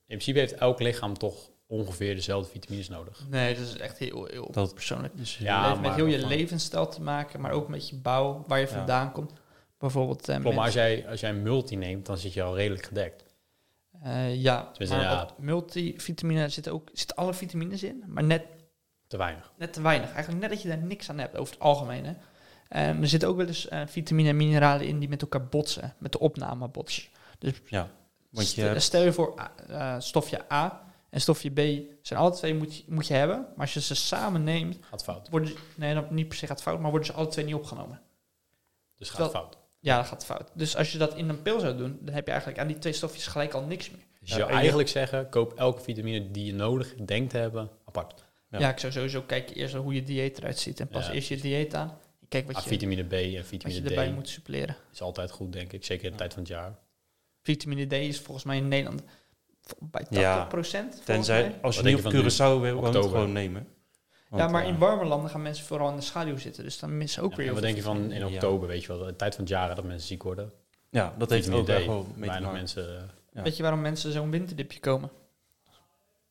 [SPEAKER 1] principe heeft elk lichaam toch ongeveer dezelfde vitamines nodig.
[SPEAKER 3] Nee, dat is echt heel, heel
[SPEAKER 2] Dat-
[SPEAKER 3] persoonlijk.
[SPEAKER 2] Dus,
[SPEAKER 1] Ja,
[SPEAKER 3] Het heeft met
[SPEAKER 1] maar-
[SPEAKER 3] heel je
[SPEAKER 1] maar-
[SPEAKER 3] levensstijl te maken, maar ook met je bouw, waar je
[SPEAKER 2] Ja.
[SPEAKER 3] vandaan komt. Bijvoorbeeld... eh,
[SPEAKER 1] Klopt, maar als
[SPEAKER 3] mensen-
[SPEAKER 1] jij, als jij een multi neemt, dan zit je al redelijk gedekt.
[SPEAKER 3] eh, ja,
[SPEAKER 1] Tenminste,
[SPEAKER 3] maar
[SPEAKER 1] ja.
[SPEAKER 3] op multivitamine zitten ook zitten alle vitamines in, maar net,
[SPEAKER 1] Te weinig.
[SPEAKER 3] net te weinig. Eigenlijk net dat je daar niks aan hebt, over het algemeen. Hè. Ehm, er zitten ook wel eens eh, vitamine en mineralen in die met elkaar botsen, met de opname botsen.
[SPEAKER 2] Want je
[SPEAKER 3] Stel-
[SPEAKER 2] hebt-
[SPEAKER 3] Stel je voor, a- eh, stofje A en stofje B zijn alle twee moet je, moet je hebben. Maar als je ze samen neemt,
[SPEAKER 1] Gaat fout.
[SPEAKER 3] worden ze, nee, dan niet per se gaat fout, maar worden ze alle twee niet opgenomen.
[SPEAKER 1] Dus gaat
[SPEAKER 3] Dat-
[SPEAKER 1] fout.
[SPEAKER 3] Ja, dat gaat fout. Dus als je dat in een pil zou doen, dan heb je eigenlijk aan die twee stofjes gelijk al niks meer.
[SPEAKER 1] Dus
[SPEAKER 2] Ja,
[SPEAKER 1] je zou
[SPEAKER 2] en je-
[SPEAKER 1] eigenlijk zeggen, koop elke vitamine die je nodig denkt te hebben, apart.
[SPEAKER 2] Ja.
[SPEAKER 3] Ja, ik zou sowieso kijken eerst hoe je dieet eruit ziet. En pas
[SPEAKER 1] Ja.
[SPEAKER 3] eerst je dieet aan. Kijk wat
[SPEAKER 1] Ah,
[SPEAKER 3] je,
[SPEAKER 1] vitamine B en
[SPEAKER 3] wat je
[SPEAKER 1] vitamine
[SPEAKER 3] erbij
[SPEAKER 1] D
[SPEAKER 3] moet suppleren.
[SPEAKER 1] is altijd goed, denk ik. Zeker in de tijd van het jaar.
[SPEAKER 3] Vitamine D is volgens mij in Nederland v- bij 80%.
[SPEAKER 2] Ja,
[SPEAKER 3] volgens
[SPEAKER 2] Tenzij,
[SPEAKER 3] mij.
[SPEAKER 2] als je
[SPEAKER 1] Wat
[SPEAKER 2] niet
[SPEAKER 1] denk
[SPEAKER 2] op
[SPEAKER 1] je van nu?
[SPEAKER 2] Curaçao wil, woont,
[SPEAKER 1] Oktober.
[SPEAKER 2] gewoon nemen. eh,
[SPEAKER 3] Ja, maar
[SPEAKER 2] in
[SPEAKER 3] in warme landen gaan mensen vooral in de schaduw zitten. Dus dan missen ook
[SPEAKER 1] eh, Ja, en
[SPEAKER 3] weer heel
[SPEAKER 1] wat denk je van in
[SPEAKER 2] Ja.
[SPEAKER 1] oktober, weet je wel, de tijd van het jaar dat mensen ziek worden?
[SPEAKER 2] Ja, dat heeft ook
[SPEAKER 1] Vitamine D,
[SPEAKER 2] wel gewoon mee te
[SPEAKER 1] Weinig
[SPEAKER 2] maken.
[SPEAKER 1] mensen, eh,
[SPEAKER 2] Ja.
[SPEAKER 3] Weet je waarom mensen zo'n winterdipje komen?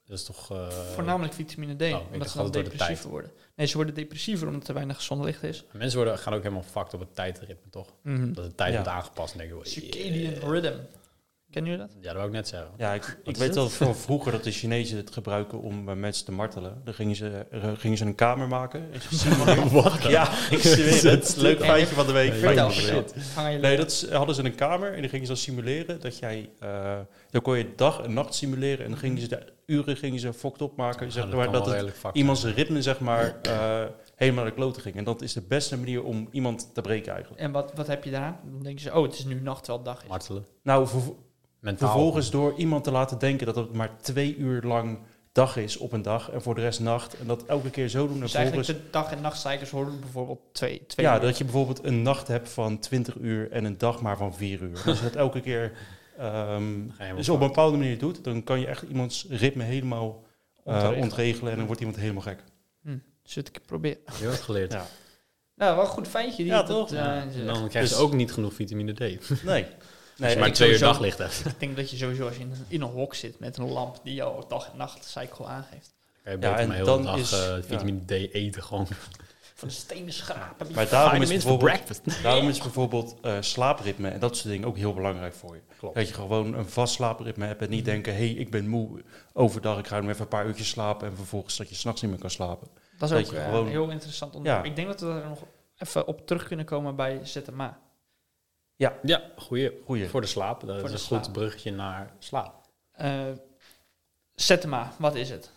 [SPEAKER 1] dat is toch... eh, oh,
[SPEAKER 3] Voornamelijk vitamine D,
[SPEAKER 1] ik dacht
[SPEAKER 3] omdat ze dan
[SPEAKER 1] altijd door de
[SPEAKER 3] depressiever worden. Nee, ze worden depressiever omdat er weinig zonlicht is.
[SPEAKER 1] Mensen worden, gaan ook helemaal fucked op het tijdritme, toch? Dat de tijd
[SPEAKER 2] Ja.
[SPEAKER 1] wordt aangepast en denken we...
[SPEAKER 3] Circadian rhythm. Kennen jullie dat?
[SPEAKER 1] Ja, dat wou ik net zeggen.
[SPEAKER 2] Ja, ik, ik
[SPEAKER 3] is
[SPEAKER 2] weet
[SPEAKER 3] dat?
[SPEAKER 2] wel van vroeger dat de Chinezen het gebruiken om eh, mensen te martelen. Dan gingen ze, er- gingen ze een kamer maken. En ze zien
[SPEAKER 1] Wat?
[SPEAKER 2] ja, ik zweer het.
[SPEAKER 1] Zet-
[SPEAKER 2] Leuk feitje van de week.
[SPEAKER 1] Nee,
[SPEAKER 2] feitje
[SPEAKER 3] Vertel,
[SPEAKER 1] weet
[SPEAKER 2] van de
[SPEAKER 1] het
[SPEAKER 2] week.
[SPEAKER 3] vertel. Hang aan je
[SPEAKER 2] Nee,
[SPEAKER 3] lippen.
[SPEAKER 2] dat is- hadden ze een kamer en die gingen ze dan simuleren. Dat jij, eh, dan kon je dag en nacht simuleren. En dan gingen ze de uren gingen ze fokt opmaken. Zeg
[SPEAKER 1] Ja,
[SPEAKER 2] maar,
[SPEAKER 1] kan
[SPEAKER 2] dat
[SPEAKER 1] wel
[SPEAKER 2] het
[SPEAKER 1] redelijk fucked
[SPEAKER 2] iemand zijn ritme zeg maar, eh, helemaal naar de klote ging. En dat is de beste manier om iemand te breken eigenlijk.
[SPEAKER 3] En wat, wat heb je daaraan? Dan denken ze, oh, het is nu nacht, wel dag
[SPEAKER 1] zijn.
[SPEAKER 3] is.
[SPEAKER 1] Martelen.
[SPEAKER 2] Nou, vervo-
[SPEAKER 1] Mentaal.
[SPEAKER 2] vervolgens door iemand te laten denken dat het maar twee uur lang dag is op een dag. En voor de rest nacht. En dat elke keer zo doen. En
[SPEAKER 3] dus eigenlijk
[SPEAKER 2] vervolgens-
[SPEAKER 3] de dag- en nachtcyclus horen bijvoorbeeld twee, twee
[SPEAKER 2] Ja,
[SPEAKER 3] uur.
[SPEAKER 2] dat je bijvoorbeeld een nacht hebt van 20 uur en een dag maar van 4 uur. Als je dat elke keer ehm,
[SPEAKER 1] Ga je
[SPEAKER 2] dus
[SPEAKER 1] wel
[SPEAKER 2] op een bepaalde manier doet, dan kan je echt iemands ritme helemaal eh,
[SPEAKER 3] Ontregelen.
[SPEAKER 2] ontregelen en dan wordt iemand helemaal gek.
[SPEAKER 3] Zul ik het proberen.
[SPEAKER 1] Je hebt geleerd.
[SPEAKER 2] Ja.
[SPEAKER 3] Nou, wel een goed feitje. Die
[SPEAKER 2] Ja,
[SPEAKER 3] dat,
[SPEAKER 2] toch?
[SPEAKER 3] eh,
[SPEAKER 1] Ja,
[SPEAKER 3] zegt.
[SPEAKER 1] dan krijg je
[SPEAKER 2] Dus-
[SPEAKER 1] ook niet genoeg vitamine D. Als
[SPEAKER 2] Nee. nee
[SPEAKER 1] je maar
[SPEAKER 3] ik
[SPEAKER 1] twee uur
[SPEAKER 3] sowieso-
[SPEAKER 1] daglicht hebt.
[SPEAKER 3] Ik denk dat je sowieso als je in, in een hok zit met een lamp die jouw dag- en nachtcycle aangeeft.
[SPEAKER 1] Kan je beter
[SPEAKER 2] en
[SPEAKER 1] maar heel
[SPEAKER 2] dan
[SPEAKER 1] de dag
[SPEAKER 2] is-
[SPEAKER 1] eh, vitamine D eten gewoon.
[SPEAKER 3] Van de stenen schrapen. die-
[SPEAKER 2] maar daarom is,
[SPEAKER 1] Vitamins for
[SPEAKER 2] bijvoorbeeld,
[SPEAKER 1] breakfast.
[SPEAKER 2] daarom is bijvoorbeeld eh, slaapritme en dat soort dingen ook heel belangrijk voor je.
[SPEAKER 1] Klopt.
[SPEAKER 2] Dat je gewoon een vast slaapritme hebt en
[SPEAKER 1] Mhm.
[SPEAKER 2] niet denken, hé, hey, ik ben moe overdag, ik ga nu even een paar uurtjes slapen en vervolgens dat je s'nachts niet meer kan slapen.
[SPEAKER 3] Dat is
[SPEAKER 2] Dat
[SPEAKER 3] ook
[SPEAKER 2] je
[SPEAKER 3] eh,
[SPEAKER 2] gewoon-
[SPEAKER 3] een heel interessant onderwerp.
[SPEAKER 2] Ja.
[SPEAKER 3] Ik denk dat we daar nog even op terug kunnen komen bij ZMA.
[SPEAKER 1] Ja, goeie.
[SPEAKER 2] Goeie.
[SPEAKER 1] Voor de slaap. Dat
[SPEAKER 3] Voor
[SPEAKER 1] is
[SPEAKER 3] de
[SPEAKER 1] een
[SPEAKER 3] slaap.
[SPEAKER 1] goed bruggetje naar slaap.
[SPEAKER 3] Eh ZMA, wat is het?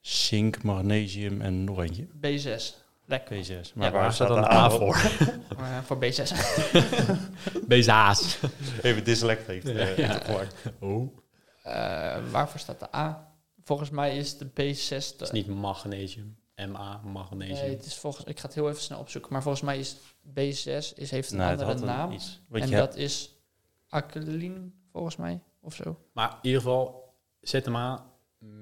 [SPEAKER 2] Zink, magnesium en nog eentje.
[SPEAKER 3] B6. Lekker.
[SPEAKER 2] P6.
[SPEAKER 3] Ja,
[SPEAKER 1] Waar staat dan
[SPEAKER 2] de
[SPEAKER 1] de
[SPEAKER 2] A
[SPEAKER 1] A voor?
[SPEAKER 2] op?
[SPEAKER 3] Eh, voor B6.
[SPEAKER 1] Bezaas.
[SPEAKER 2] Even dyslect heeft
[SPEAKER 1] Ja,
[SPEAKER 2] eh,
[SPEAKER 1] ja.
[SPEAKER 2] gehoord.
[SPEAKER 1] Oh.
[SPEAKER 3] Eh, waarvoor staat de A? Volgens mij is de B6 de...
[SPEAKER 1] Dat is niet magnesium. MA, magnesium.
[SPEAKER 3] nee, het is volgens, ik ga het heel even snel opzoeken. Maar volgens mij is B6 is, heeft een
[SPEAKER 2] Nou, het
[SPEAKER 3] andere
[SPEAKER 2] had een
[SPEAKER 3] naam.
[SPEAKER 2] Iets, want
[SPEAKER 3] en
[SPEAKER 2] je
[SPEAKER 3] dat is acryline, volgens mij, of zo.
[SPEAKER 1] Maar in ieder geval, ZMA,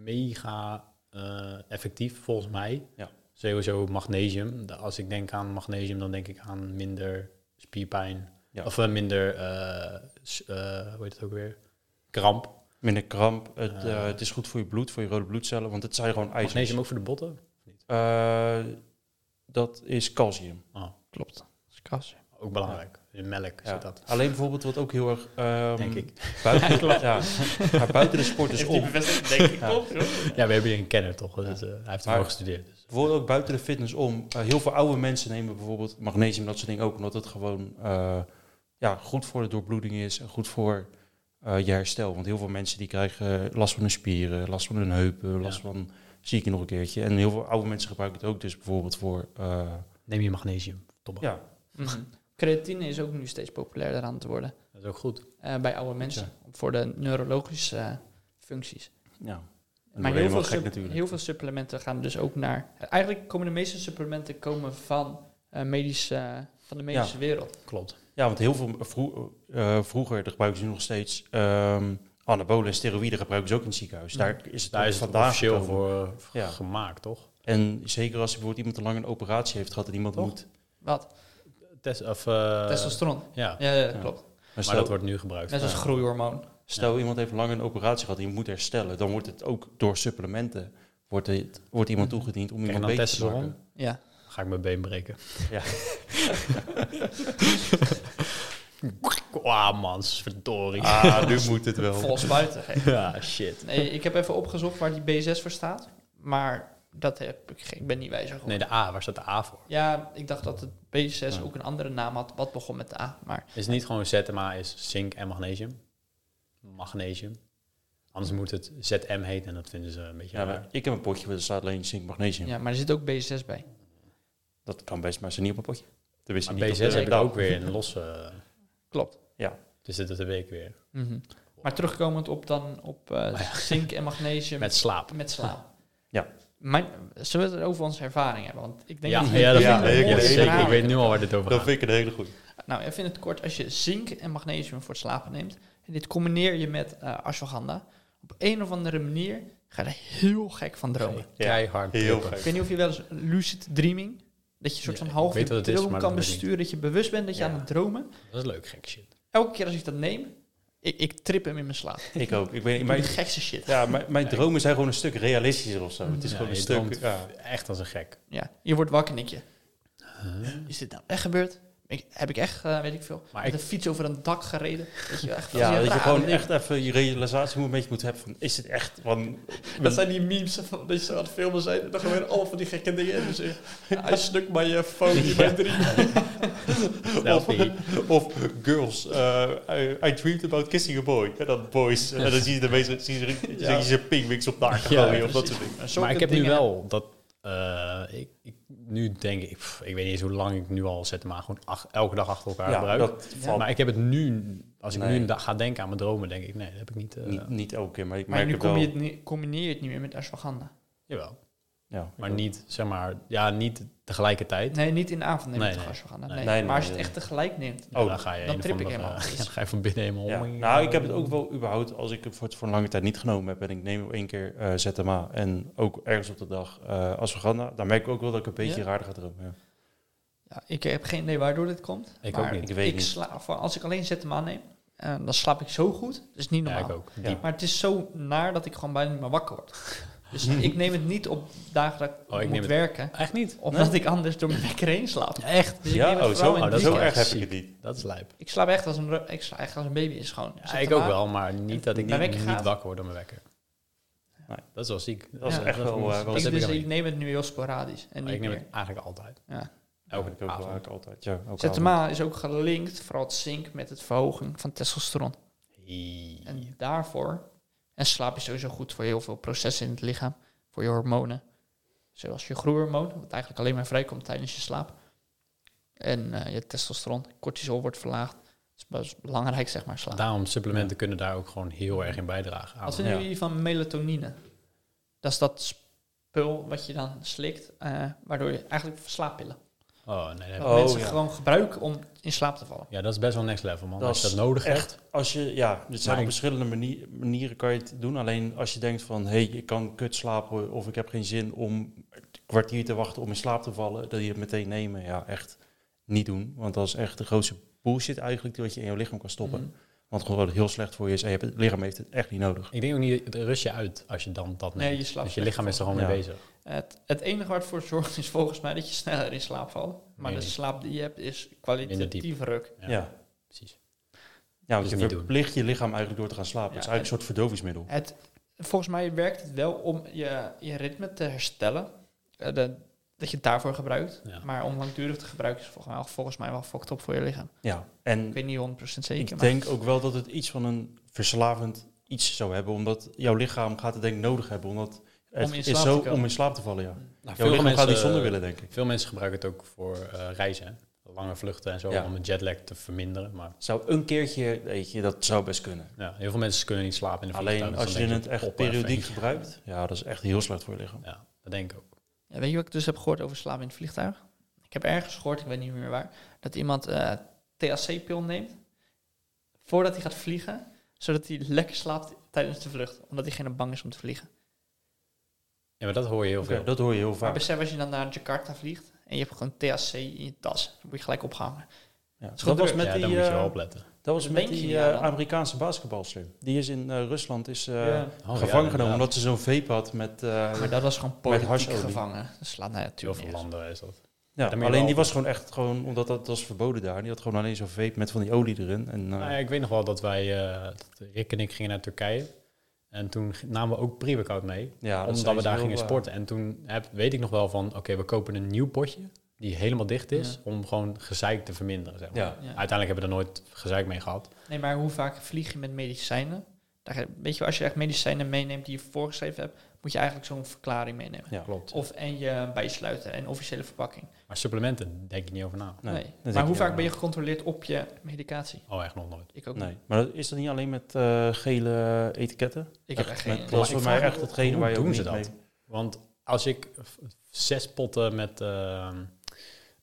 [SPEAKER 1] mega eh, effectief volgens mij.
[SPEAKER 2] Ja.
[SPEAKER 1] Sowieso magnesium. Da- Als ik denk aan magnesium, dan denk ik aan minder spierpijn.
[SPEAKER 2] Ja.
[SPEAKER 1] Of eh, minder, eh, s- eh, hoe heet het ook weer? Kramp.
[SPEAKER 2] hebt minder kramp. Het, eh,
[SPEAKER 1] Eh.
[SPEAKER 2] het is goed voor je bloed, voor je rode bloedcellen, want het zijn gewoon ijzers.
[SPEAKER 1] Magnesium ook voor de botten?
[SPEAKER 2] Eh, dat is calcium.
[SPEAKER 3] Klopt. Dat is kras.
[SPEAKER 1] Ook belangrijk. In melk
[SPEAKER 2] Ja.
[SPEAKER 1] zit dat,
[SPEAKER 2] Alleen bijvoorbeeld wat ook heel erg... ehm,
[SPEAKER 1] denk ik.
[SPEAKER 2] Buiten, ja, maar buiten de sport is om.
[SPEAKER 3] bevestigd, denk ik,
[SPEAKER 2] Ja.
[SPEAKER 3] klopt, joh.
[SPEAKER 1] Ja, we hebben hier een kenner toch? Dus, eh, hij heeft
[SPEAKER 2] Maar-
[SPEAKER 1] ervoor gestudeerd. Dus.
[SPEAKER 2] Bijvoorbeeld ook buiten de fitness om. Eh, heel veel oude mensen nemen bijvoorbeeld magnesium, dat soort dingen ook. Omdat het gewoon eh, ja, goed voor de doorbloeding is en goed voor eh, je herstel. Want heel veel mensen die krijgen eh, last van hun spieren, last van hun heupen, last
[SPEAKER 1] Ja.
[SPEAKER 2] van zieken nog een keertje. En heel veel oude mensen gebruiken het ook dus bijvoorbeeld voor... eh,
[SPEAKER 1] Neem je magnesium. Tobbe.
[SPEAKER 2] ja,
[SPEAKER 3] Mhm. Creatine is ook nu steeds populairder aan het worden
[SPEAKER 1] Dat is ook goed.
[SPEAKER 3] eh, bij oude mensen. Voor de neurologische eh, functies.
[SPEAKER 2] ja. En
[SPEAKER 3] Maar
[SPEAKER 2] dan ben je
[SPEAKER 3] heel
[SPEAKER 2] wel
[SPEAKER 3] veel,
[SPEAKER 2] gek
[SPEAKER 3] sup- heel veel supplementen gaan dus ook naar... Eigenlijk komen de meeste supplementen komen van, eh, medische, van de medische wereld.
[SPEAKER 1] Klopt.
[SPEAKER 2] Ja, want heel veel vro- eh, vroeger dat gebruiken ze nog steeds... ehm anabolen en steroïden gebruiken ze ook in het ziekenhuis. Daar is het,
[SPEAKER 1] Daar is het
[SPEAKER 2] vandaan
[SPEAKER 1] officieel
[SPEAKER 2] gekomen.
[SPEAKER 1] voor eh, voor
[SPEAKER 2] Ja.
[SPEAKER 1] gemaakt, toch?
[SPEAKER 2] En zeker als bijvoorbeeld iemand te lang een operatie heeft gehad en iemand
[SPEAKER 1] Toch?
[SPEAKER 2] moet.
[SPEAKER 3] Wat?
[SPEAKER 1] Test, of, eh,
[SPEAKER 3] Testosteron.
[SPEAKER 1] Ja,
[SPEAKER 3] Ja, ja, dat
[SPEAKER 2] Ja.
[SPEAKER 3] klopt.
[SPEAKER 2] Maar
[SPEAKER 1] maar
[SPEAKER 2] stel,
[SPEAKER 1] dat wordt nu gebruikt.
[SPEAKER 3] Net als
[SPEAKER 2] Ja.
[SPEAKER 3] groeihormoon.
[SPEAKER 2] stel iemand heeft lang een operatie gehad en je moet herstellen, dan wordt het ook door supplementen wordt het, wordt iemand
[SPEAKER 3] Mhm.
[SPEAKER 2] toegediend om
[SPEAKER 1] Krijg je
[SPEAKER 2] iemand
[SPEAKER 1] dan
[SPEAKER 2] beter te
[SPEAKER 1] testosteron?
[SPEAKER 2] maken.
[SPEAKER 3] Ja.
[SPEAKER 1] Ga ik mijn been breken.
[SPEAKER 2] Ja.
[SPEAKER 1] Ah man, verdorie.
[SPEAKER 2] Ah, nu moet het wel.
[SPEAKER 3] Vol spuiten. gek.
[SPEAKER 1] Ja, shit.
[SPEAKER 3] Nee, ik heb even opgezocht waar die B6 voor staat. Maar Dat heb ik, geen- ik ben niet wijzer geworden.
[SPEAKER 1] Nee, de A. Waar staat de A voor?
[SPEAKER 3] Ja, ik dacht dat het B6
[SPEAKER 1] Ja.
[SPEAKER 3] ook een andere naam had, wat begon met de A. Maar
[SPEAKER 1] Is het niet gewoon ZMA is zink en magnesium? Magnesium. Anders moet het ZM heten en dat vinden ze een beetje
[SPEAKER 2] Ja, maar
[SPEAKER 1] raar.
[SPEAKER 2] ik heb een potje, maar er staat alleen zink magnesium.
[SPEAKER 3] Ja, maar er zit ook B6 bij.
[SPEAKER 2] Dat kan best, maar ze niet op een potje. Dat wist
[SPEAKER 1] Maar
[SPEAKER 2] ik
[SPEAKER 1] B6
[SPEAKER 2] niet.
[SPEAKER 1] heb ik
[SPEAKER 2] daar
[SPEAKER 1] ook weer in losse... eh,
[SPEAKER 3] Klopt.
[SPEAKER 1] Dus dat heb ik weer.
[SPEAKER 3] Mhm. Maar terugkomend op dan op eh, zink en magnesium
[SPEAKER 1] Oh Met slaap.
[SPEAKER 3] met slaap.
[SPEAKER 2] Ja.
[SPEAKER 3] Mijn, zullen we het over onze ervaring hebben? Want ik denk
[SPEAKER 1] ja,
[SPEAKER 3] dat,
[SPEAKER 1] ja, dat
[SPEAKER 2] Ja,
[SPEAKER 1] vind
[SPEAKER 2] nee,
[SPEAKER 1] ik,
[SPEAKER 2] ik
[SPEAKER 1] ja,
[SPEAKER 2] weet-
[SPEAKER 1] zeker.
[SPEAKER 2] ik
[SPEAKER 1] Ik weet nu al waar dit over
[SPEAKER 2] Dat
[SPEAKER 1] gaat.
[SPEAKER 2] vind ik een hele goede.
[SPEAKER 3] Nou, even in het kort, als je zink en magnesium voor het slapen neemt, en dit combineer je met eh ashwagandha, op een of andere manier ga je er heel gek van dromen.
[SPEAKER 1] Keihard.
[SPEAKER 2] Heel
[SPEAKER 1] prikken.
[SPEAKER 2] gek.
[SPEAKER 3] Ik weet niet of je wel eens lucid dreaming, dat je een soort
[SPEAKER 1] Ja,
[SPEAKER 3] van
[SPEAKER 1] ik
[SPEAKER 3] half
[SPEAKER 1] weet wat
[SPEAKER 3] in
[SPEAKER 1] het is,
[SPEAKER 3] droom
[SPEAKER 1] maar
[SPEAKER 3] kan
[SPEAKER 1] dat weet ik niet.
[SPEAKER 3] besturen, dat je bewust bent dat je
[SPEAKER 1] Ja.
[SPEAKER 3] aan het dromen.
[SPEAKER 1] Dat is leuk, gek shit.
[SPEAKER 3] Elke keer als ik dat neem, ik, ik trip hem in mijn slaap.
[SPEAKER 2] Ik ook. Ik weet niet,
[SPEAKER 3] Maar de
[SPEAKER 2] mijn,
[SPEAKER 3] gekste shit.
[SPEAKER 2] ja, mijn, mijn dromen zijn gewoon een stuk realistischer of zo. Het is
[SPEAKER 1] Ja,
[SPEAKER 2] gewoon een
[SPEAKER 1] je
[SPEAKER 2] stuk...
[SPEAKER 1] droomt
[SPEAKER 2] Ja.
[SPEAKER 1] Echt als een gek.
[SPEAKER 3] Ja, je wordt wakker en denk je, is dit nou echt gebeurd? Ik, heb ik echt, eh, weet ik veel,
[SPEAKER 1] Maar
[SPEAKER 3] met
[SPEAKER 1] ik-
[SPEAKER 3] een fiets over een dak gereden? Weet je, echt,
[SPEAKER 2] Ja, dat je
[SPEAKER 3] rare
[SPEAKER 2] gewoon
[SPEAKER 3] dingen.
[SPEAKER 2] echt even je realisatie moet- een beetje moet hebben van, is het echt? Want
[SPEAKER 3] Dat zijn die memes van dat je zo aan het filmen zijn en dan gebeuren allemaal van die gekke dingen. En dan zeg je, hij snuk mijn phone in mijn drie.
[SPEAKER 2] of,
[SPEAKER 1] Selfie.
[SPEAKER 2] of girls, eh, I, I dreamed about kissing a boy. En dan boys. En dan zie je de meeste, zie je, zie
[SPEAKER 3] Ja.
[SPEAKER 2] je ze pingwings op de akker
[SPEAKER 1] Ja,
[SPEAKER 2] gooien of dat
[SPEAKER 3] precies.
[SPEAKER 2] soort dingen.
[SPEAKER 1] Maar
[SPEAKER 3] Zulke
[SPEAKER 1] ik heb nu
[SPEAKER 3] dingen
[SPEAKER 1] wel dat... eh, ik, ik, nu denk ik... pff, ik weet niet eens hoe lang ik nu al zet, maar gewoon ach- elke dag achter elkaar
[SPEAKER 2] Ja,
[SPEAKER 1] gebruik.
[SPEAKER 2] dat
[SPEAKER 3] Ja.
[SPEAKER 2] valt
[SPEAKER 1] Maar ik heb het nu... Als ik
[SPEAKER 2] Nee.
[SPEAKER 1] nu da- ga denken aan mijn dromen, denk ik... Nee, dat heb ik niet... eh,
[SPEAKER 2] niet, niet elke keer, maar ik
[SPEAKER 3] Maar,
[SPEAKER 2] merk
[SPEAKER 3] nu
[SPEAKER 2] het wel.
[SPEAKER 3] kom je het niet, combineer je het niet meer met ashwagandha.
[SPEAKER 1] Jawel.
[SPEAKER 2] ja,
[SPEAKER 1] Maar niet, zeg maar... Ja, niet tegelijkertijd.
[SPEAKER 3] Nee, niet in de avond neem je
[SPEAKER 1] Nee,
[SPEAKER 3] toch
[SPEAKER 1] nee.
[SPEAKER 3] ashwagandha.
[SPEAKER 1] Nee.
[SPEAKER 3] Nee.
[SPEAKER 2] Nee, nee,
[SPEAKER 3] maar als je het
[SPEAKER 2] nee.
[SPEAKER 3] echt tegelijk neemt.
[SPEAKER 1] Oh,
[SPEAKER 2] Oh,
[SPEAKER 1] dan ga je
[SPEAKER 3] dan
[SPEAKER 1] een of
[SPEAKER 3] trip ik
[SPEAKER 1] andere-
[SPEAKER 3] helemaal.
[SPEAKER 1] ja, dan ga je van binnen helemaal
[SPEAKER 2] Ja.
[SPEAKER 1] om.
[SPEAKER 2] Nou, ik heb het ook wel überhaupt, als ik het voor, voor een lange tijd niet genomen heb en ik neem op één keer eh, ZMA en ook ergens op de dag eh ashwagandha, dan merk ik ook wel dat ik een beetje
[SPEAKER 3] Ja? Dus
[SPEAKER 2] raarder ga dromen. Ja.
[SPEAKER 3] Ja, ik heb geen idee waardoor dit komt.
[SPEAKER 1] Ik
[SPEAKER 3] maar
[SPEAKER 1] ook niet.
[SPEAKER 2] Ik weet
[SPEAKER 3] ik
[SPEAKER 2] niet.
[SPEAKER 3] sla, voor- als ik alleen ZMA neem, eh, dan slaap ik zo goed. Dat is niet
[SPEAKER 1] Ja,
[SPEAKER 3] normaal.
[SPEAKER 1] ik ook.
[SPEAKER 2] Ja.
[SPEAKER 1] Diep.
[SPEAKER 3] Maar het is zo naar dat ik gewoon bijna niet meer wakker word. Dus ik neem het niet op dagen dat ik
[SPEAKER 1] Oh, ik
[SPEAKER 3] moet
[SPEAKER 1] neem het-
[SPEAKER 3] werken.
[SPEAKER 1] Echt niet.
[SPEAKER 3] Omdat ik anders door mijn wekker heen slaap.
[SPEAKER 1] Echt?
[SPEAKER 3] Dus ik
[SPEAKER 2] Ja,
[SPEAKER 3] neem het
[SPEAKER 2] oh,
[SPEAKER 3] vooral
[SPEAKER 2] zo,
[SPEAKER 3] in
[SPEAKER 1] oh,
[SPEAKER 3] het
[SPEAKER 1] dat is
[SPEAKER 2] zo
[SPEAKER 1] wel
[SPEAKER 3] weekend.
[SPEAKER 2] erg heb ik het niet.
[SPEAKER 1] Dat is lijp.
[SPEAKER 3] Ik slaap echt als een, ro- ik slaap echt als een baby. Is gewoon,
[SPEAKER 1] Ja, ik ook wel, maar niet dat ik
[SPEAKER 3] Mijn
[SPEAKER 1] niet,
[SPEAKER 3] wekker
[SPEAKER 1] niet
[SPEAKER 3] gaat.
[SPEAKER 1] wakker word door mijn wekker.
[SPEAKER 2] Nee.
[SPEAKER 1] Dat is wel ziek.
[SPEAKER 2] Dat is
[SPEAKER 3] Ja.
[SPEAKER 2] echt wel... eh, wel
[SPEAKER 1] dat
[SPEAKER 3] Ik,
[SPEAKER 1] heb
[SPEAKER 3] dus
[SPEAKER 1] ik
[SPEAKER 3] ik,
[SPEAKER 1] ook niet.
[SPEAKER 3] neem het nu heel sporadisch.
[SPEAKER 1] Maar
[SPEAKER 3] En niet
[SPEAKER 1] ik neem
[SPEAKER 3] meer.
[SPEAKER 1] het eigenlijk altijd.
[SPEAKER 3] Ja.
[SPEAKER 1] Elke
[SPEAKER 2] ook wel
[SPEAKER 1] avond.
[SPEAKER 2] eigenlijk altijd. Ja, ook avond.
[SPEAKER 3] ZMA is ook gelinkt, vooral het zink, met het verhogen van testosteron.
[SPEAKER 1] Hie.
[SPEAKER 3] En daarvoor, en slaap is sowieso goed voor heel veel processen in het lichaam, voor je hormonen. Zoals je groeihormoon, wat eigenlijk alleen maar vrijkomt tijdens je slaap. En eh, je testosteron, cortisol wordt verlaagd. Dat is best belangrijk, zeg maar, slaap.
[SPEAKER 1] Daarom, supplementen kunnen daar ook gewoon heel erg in bijdragen.
[SPEAKER 3] Wat
[SPEAKER 1] Aan.
[SPEAKER 3] vinden
[SPEAKER 2] ja.
[SPEAKER 3] jullie van melatonine? Dat is dat spul wat je dan slikt, eh, waardoor je eigenlijk slaappillen.
[SPEAKER 1] Oh, nee, nee.
[SPEAKER 3] Dat
[SPEAKER 2] Oh,
[SPEAKER 3] mensen
[SPEAKER 2] ja.
[SPEAKER 3] gewoon gebruiken om in slaap te vallen.
[SPEAKER 1] Ja, dat is best wel next level, man.
[SPEAKER 2] Dat
[SPEAKER 1] Als je
[SPEAKER 2] is
[SPEAKER 1] dat nodig
[SPEAKER 2] echt-
[SPEAKER 1] hebt.
[SPEAKER 2] Als je, ja, dit zijn
[SPEAKER 1] Maar
[SPEAKER 2] op
[SPEAKER 1] ik-
[SPEAKER 2] verschillende manier- manieren kan je het doen. Alleen als je denkt van, hé, hey, ik kan kut slapen of ik heb geen zin om een kwartier te wachten om in slaap te vallen, dat je het meteen nemen. Ja, echt niet doen. Want dat is echt de grootste bullshit eigenlijk die wat je in je lichaam kan stoppen.
[SPEAKER 3] Mhm.
[SPEAKER 2] Want gewoon wat het heel slecht voor je is en je hebt het lichaam heeft het echt niet nodig.
[SPEAKER 1] Ik denk ook niet, het rust je uit als je dan dat
[SPEAKER 3] Nee,
[SPEAKER 1] neemt.
[SPEAKER 3] je slaapt
[SPEAKER 1] dus je
[SPEAKER 3] slecht.
[SPEAKER 1] lichaam is er gewoon mee
[SPEAKER 2] Ja.
[SPEAKER 1] bezig.
[SPEAKER 3] Het, het enige waar het voor zorgt is volgens mij dat je sneller in slaap valt. Maar
[SPEAKER 1] Nee.
[SPEAKER 3] de slaap die je hebt is
[SPEAKER 1] Minder
[SPEAKER 3] kwalitatief ruk.
[SPEAKER 2] Ja, ja.
[SPEAKER 1] precies.
[SPEAKER 2] want
[SPEAKER 1] Dus
[SPEAKER 2] je
[SPEAKER 1] niet doen.
[SPEAKER 2] verplicht je lichaam eigenlijk door te gaan slapen.
[SPEAKER 3] Ja,
[SPEAKER 2] het is eigenlijk een soort verdovingsmiddel.
[SPEAKER 3] Het, volgens mij werkt het wel om je, je ritme te herstellen. Eh, de- dat je het daarvoor gebruikt.
[SPEAKER 1] Ja.
[SPEAKER 3] Maar om langdurig te gebruiken is volgens mij, volgens mij wel fucked up voor je lichaam.
[SPEAKER 2] Ja, en
[SPEAKER 3] Ik weet niet 100% zeker.
[SPEAKER 2] Ik
[SPEAKER 3] maar-
[SPEAKER 2] denk ook wel dat het iets van een verslavend iets zou hebben, omdat jouw lichaam gaat het denk ik nodig hebben, omdat het
[SPEAKER 3] in slaap
[SPEAKER 2] is
[SPEAKER 3] te
[SPEAKER 2] zo
[SPEAKER 3] komen.
[SPEAKER 2] om in slaap te vallen, ja.
[SPEAKER 1] Nou,
[SPEAKER 2] Jouw lichaam gaat niet zonder willen, denk ik.
[SPEAKER 1] Veel mensen gebruiken het ook voor eh, reizen. hè. Lange vluchten en zo,
[SPEAKER 2] Ja.
[SPEAKER 1] om het jetlag te verminderen. Maar
[SPEAKER 2] Zou een keertje, weet je, dat zou best kunnen.
[SPEAKER 1] ja, heel veel mensen kunnen niet slapen in de
[SPEAKER 2] Alleen
[SPEAKER 1] vliegtuig, dus
[SPEAKER 2] als je
[SPEAKER 1] dan denk
[SPEAKER 2] het echt
[SPEAKER 1] op, even
[SPEAKER 2] periodiek
[SPEAKER 1] eentje.
[SPEAKER 2] gebruikt, ja, dat is echt heel slecht voor je lichaam.
[SPEAKER 1] Ja, dat denk ik ook.
[SPEAKER 3] Ja, weet je wat ik dus heb gehoord over slapen in het vliegtuig? Ik heb ergens gehoord, ik weet niet meer waar, dat iemand eh THC-pil neemt voordat hij gaat vliegen, zodat hij lekker slaapt tijdens de vlucht, omdat diegene bang is om te vliegen.
[SPEAKER 1] Ja, maar dat hoor je heel
[SPEAKER 2] Oké,
[SPEAKER 1] veel.
[SPEAKER 2] dat hoor je heel
[SPEAKER 3] Maar
[SPEAKER 2] vaak.
[SPEAKER 3] besef als je dan naar Jakarta vliegt en je hebt gewoon THC in je tas, dan word je gelijk opgehangen.
[SPEAKER 2] Ja.
[SPEAKER 3] is
[SPEAKER 2] Dat
[SPEAKER 3] goed
[SPEAKER 2] was
[SPEAKER 3] druk.
[SPEAKER 2] met
[SPEAKER 1] ja,
[SPEAKER 2] die,
[SPEAKER 1] daar moet je wel
[SPEAKER 2] eh,
[SPEAKER 1] opletten. Oh,
[SPEAKER 2] dat was met
[SPEAKER 3] Denk je
[SPEAKER 2] die
[SPEAKER 3] niet aan
[SPEAKER 2] eh,
[SPEAKER 3] dan?
[SPEAKER 2] Amerikaanse basketbalster. Die is in eh, Rusland is, eh,
[SPEAKER 3] Ja.
[SPEAKER 1] Oh, ja,
[SPEAKER 2] gevangen genomen
[SPEAKER 1] inderdaad.
[SPEAKER 2] omdat ze zo'n vape had met... eh,
[SPEAKER 3] Maar dat was gewoon politiek
[SPEAKER 2] harsolie.
[SPEAKER 3] gevangen. Dat slaat nou
[SPEAKER 1] Heel
[SPEAKER 3] natuurlijk
[SPEAKER 1] veel
[SPEAKER 3] niet.
[SPEAKER 1] landen is dat.
[SPEAKER 2] ja,
[SPEAKER 1] moet je
[SPEAKER 2] alleen
[SPEAKER 1] wel
[SPEAKER 2] die was gewoon echt gewoon, omdat dat was verboden daar. Die had gewoon alleen zo'n
[SPEAKER 1] Ah,
[SPEAKER 2] vape met van die olie erin. En, eh,
[SPEAKER 1] Nou ja, ik weet nog wel dat wij, eh, dat Rick en ik gingen naar Turkije. En toen g- namen we ook pre-workout mee,
[SPEAKER 2] Ja, dat is
[SPEAKER 1] omdat we
[SPEAKER 2] iets
[SPEAKER 1] daar
[SPEAKER 2] heel,
[SPEAKER 1] gingen
[SPEAKER 2] eh,
[SPEAKER 1] sporten. En toen heb, weet ik nog wel van, oké, we kopen een nieuw potje die helemaal dicht is,
[SPEAKER 3] Ja.
[SPEAKER 1] om gewoon gezeik te verminderen. Zeg maar.
[SPEAKER 2] Ja.
[SPEAKER 3] Ja.
[SPEAKER 1] Uiteindelijk hebben we er nooit gezeik mee gehad.
[SPEAKER 3] Nee, maar hoe vaak vlieg je met medicijnen? Daar, weet je, wel, als je echt medicijnen meeneemt die je voorgeschreven hebt, moet je eigenlijk zo'n verklaring meenemen.
[SPEAKER 2] Ja.
[SPEAKER 1] Klopt.
[SPEAKER 3] Of en je bijsluiten en officiële verpakking.
[SPEAKER 1] Maar supplementen denk je niet over na.
[SPEAKER 2] Nee,
[SPEAKER 3] Nee.
[SPEAKER 2] dat denk
[SPEAKER 3] Maar hoe
[SPEAKER 2] ik
[SPEAKER 3] vaak
[SPEAKER 2] ook.
[SPEAKER 3] ben je gecontroleerd op je medicatie?
[SPEAKER 1] Oh, echt nog nooit.
[SPEAKER 3] Ik ook niet.
[SPEAKER 2] Nee, maar dat- is dat niet alleen met eh, gele etiketten?
[SPEAKER 3] Ik heb echt geen...
[SPEAKER 2] Met- dat is
[SPEAKER 1] Maar
[SPEAKER 2] voor
[SPEAKER 1] ik
[SPEAKER 2] mij
[SPEAKER 1] vraag
[SPEAKER 2] echt
[SPEAKER 1] me-
[SPEAKER 2] hetgene
[SPEAKER 1] hoe
[SPEAKER 2] waar je ook
[SPEAKER 1] doen ze
[SPEAKER 2] niet
[SPEAKER 1] dat?
[SPEAKER 2] mee-
[SPEAKER 1] Want als ik v- zes potten met ehm,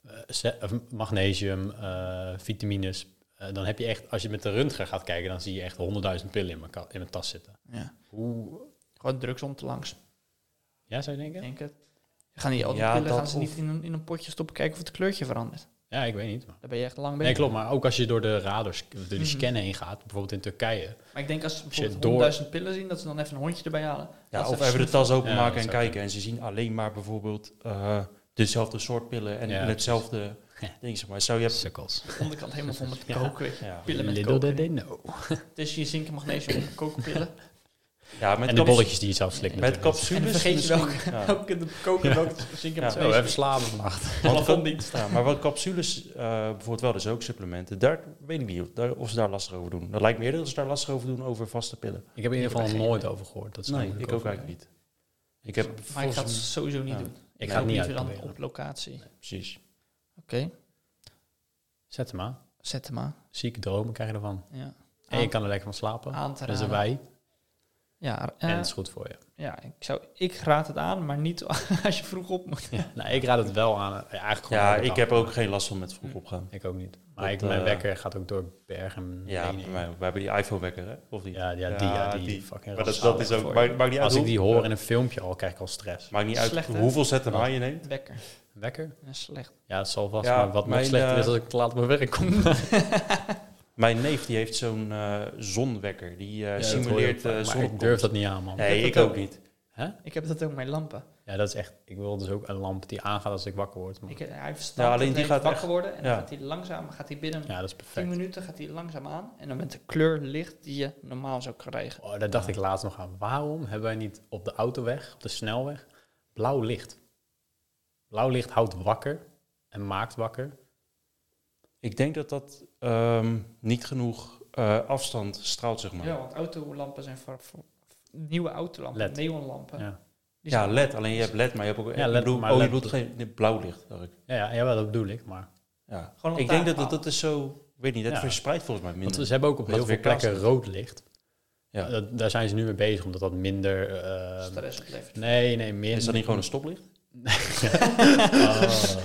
[SPEAKER 1] eh, ze- of magnesium, eh, vitamines, eh, dan heb je echt, als je met de röntgen gaat kijken, dan zie je echt 100.000 pillen in mijn, ka- in mijn tas zitten.
[SPEAKER 3] Ja.
[SPEAKER 1] Hoe?
[SPEAKER 3] Gewoon drugs om te langs,
[SPEAKER 1] Ja, zou je denken?
[SPEAKER 3] denk ik. Gaan die al die
[SPEAKER 2] Ja,
[SPEAKER 3] pillen
[SPEAKER 2] dat
[SPEAKER 3] gaan ze
[SPEAKER 2] of-
[SPEAKER 3] niet in een, in een potje stoppen kijken of het kleurtje verandert?
[SPEAKER 1] Ja, ik weet niet. maar-
[SPEAKER 3] Daar ben je echt lang
[SPEAKER 1] Nee,
[SPEAKER 3] bezig.
[SPEAKER 1] klopt. Maar ook als je door de radars, door die
[SPEAKER 3] Mhm.
[SPEAKER 1] scannen heen gaat, bijvoorbeeld in Turkije.
[SPEAKER 3] Maar ik denk als ze
[SPEAKER 1] je
[SPEAKER 3] bijvoorbeeld
[SPEAKER 1] door-
[SPEAKER 3] 100.000 pillen zien, dat ze dan even een hondje erbij halen. Dat
[SPEAKER 2] Ja,
[SPEAKER 3] ze
[SPEAKER 2] of even de
[SPEAKER 3] snoeven.
[SPEAKER 2] tas
[SPEAKER 1] Ja,
[SPEAKER 2] openmaken
[SPEAKER 1] dat
[SPEAKER 2] en
[SPEAKER 1] zou
[SPEAKER 2] kijken. En ze zien alleen maar bijvoorbeeld eh, dezelfde soort pillen en
[SPEAKER 1] Ja,
[SPEAKER 2] in hetzelfde
[SPEAKER 1] precies.
[SPEAKER 2] ding. Zeg maar. Zou je...
[SPEAKER 1] Sukkels.
[SPEAKER 3] de onderkant helemaal vol met
[SPEAKER 1] Ja.
[SPEAKER 3] koken. weet je.
[SPEAKER 2] Ja,
[SPEAKER 3] Pillen met
[SPEAKER 1] Little
[SPEAKER 3] coke.
[SPEAKER 1] did they know.
[SPEAKER 3] Dus je zinken, magnesium, kokenpillen.
[SPEAKER 2] ja met
[SPEAKER 1] En de
[SPEAKER 2] caps-
[SPEAKER 1] bolletjes die je zelf slikt
[SPEAKER 2] Met
[SPEAKER 1] natuurlijk.
[SPEAKER 2] capsules.
[SPEAKER 3] En dan vergeet je
[SPEAKER 2] misschien-
[SPEAKER 3] welke,
[SPEAKER 2] ja.
[SPEAKER 3] welke de koken en welke de zinken
[SPEAKER 2] Ja.
[SPEAKER 3] met
[SPEAKER 1] Zo,
[SPEAKER 3] twee.
[SPEAKER 1] even slapen vannacht.
[SPEAKER 2] Want
[SPEAKER 3] Plafond
[SPEAKER 2] cap- ja, maar wat capsules eh, bijvoorbeeld wel, dus ook supplementen. Daar weet ik niet of, daar, of ze daar lastig over doen. Dat lijkt me eerder dat ze daar lastig over doen over vaste pillen.
[SPEAKER 1] Ik heb in ieder
[SPEAKER 3] Ik heb
[SPEAKER 1] geval
[SPEAKER 3] geen
[SPEAKER 1] nooit over gehoord. Dat ze daar
[SPEAKER 2] nee, ik
[SPEAKER 1] moeilijk
[SPEAKER 2] ook
[SPEAKER 1] over-
[SPEAKER 2] eigenlijk niet. Ik heb
[SPEAKER 3] Maar ik
[SPEAKER 2] volgens
[SPEAKER 3] ga het
[SPEAKER 2] mij...
[SPEAKER 3] sowieso niet
[SPEAKER 2] Ja.
[SPEAKER 3] doen.
[SPEAKER 1] Ik
[SPEAKER 2] Ja,
[SPEAKER 1] ga het
[SPEAKER 3] Ook
[SPEAKER 1] niet
[SPEAKER 3] weer dan
[SPEAKER 1] uitproberen.
[SPEAKER 3] op locatie.
[SPEAKER 2] Precies.
[SPEAKER 3] Oké,
[SPEAKER 1] Zet hem aan.
[SPEAKER 3] zet hem aan.
[SPEAKER 1] Zieke dromen krijg je ervan.
[SPEAKER 3] Ja.
[SPEAKER 1] En je
[SPEAKER 3] Aan-
[SPEAKER 1] kan er lekker van slapen.
[SPEAKER 3] aan te
[SPEAKER 1] Dat is een
[SPEAKER 3] raden.
[SPEAKER 1] wij.
[SPEAKER 3] Ah, Ja,
[SPEAKER 1] En
[SPEAKER 3] eh,
[SPEAKER 1] het is goed voor je.
[SPEAKER 3] ja ik, zou, ik raad het aan, maar niet als je vroeg op moet.
[SPEAKER 1] Nou, ik raad het wel aan. eh, Eigenlijk gewoon Hm.
[SPEAKER 2] Ja,
[SPEAKER 1] elke
[SPEAKER 2] ik
[SPEAKER 1] dag.
[SPEAKER 2] heb ook geen last van met vroeg opgaan.
[SPEAKER 1] Ik ook niet. Maar
[SPEAKER 2] Dat,
[SPEAKER 1] ik, mijn
[SPEAKER 2] eh,
[SPEAKER 1] wekker gaat ook door bergen.
[SPEAKER 2] Ja,
[SPEAKER 1] heen.
[SPEAKER 2] bij mij ook. We hebben die iPhone-wekker, hè? Of niet?
[SPEAKER 1] Ja, ja, die, ja, die, fucking
[SPEAKER 2] Maar dat,
[SPEAKER 1] rassale
[SPEAKER 2] dat is
[SPEAKER 1] wekker
[SPEAKER 2] ook...
[SPEAKER 1] voor je.
[SPEAKER 2] Maakt, maakt niet uit
[SPEAKER 1] Als ik
[SPEAKER 2] hoe-
[SPEAKER 1] die hoor in een filmpje al, krijg ik al stress.
[SPEAKER 2] Maakt niet uit
[SPEAKER 3] Slecht, hè?
[SPEAKER 2] hoeveel zetten
[SPEAKER 1] Wat?
[SPEAKER 2] maar je neemt.
[SPEAKER 3] Wekker.
[SPEAKER 1] Wekker?
[SPEAKER 3] Ja, slecht.
[SPEAKER 1] Ja, dat zal vast.
[SPEAKER 2] Ja,
[SPEAKER 1] maar wat
[SPEAKER 2] mijn,
[SPEAKER 1] nog slechter
[SPEAKER 2] eh,
[SPEAKER 1] is als ik te laat op mijn werk kom.
[SPEAKER 2] Mijn neef die heeft zo'n eh, zonwekker. Die eh,
[SPEAKER 1] Ja, dat hoor je ook
[SPEAKER 2] simuleert
[SPEAKER 1] vaak,
[SPEAKER 2] eh
[SPEAKER 1] maar
[SPEAKER 2] zon.
[SPEAKER 1] ik durf dat niet aan, man.
[SPEAKER 2] Nee,
[SPEAKER 3] Ik
[SPEAKER 2] ik
[SPEAKER 3] heb
[SPEAKER 2] ook
[SPEAKER 3] dat
[SPEAKER 2] niet.
[SPEAKER 3] Ik heb dat ook met lampen.
[SPEAKER 1] Ja, dat is echt... Ik wil dus ook een lamp die aangaat als ik wakker word. man.
[SPEAKER 3] Ik, hij verstaat
[SPEAKER 2] Ja, alleen
[SPEAKER 3] dat
[SPEAKER 2] die
[SPEAKER 3] hij
[SPEAKER 2] gaat
[SPEAKER 3] wakker
[SPEAKER 2] echt-
[SPEAKER 3] worden en
[SPEAKER 2] ja.
[SPEAKER 3] dan gaat hij langzaam, gaat hij binnen
[SPEAKER 1] Ja, dat is
[SPEAKER 3] 10
[SPEAKER 1] perfect.
[SPEAKER 3] minuten gaat hij langzaam aan en dan met de kleur licht die je normaal zou krijgen.
[SPEAKER 1] Oh, daar dacht ik laatst nog aan. Waarom hebben wij niet op de autoweg, op de snelweg, blauw licht? Blauw licht houdt wakker en maakt wakker.
[SPEAKER 2] Ik denk dat dat ehm, niet genoeg eh, afstand straalt,
[SPEAKER 1] Oh
[SPEAKER 2] zeg maar.
[SPEAKER 3] Ja,
[SPEAKER 2] Ja,
[SPEAKER 3] want autolampen zijn voor, voor- nieuwe autolampen,
[SPEAKER 1] LED.
[SPEAKER 3] neonlampen.
[SPEAKER 1] Ja.
[SPEAKER 3] Die zijn-
[SPEAKER 2] LED. Alleen je hebt LED, maar je hebt ook...
[SPEAKER 1] Ja,
[SPEAKER 2] ik
[SPEAKER 1] LED,
[SPEAKER 2] bedoel,
[SPEAKER 1] maar
[SPEAKER 2] oh, je
[SPEAKER 1] LED
[SPEAKER 2] bedoelt geen nee, blauw licht, dacht ik.
[SPEAKER 1] Ja, ja, jawel, dat bedoel ik. Maar
[SPEAKER 2] Ja.
[SPEAKER 3] Gewoon een
[SPEAKER 2] Ik denk dat dat,
[SPEAKER 3] taakpaal.
[SPEAKER 2] dat is zo... Weet niet, dat
[SPEAKER 1] Ja.
[SPEAKER 2] verspreidt volgens mij
[SPEAKER 1] want eh,
[SPEAKER 2] minder.
[SPEAKER 1] ze hebben ook op
[SPEAKER 2] Omdat
[SPEAKER 1] heel
[SPEAKER 2] het
[SPEAKER 1] veel
[SPEAKER 2] weer
[SPEAKER 1] plekken rood licht.
[SPEAKER 2] Ja.
[SPEAKER 1] Dat, daar zijn ze nu mee bezig, omdat dat minder... eh,
[SPEAKER 3] stress oplevert.
[SPEAKER 1] nee, nee, meer...
[SPEAKER 2] Is dat niet gewoon een stoplicht?
[SPEAKER 1] Oh.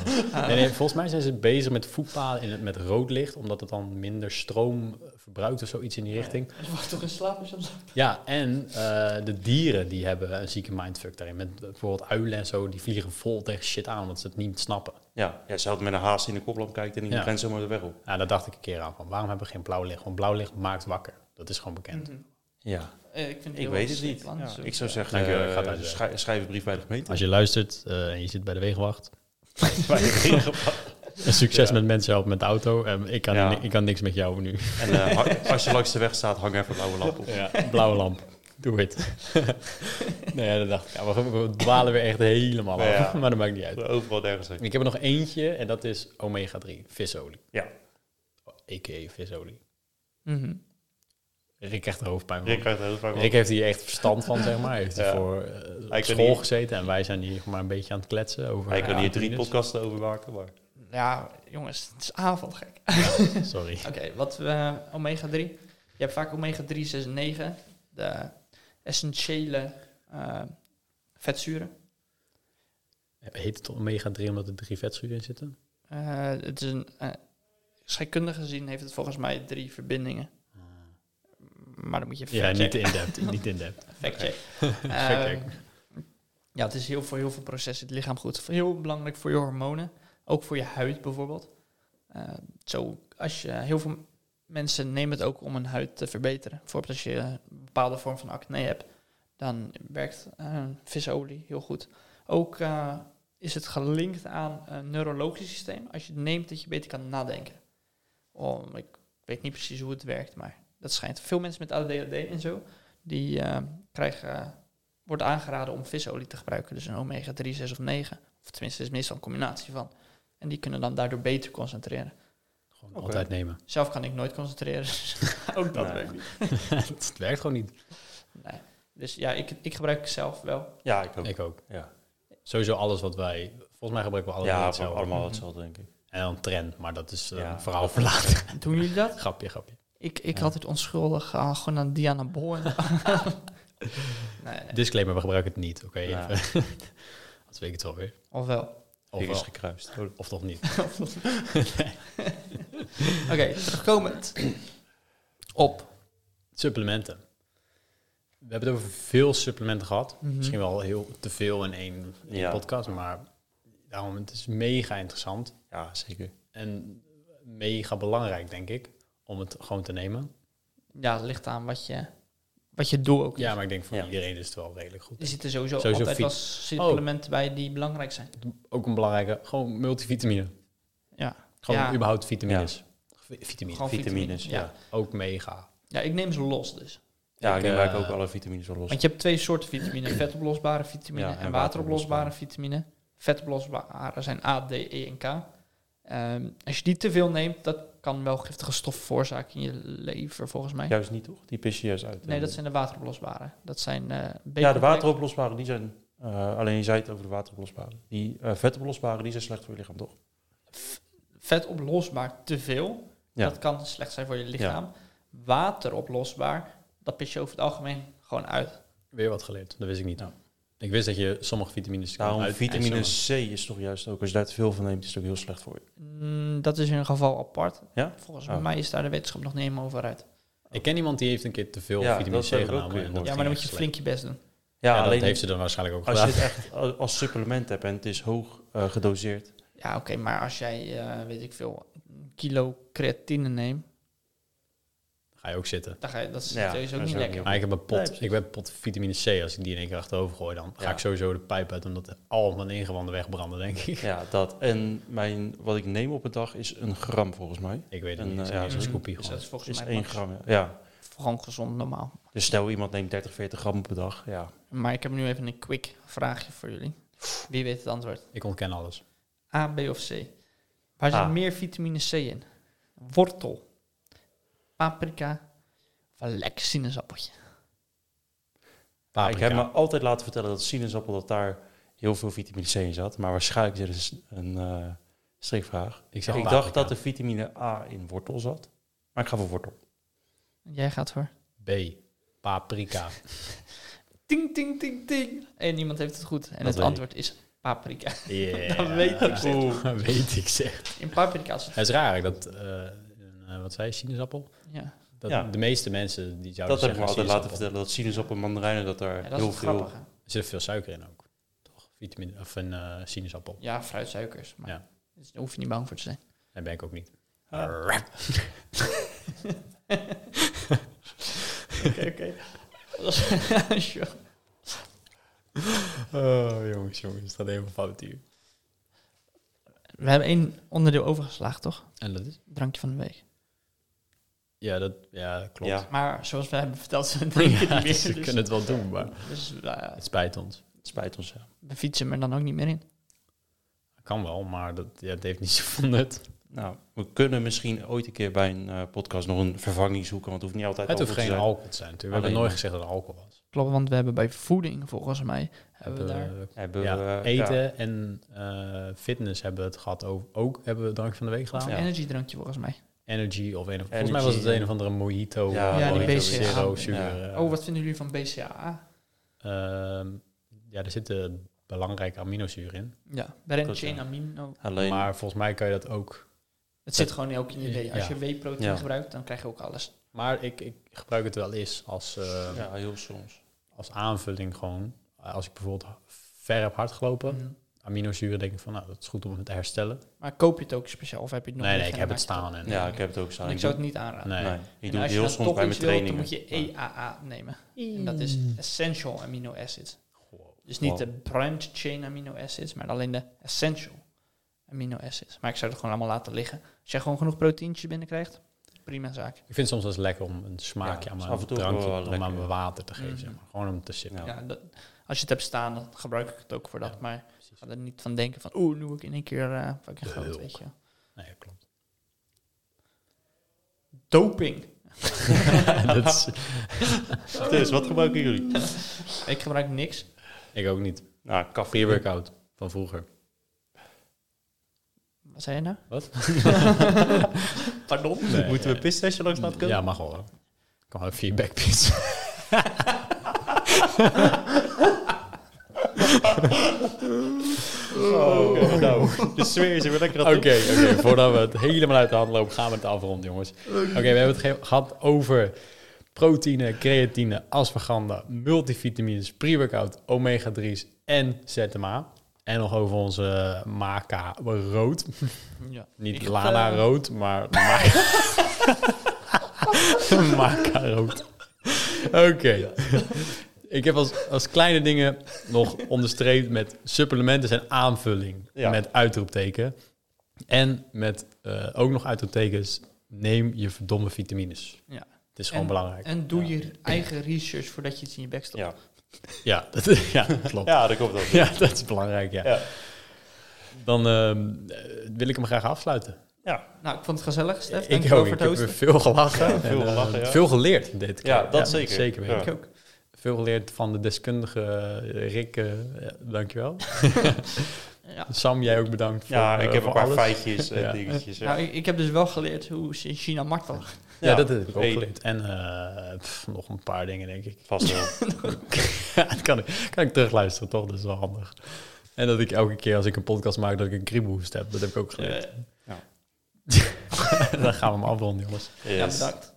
[SPEAKER 1] Nee, nee, volgens mij zijn ze bezig met voetpaden in het, met rood licht, omdat het dan minder stroom verbruikt of zoiets in die richting.
[SPEAKER 3] En dan wordt toch in slaap is soms.
[SPEAKER 1] Ja, en eh, de dieren die hebben een zieke mindfuck daarin. Met bijvoorbeeld uilen en zo, die vliegen vol tegen shit aan, omdat ze het niet snappen.
[SPEAKER 2] Ja. ja, zelfs met een haas die in de koplamp kijkt en die
[SPEAKER 1] Ja.
[SPEAKER 2] rent zomaar de weg op.
[SPEAKER 1] Ja, daar dacht ik een keer aan van, waarom hebben we geen blauw licht? Want blauw licht maakt wakker. Dat is gewoon bekend.
[SPEAKER 3] Mhm.
[SPEAKER 2] Ja,
[SPEAKER 3] Eh, ik vind
[SPEAKER 2] ik weet het niet. Ja,
[SPEAKER 3] dus-
[SPEAKER 2] Ik zou zeggen,
[SPEAKER 1] Dankjewel, ik ga het
[SPEAKER 2] eh,
[SPEAKER 1] uitleggen.
[SPEAKER 2] schrij- schrijf een brief bij de gemeente.
[SPEAKER 1] Als je luistert eh, en je zit bij de wegenwacht,
[SPEAKER 2] Bij de regenwacht.
[SPEAKER 1] succes
[SPEAKER 2] Ja.
[SPEAKER 1] met mensen helpen met de auto. En ik, kan,
[SPEAKER 2] Ja.
[SPEAKER 1] ni- ik kan niks met jou nu.
[SPEAKER 2] En eh, ha- als je langs de weg staat, hang even een blauwe lamp op.
[SPEAKER 1] Blauwe lamp. Doe het. nee, dat dacht ik. Ja, we, we dwalen weer echt helemaal af.
[SPEAKER 2] Maar ja.
[SPEAKER 1] Maar dat maakt niet uit.
[SPEAKER 2] Overal nergens heen.
[SPEAKER 1] Ik heb er nog eentje en dat is omega-3, visolie.
[SPEAKER 2] Ja.
[SPEAKER 1] A.k.a. visolie.
[SPEAKER 3] Mhm.
[SPEAKER 1] Rick krijgt er hoofdpijn van.
[SPEAKER 2] Rick
[SPEAKER 1] Rick,
[SPEAKER 2] krijgt heel vaak
[SPEAKER 1] heeft hier echt verstand van, zeg maar. Hij heeft
[SPEAKER 2] Ja.
[SPEAKER 1] voor eh,
[SPEAKER 2] Hij
[SPEAKER 1] op
[SPEAKER 2] kan
[SPEAKER 1] school
[SPEAKER 2] niet-
[SPEAKER 1] gezeten en wij zijn hier maar een beetje aan het kletsen over...
[SPEAKER 2] Hij kan
[SPEAKER 1] Ja,
[SPEAKER 2] hier drie
[SPEAKER 1] tieners.
[SPEAKER 2] podcasten over maken, maar...
[SPEAKER 3] Ja, jongens, het is avond gek.
[SPEAKER 1] Sorry.
[SPEAKER 3] Oké, wat we omega 3. Je hebt vaak omega 3, 6 en 9. De essentiële eh, vetzuren.
[SPEAKER 1] Heet het omega-3 omdat er drie vetzuren in zitten?
[SPEAKER 3] Eh, het is een, eh, scheikundig gezien heeft het volgens mij drie verbindingen. Maar dan moet je
[SPEAKER 1] Ja,
[SPEAKER 3] fact
[SPEAKER 1] niet in-depth. niet in-depth.
[SPEAKER 3] Fact-check.
[SPEAKER 1] Fact-check.
[SPEAKER 3] Ehm, ja, het is heel, voor heel veel processen in het lichaam goed. Heel belangrijk voor je hormonen. Ook voor je huid bijvoorbeeld. Eh, zo, als je, heel veel mensen nemen het ook om hun huid te verbeteren. Bijvoorbeeld als je een bepaalde vorm van acne hebt, dan werkt eh, visolie heel goed. Ook eh, is het gelinkt aan een neurologisch systeem. Als je het neemt, dat je beter kan nadenken. Oh, Om, ik weet niet precies hoe het werkt, maar dat schijnt. Veel mensen met ADHD en zo, die eh, krijgen, wordt aangeraden om visolie te gebruiken. Dus een omega 3, 6 of 9. Of tenminste, het is meestal een combinatie van. En die kunnen dan daardoor beter concentreren.
[SPEAKER 1] Gewoon
[SPEAKER 2] Oké.
[SPEAKER 1] altijd nemen.
[SPEAKER 3] Zelf kan ik nooit concentreren. dus Ook dat
[SPEAKER 2] Nee.
[SPEAKER 3] werkt niet.
[SPEAKER 1] het werkt gewoon niet.
[SPEAKER 3] Nee. Dus ja, ik, ik gebruik het zelf wel.
[SPEAKER 2] Ja, ik ook.
[SPEAKER 1] Ik ook.
[SPEAKER 2] Ja,
[SPEAKER 1] Sowieso alles wat wij... Volgens mij gebruiken we alles
[SPEAKER 2] ja
[SPEAKER 1] hetzelfde.
[SPEAKER 2] allemaal hetzelfde, denk ik.
[SPEAKER 1] En dan trend, maar dat is eh,
[SPEAKER 2] Ja.
[SPEAKER 1] een verhaal voor later.
[SPEAKER 3] Doen jullie dat?
[SPEAKER 1] grapje, grapje.
[SPEAKER 3] Ik, ik
[SPEAKER 2] Ja.
[SPEAKER 3] had het onschuldig aan, gewoon aan Diana Bol. en- nee, nee.
[SPEAKER 1] Disclaimer, we gebruiken het niet. Oké,
[SPEAKER 2] Ja.
[SPEAKER 1] even. dat weet ik het wel weer.
[SPEAKER 3] Of wel.
[SPEAKER 1] Of,
[SPEAKER 2] is
[SPEAKER 1] wel,
[SPEAKER 2] gekruist.
[SPEAKER 1] of toch niet.
[SPEAKER 3] Oké, terugkomend op.
[SPEAKER 1] Supplementen. We hebben het over veel supplementen gehad.
[SPEAKER 3] Mhm.
[SPEAKER 1] Misschien wel heel te veel in één, één
[SPEAKER 2] Ja.
[SPEAKER 1] podcast, maar daarom, het is mega interessant
[SPEAKER 2] Ja, zeker.
[SPEAKER 1] en mega belangrijk, denk ik, om het gewoon te nemen.
[SPEAKER 3] Ja, het ligt aan wat je, wat je doel ook is.
[SPEAKER 1] Ja, maar ik denk voor
[SPEAKER 2] Ja.
[SPEAKER 1] iedereen is het wel redelijk goed.
[SPEAKER 3] Er zitten sowieso,
[SPEAKER 1] Sowieso
[SPEAKER 3] altijd wel
[SPEAKER 1] fiets.
[SPEAKER 3] supplementen bij die belangrijk zijn.
[SPEAKER 1] Ook een belangrijke, gewoon multivitamine.
[SPEAKER 3] Ja,
[SPEAKER 1] Gewoon
[SPEAKER 3] Ja.
[SPEAKER 1] überhaupt vitamines. Vi- Vitamines.
[SPEAKER 3] gewoon
[SPEAKER 2] Vitamines,
[SPEAKER 3] vitamine.
[SPEAKER 2] ja.
[SPEAKER 3] Ja.
[SPEAKER 1] Ook mega.
[SPEAKER 3] ja, ik neem ze los dus.
[SPEAKER 2] Ja, ik
[SPEAKER 1] Ik,
[SPEAKER 2] denk
[SPEAKER 1] eh,
[SPEAKER 2] dat ik ook alle vitamines wel los.
[SPEAKER 3] Want je hebt twee soorten vitamine. Vetoplosbare vitamine
[SPEAKER 2] Ja,
[SPEAKER 3] en,
[SPEAKER 2] en
[SPEAKER 3] wateroplosbare
[SPEAKER 2] wateroplosbare.
[SPEAKER 3] vitamine. Vetoplosbare zijn A, D, E en K. Ehm, als je die te veel neemt, dat kan wel giftige stoffen veroorzaken in je lever, volgens mij.
[SPEAKER 2] Juist niet, toch? Die pis je juist uit.
[SPEAKER 3] Nee, dat zijn de wateroplosbare. Dat zijn eh,
[SPEAKER 2] Ja,
[SPEAKER 3] B-complex.
[SPEAKER 2] de wateroplosbare, die zijn... eh, alleen je zei het over de wateroplosbare. Die eh vetoplosbare, die zijn slecht voor je lichaam, toch?
[SPEAKER 3] V- Vetoplosbaar te veel,
[SPEAKER 2] Ja.
[SPEAKER 3] dat kan slecht zijn voor je lichaam. Wateroplosbaar, dat pis je over het algemeen gewoon uit.
[SPEAKER 1] Weer wat geleerd, dat wist ik niet.
[SPEAKER 2] Ja.
[SPEAKER 1] Ik wist dat je sommige vitamines kan
[SPEAKER 2] Daarom,
[SPEAKER 1] uit-
[SPEAKER 2] vitamine
[SPEAKER 1] en sommige-
[SPEAKER 2] C is toch juist ook... Als je daar te veel van neemt, is het ook heel slecht voor je.
[SPEAKER 3] Mm, dat is in een geval apart.
[SPEAKER 2] Ja?
[SPEAKER 3] Volgens
[SPEAKER 2] Oh.
[SPEAKER 3] mij is daar de wetenschap nog niet helemaal over uit.
[SPEAKER 1] Ik ken iemand die heeft een keer te veel
[SPEAKER 2] Ja,
[SPEAKER 1] vitamine
[SPEAKER 2] dat
[SPEAKER 1] C
[SPEAKER 2] heb ik ook
[SPEAKER 1] genomen.
[SPEAKER 2] weer
[SPEAKER 1] en
[SPEAKER 2] gehoord.
[SPEAKER 1] dat
[SPEAKER 3] Ja, maar
[SPEAKER 1] ging
[SPEAKER 3] dan moet
[SPEAKER 1] echt slecht.
[SPEAKER 3] je flink je best doen.
[SPEAKER 1] Ja,
[SPEAKER 2] Ja,
[SPEAKER 1] dat
[SPEAKER 2] alleen
[SPEAKER 1] heeft ze dan waarschijnlijk ook
[SPEAKER 2] als je
[SPEAKER 1] gedaan.
[SPEAKER 2] dit echt a- als supplement hebt en het is hoog eh, gedoseerd...
[SPEAKER 3] Ja, oké, maar als jij, eh, weet ik veel, een kilo creatine neemt,
[SPEAKER 1] Ga je ook zitten.
[SPEAKER 3] dan ga je, dat is
[SPEAKER 2] Ja,
[SPEAKER 3] sowieso
[SPEAKER 2] dat is ook
[SPEAKER 3] niet lekker.
[SPEAKER 2] niet
[SPEAKER 1] Maar ik heb een
[SPEAKER 2] Nee,
[SPEAKER 1] pot,
[SPEAKER 2] precies.
[SPEAKER 1] ik heb een pot vitamine C. Als ik die in één keer achterover gooi, dan ga
[SPEAKER 2] Ja.
[SPEAKER 1] ik sowieso de pijp uit. Omdat al mijn ingewanden wegbranden, denk ik.
[SPEAKER 2] Ja, dat. En mijn, wat ik neem op een dag is een gram, volgens mij.
[SPEAKER 1] Ik weet het
[SPEAKER 2] En,
[SPEAKER 1] niet.
[SPEAKER 2] eh,
[SPEAKER 1] zo'n
[SPEAKER 2] ja,
[SPEAKER 1] zo'n
[SPEAKER 2] zo'n
[SPEAKER 1] scoopie
[SPEAKER 3] Dus dat
[SPEAKER 1] gewoon.
[SPEAKER 3] is volgens
[SPEAKER 2] Is
[SPEAKER 3] mij
[SPEAKER 2] 1
[SPEAKER 3] max.
[SPEAKER 2] gram, ja. ja.
[SPEAKER 3] gewoon gezond normaal.
[SPEAKER 2] Dus stel iemand neemt 30, 40 gram op een dag. Ja,
[SPEAKER 3] Maar ik heb nu even een quick vraagje voor jullie. Wie weet het antwoord?
[SPEAKER 1] Ik ontken alles.
[SPEAKER 3] A, B of C? Waar zit
[SPEAKER 2] A.
[SPEAKER 3] meer vitamine C in? Wortel, paprika of een lekker sinaasappeltje?
[SPEAKER 1] Paprika.
[SPEAKER 2] Ik heb me altijd laten vertellen dat sinaasappel dat daar heel veel vitamine C in zat. Maar waarschijnlijk is het een s- een eh strikvraag.
[SPEAKER 1] Ik
[SPEAKER 2] Ik,
[SPEAKER 1] zeg
[SPEAKER 2] dacht
[SPEAKER 1] paprika.
[SPEAKER 2] dat de vitamine A in wortel zat. Maar ik ga voor wortel.
[SPEAKER 3] Jij gaat voor.
[SPEAKER 1] B. Paprika.
[SPEAKER 3] Ting, ting, ting, ting. En iemand heeft het goed. En
[SPEAKER 2] Dat
[SPEAKER 3] het
[SPEAKER 2] weet ik.
[SPEAKER 3] antwoord is paprika.
[SPEAKER 1] Yeah.
[SPEAKER 3] Dat weet ik zeg.
[SPEAKER 1] Oeh, dat weet ik zeg.
[SPEAKER 3] In paprika zit...
[SPEAKER 1] Het is raar hè, dat... eh, eh, wat zei je? Sinaasappel?
[SPEAKER 3] Ja.
[SPEAKER 1] Dat
[SPEAKER 2] Ja.
[SPEAKER 1] De meeste mensen die zouden
[SPEAKER 3] dus
[SPEAKER 2] dat heb ik
[SPEAKER 1] zeggen
[SPEAKER 2] me altijd laten
[SPEAKER 1] sinaasappel.
[SPEAKER 2] vertellen. Dat sinaasappel en mandarijnen dat daar
[SPEAKER 3] Ja, dat is
[SPEAKER 2] heel
[SPEAKER 3] het
[SPEAKER 2] veel...
[SPEAKER 3] grappige.
[SPEAKER 1] Er zit veel suiker in ook. Toch? Vitamine, of een eh, sinaasappel.
[SPEAKER 3] Ja, fruitsuikers. Maar
[SPEAKER 1] Ja.
[SPEAKER 3] dus daar hoef je niet bang voor te zijn.
[SPEAKER 1] Daar ben ik ook niet.
[SPEAKER 2] Ja.
[SPEAKER 1] Rap.
[SPEAKER 3] Oké, oké.
[SPEAKER 1] Oh, jongens, jongens. Dat is even fout hier.
[SPEAKER 3] We hebben één onderdeel overgeslagen, toch?
[SPEAKER 1] En dat is?
[SPEAKER 3] Drankje van de week.
[SPEAKER 1] Ja, dat ja, klopt.
[SPEAKER 2] Ja.
[SPEAKER 3] Maar zoals we hebben verteld, ze
[SPEAKER 1] Ja,
[SPEAKER 3] drinken niet meer.
[SPEAKER 1] ze
[SPEAKER 3] dus-
[SPEAKER 1] kunnen het wel doen, maar
[SPEAKER 3] dus, eh,
[SPEAKER 1] het spijt ons.
[SPEAKER 2] Het spijt ons, ja.
[SPEAKER 3] we fietsen er dan ook niet meer in.
[SPEAKER 1] Kan wel, maar dat, ja, het heeft niet zoveel nut.
[SPEAKER 2] Nou, we kunnen misschien ooit een keer bij een eh, podcast nog een vervanging zoeken. Want het hoeft niet altijd
[SPEAKER 1] Het hoeft
[SPEAKER 2] alcohol te
[SPEAKER 1] geen
[SPEAKER 2] zijn.
[SPEAKER 1] alcohol te zijn. natuurlijk. We hebben
[SPEAKER 2] Alleen
[SPEAKER 1] nooit gezegd
[SPEAKER 2] maar.
[SPEAKER 1] dat het alcohol was.
[SPEAKER 3] Klopt, want we hebben bij voeding, volgens mij, hebben we daar...
[SPEAKER 1] Eh,
[SPEAKER 2] Hebben
[SPEAKER 1] ja,
[SPEAKER 2] we, eh,
[SPEAKER 1] eten
[SPEAKER 2] ja.
[SPEAKER 1] en eh, fitness hebben we het gehad over. Ook hebben we drank van de week
[SPEAKER 3] Of
[SPEAKER 1] gedaan.
[SPEAKER 3] een
[SPEAKER 2] ja.
[SPEAKER 3] energiedrankje, volgens mij.
[SPEAKER 1] Energy of een of Volgens mij was
[SPEAKER 2] Energy,
[SPEAKER 1] het een
[SPEAKER 2] ja.
[SPEAKER 1] of andere mojito.
[SPEAKER 2] Ja,
[SPEAKER 1] eh,
[SPEAKER 2] Ja, die
[SPEAKER 1] mojito,
[SPEAKER 3] BCA.
[SPEAKER 1] zero sugar. eh.
[SPEAKER 3] oh, wat vinden jullie van BCAA?
[SPEAKER 1] Ehm, ja, er zitten belangrijke aminozuren in.
[SPEAKER 3] Ja, brenchain
[SPEAKER 2] Protein.
[SPEAKER 3] amino.
[SPEAKER 2] Alleen,
[SPEAKER 1] Maar volgens mij kan je dat ook.
[SPEAKER 3] oh, Het zit gewoon ook in je idee. Als
[SPEAKER 1] Ja.
[SPEAKER 3] je W-protein
[SPEAKER 2] Ja.
[SPEAKER 3] gebruikt, dan krijg je ook alles.
[SPEAKER 1] Maar ik, ik gebruik het wel eens als, eh,
[SPEAKER 2] ja, heel soms.
[SPEAKER 1] als aanvulling gewoon. Eh, Als ik bijvoorbeeld ver heb hard gelopen,
[SPEAKER 3] Mhm.
[SPEAKER 1] aminozuren denk ik van, nou, dat is goed om het te herstellen.
[SPEAKER 3] Maar koop je het ook speciaal of heb je het nog
[SPEAKER 1] nee, nee,
[SPEAKER 3] liggen
[SPEAKER 1] ik heb
[SPEAKER 3] en
[SPEAKER 1] het
[SPEAKER 3] maak je
[SPEAKER 1] staan. En,
[SPEAKER 2] Ja, ik heb het ook staan.
[SPEAKER 3] Ik zou het niet aanraden.
[SPEAKER 1] nee.
[SPEAKER 2] Nee, ik doe
[SPEAKER 3] en
[SPEAKER 2] het
[SPEAKER 3] als je
[SPEAKER 2] heel
[SPEAKER 3] dan
[SPEAKER 2] soms
[SPEAKER 3] toch
[SPEAKER 2] bij mijn
[SPEAKER 3] iets wilt, dan
[SPEAKER 2] trainingen.
[SPEAKER 3] moet je EAA nemen. En dat is Essential Amino Acids.
[SPEAKER 1] Wow.
[SPEAKER 3] Dus niet
[SPEAKER 2] Wow.
[SPEAKER 3] de branched chain amino acids, maar alleen de essential amino acids. Maar ik zou het gewoon allemaal laten liggen. Als jij gewoon genoeg proteïntjes binnenkrijgt, prima zaak.
[SPEAKER 1] Ik vind het soms wel eens lekker om een smaakje
[SPEAKER 2] Ja,
[SPEAKER 1] aan
[SPEAKER 2] is
[SPEAKER 1] mijn
[SPEAKER 2] af en toe
[SPEAKER 1] drankje,
[SPEAKER 2] wel
[SPEAKER 1] om
[SPEAKER 2] lekker,
[SPEAKER 1] aan mijn
[SPEAKER 2] ja.
[SPEAKER 1] water te geven.
[SPEAKER 3] Mhm.
[SPEAKER 1] Zeg maar. Gewoon om te sippen.
[SPEAKER 2] Ja.
[SPEAKER 3] Ja. dat, als je het hebt staan, dan gebruik ik het ook voor dat.
[SPEAKER 1] Ja,
[SPEAKER 3] maar
[SPEAKER 1] precies.
[SPEAKER 3] ga er niet van denken van, oeh, nu word ik in één keer eh fucking
[SPEAKER 1] De
[SPEAKER 3] groot,
[SPEAKER 1] hulk.
[SPEAKER 3] weet je. wel.
[SPEAKER 1] Nee, klopt.
[SPEAKER 3] Doping.
[SPEAKER 1] dat is,
[SPEAKER 2] Dus, wat gebruiken jullie?
[SPEAKER 3] Ik gebruik niks.
[SPEAKER 1] ik ook niet.
[SPEAKER 2] Nou, café.
[SPEAKER 1] Pre-workout van vroeger.
[SPEAKER 3] Wat zei je nou?
[SPEAKER 1] Wat?
[SPEAKER 3] Pardon?
[SPEAKER 1] Nee,
[SPEAKER 2] Moeten we
[SPEAKER 1] nee.
[SPEAKER 2] pistasje langs laten komen?
[SPEAKER 1] Ja, mag wel. hoor. Ik kan wel even je backpits.
[SPEAKER 2] Oh, oké. Nou, de sfeer is er weer lekker aan
[SPEAKER 1] Oké,
[SPEAKER 2] toe.
[SPEAKER 1] oké, voordat we het helemaal uit de hand lopen, gaan we het afronden, jongens. Oké, we hebben het ge- gehad over proteïne, creatine, ashwagandha, multivitamines, pre-workout, omega-3's en ZMA. En nog over onze maca rood.
[SPEAKER 3] Ja.
[SPEAKER 1] Niet
[SPEAKER 3] Ik,
[SPEAKER 1] Lana
[SPEAKER 3] eh,
[SPEAKER 1] rood, maar maca, maca rood. Oké. Ik heb als, als kleine dingen nog onderstreept met supplementen zijn aanvulling.
[SPEAKER 2] Ja.
[SPEAKER 1] Met uitroepteken. En met eh, ook nog uitroeptekens, neem je verdomme vitamines.
[SPEAKER 3] Ja.
[SPEAKER 1] Het is gewoon
[SPEAKER 3] En-
[SPEAKER 1] belangrijk.
[SPEAKER 3] En doe
[SPEAKER 2] Ja.
[SPEAKER 3] je eigen research voordat je iets in je bek stopt.
[SPEAKER 2] Ja.
[SPEAKER 1] Ja, dat, ja, klopt. Ja.
[SPEAKER 2] ja, dat komt ook.
[SPEAKER 1] dat is belangrijk, ja.
[SPEAKER 2] Ja.
[SPEAKER 1] Dan ehm, eh, wil ik hem graag afsluiten.
[SPEAKER 3] Nou, ik vond het gezellig, Stef.
[SPEAKER 1] ik
[SPEAKER 3] Dankjewel
[SPEAKER 1] ook.
[SPEAKER 3] voor
[SPEAKER 1] Ik
[SPEAKER 3] het
[SPEAKER 1] heb weer
[SPEAKER 3] hosten.
[SPEAKER 1] veel gelachen.
[SPEAKER 2] Ja, veel
[SPEAKER 1] en, eh,
[SPEAKER 2] gelachen, ja.
[SPEAKER 1] Veel geleerd dit keer.
[SPEAKER 2] Ja, dat zeker.
[SPEAKER 1] Zeker weten.
[SPEAKER 2] Ja.
[SPEAKER 3] Ik ook.
[SPEAKER 1] Veel geleerd van de deskundige eh, Rick. eh, ja, dankjewel.
[SPEAKER 3] Ja.
[SPEAKER 1] Sam, jij ook bedankt. Voor,
[SPEAKER 2] Ja,
[SPEAKER 1] eh,
[SPEAKER 2] ik heb
[SPEAKER 1] voor
[SPEAKER 2] een paar
[SPEAKER 1] alles.
[SPEAKER 2] feitjes en
[SPEAKER 1] Ja.
[SPEAKER 2] dingetjes. Ja.
[SPEAKER 3] Nou, ik, ik heb dus wel geleerd hoe ze in China martelen.
[SPEAKER 1] Ja,
[SPEAKER 2] Ja.
[SPEAKER 1] dat heb ik ook
[SPEAKER 2] Hey.
[SPEAKER 1] geleerd. En eh, pff, nog een paar dingen, denk ik.
[SPEAKER 2] Vast wel.
[SPEAKER 1] Ja, dat kan ik, kan ik terugluisteren, toch? Dat is wel handig. En dat ik elke keer als ik een podcast maak, dat ik een kriebelhoest heb. Dat heb ik ook geleerd.
[SPEAKER 3] Eh,
[SPEAKER 1] Dan gaan we hem afronden, jongens.
[SPEAKER 3] ja,
[SPEAKER 2] Yes.
[SPEAKER 3] bedankt.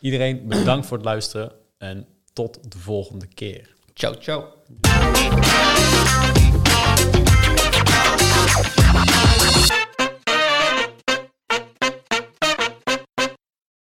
[SPEAKER 1] Iedereen, bedankt voor het luisteren. En tot de volgende keer.
[SPEAKER 3] Ciao, ciao.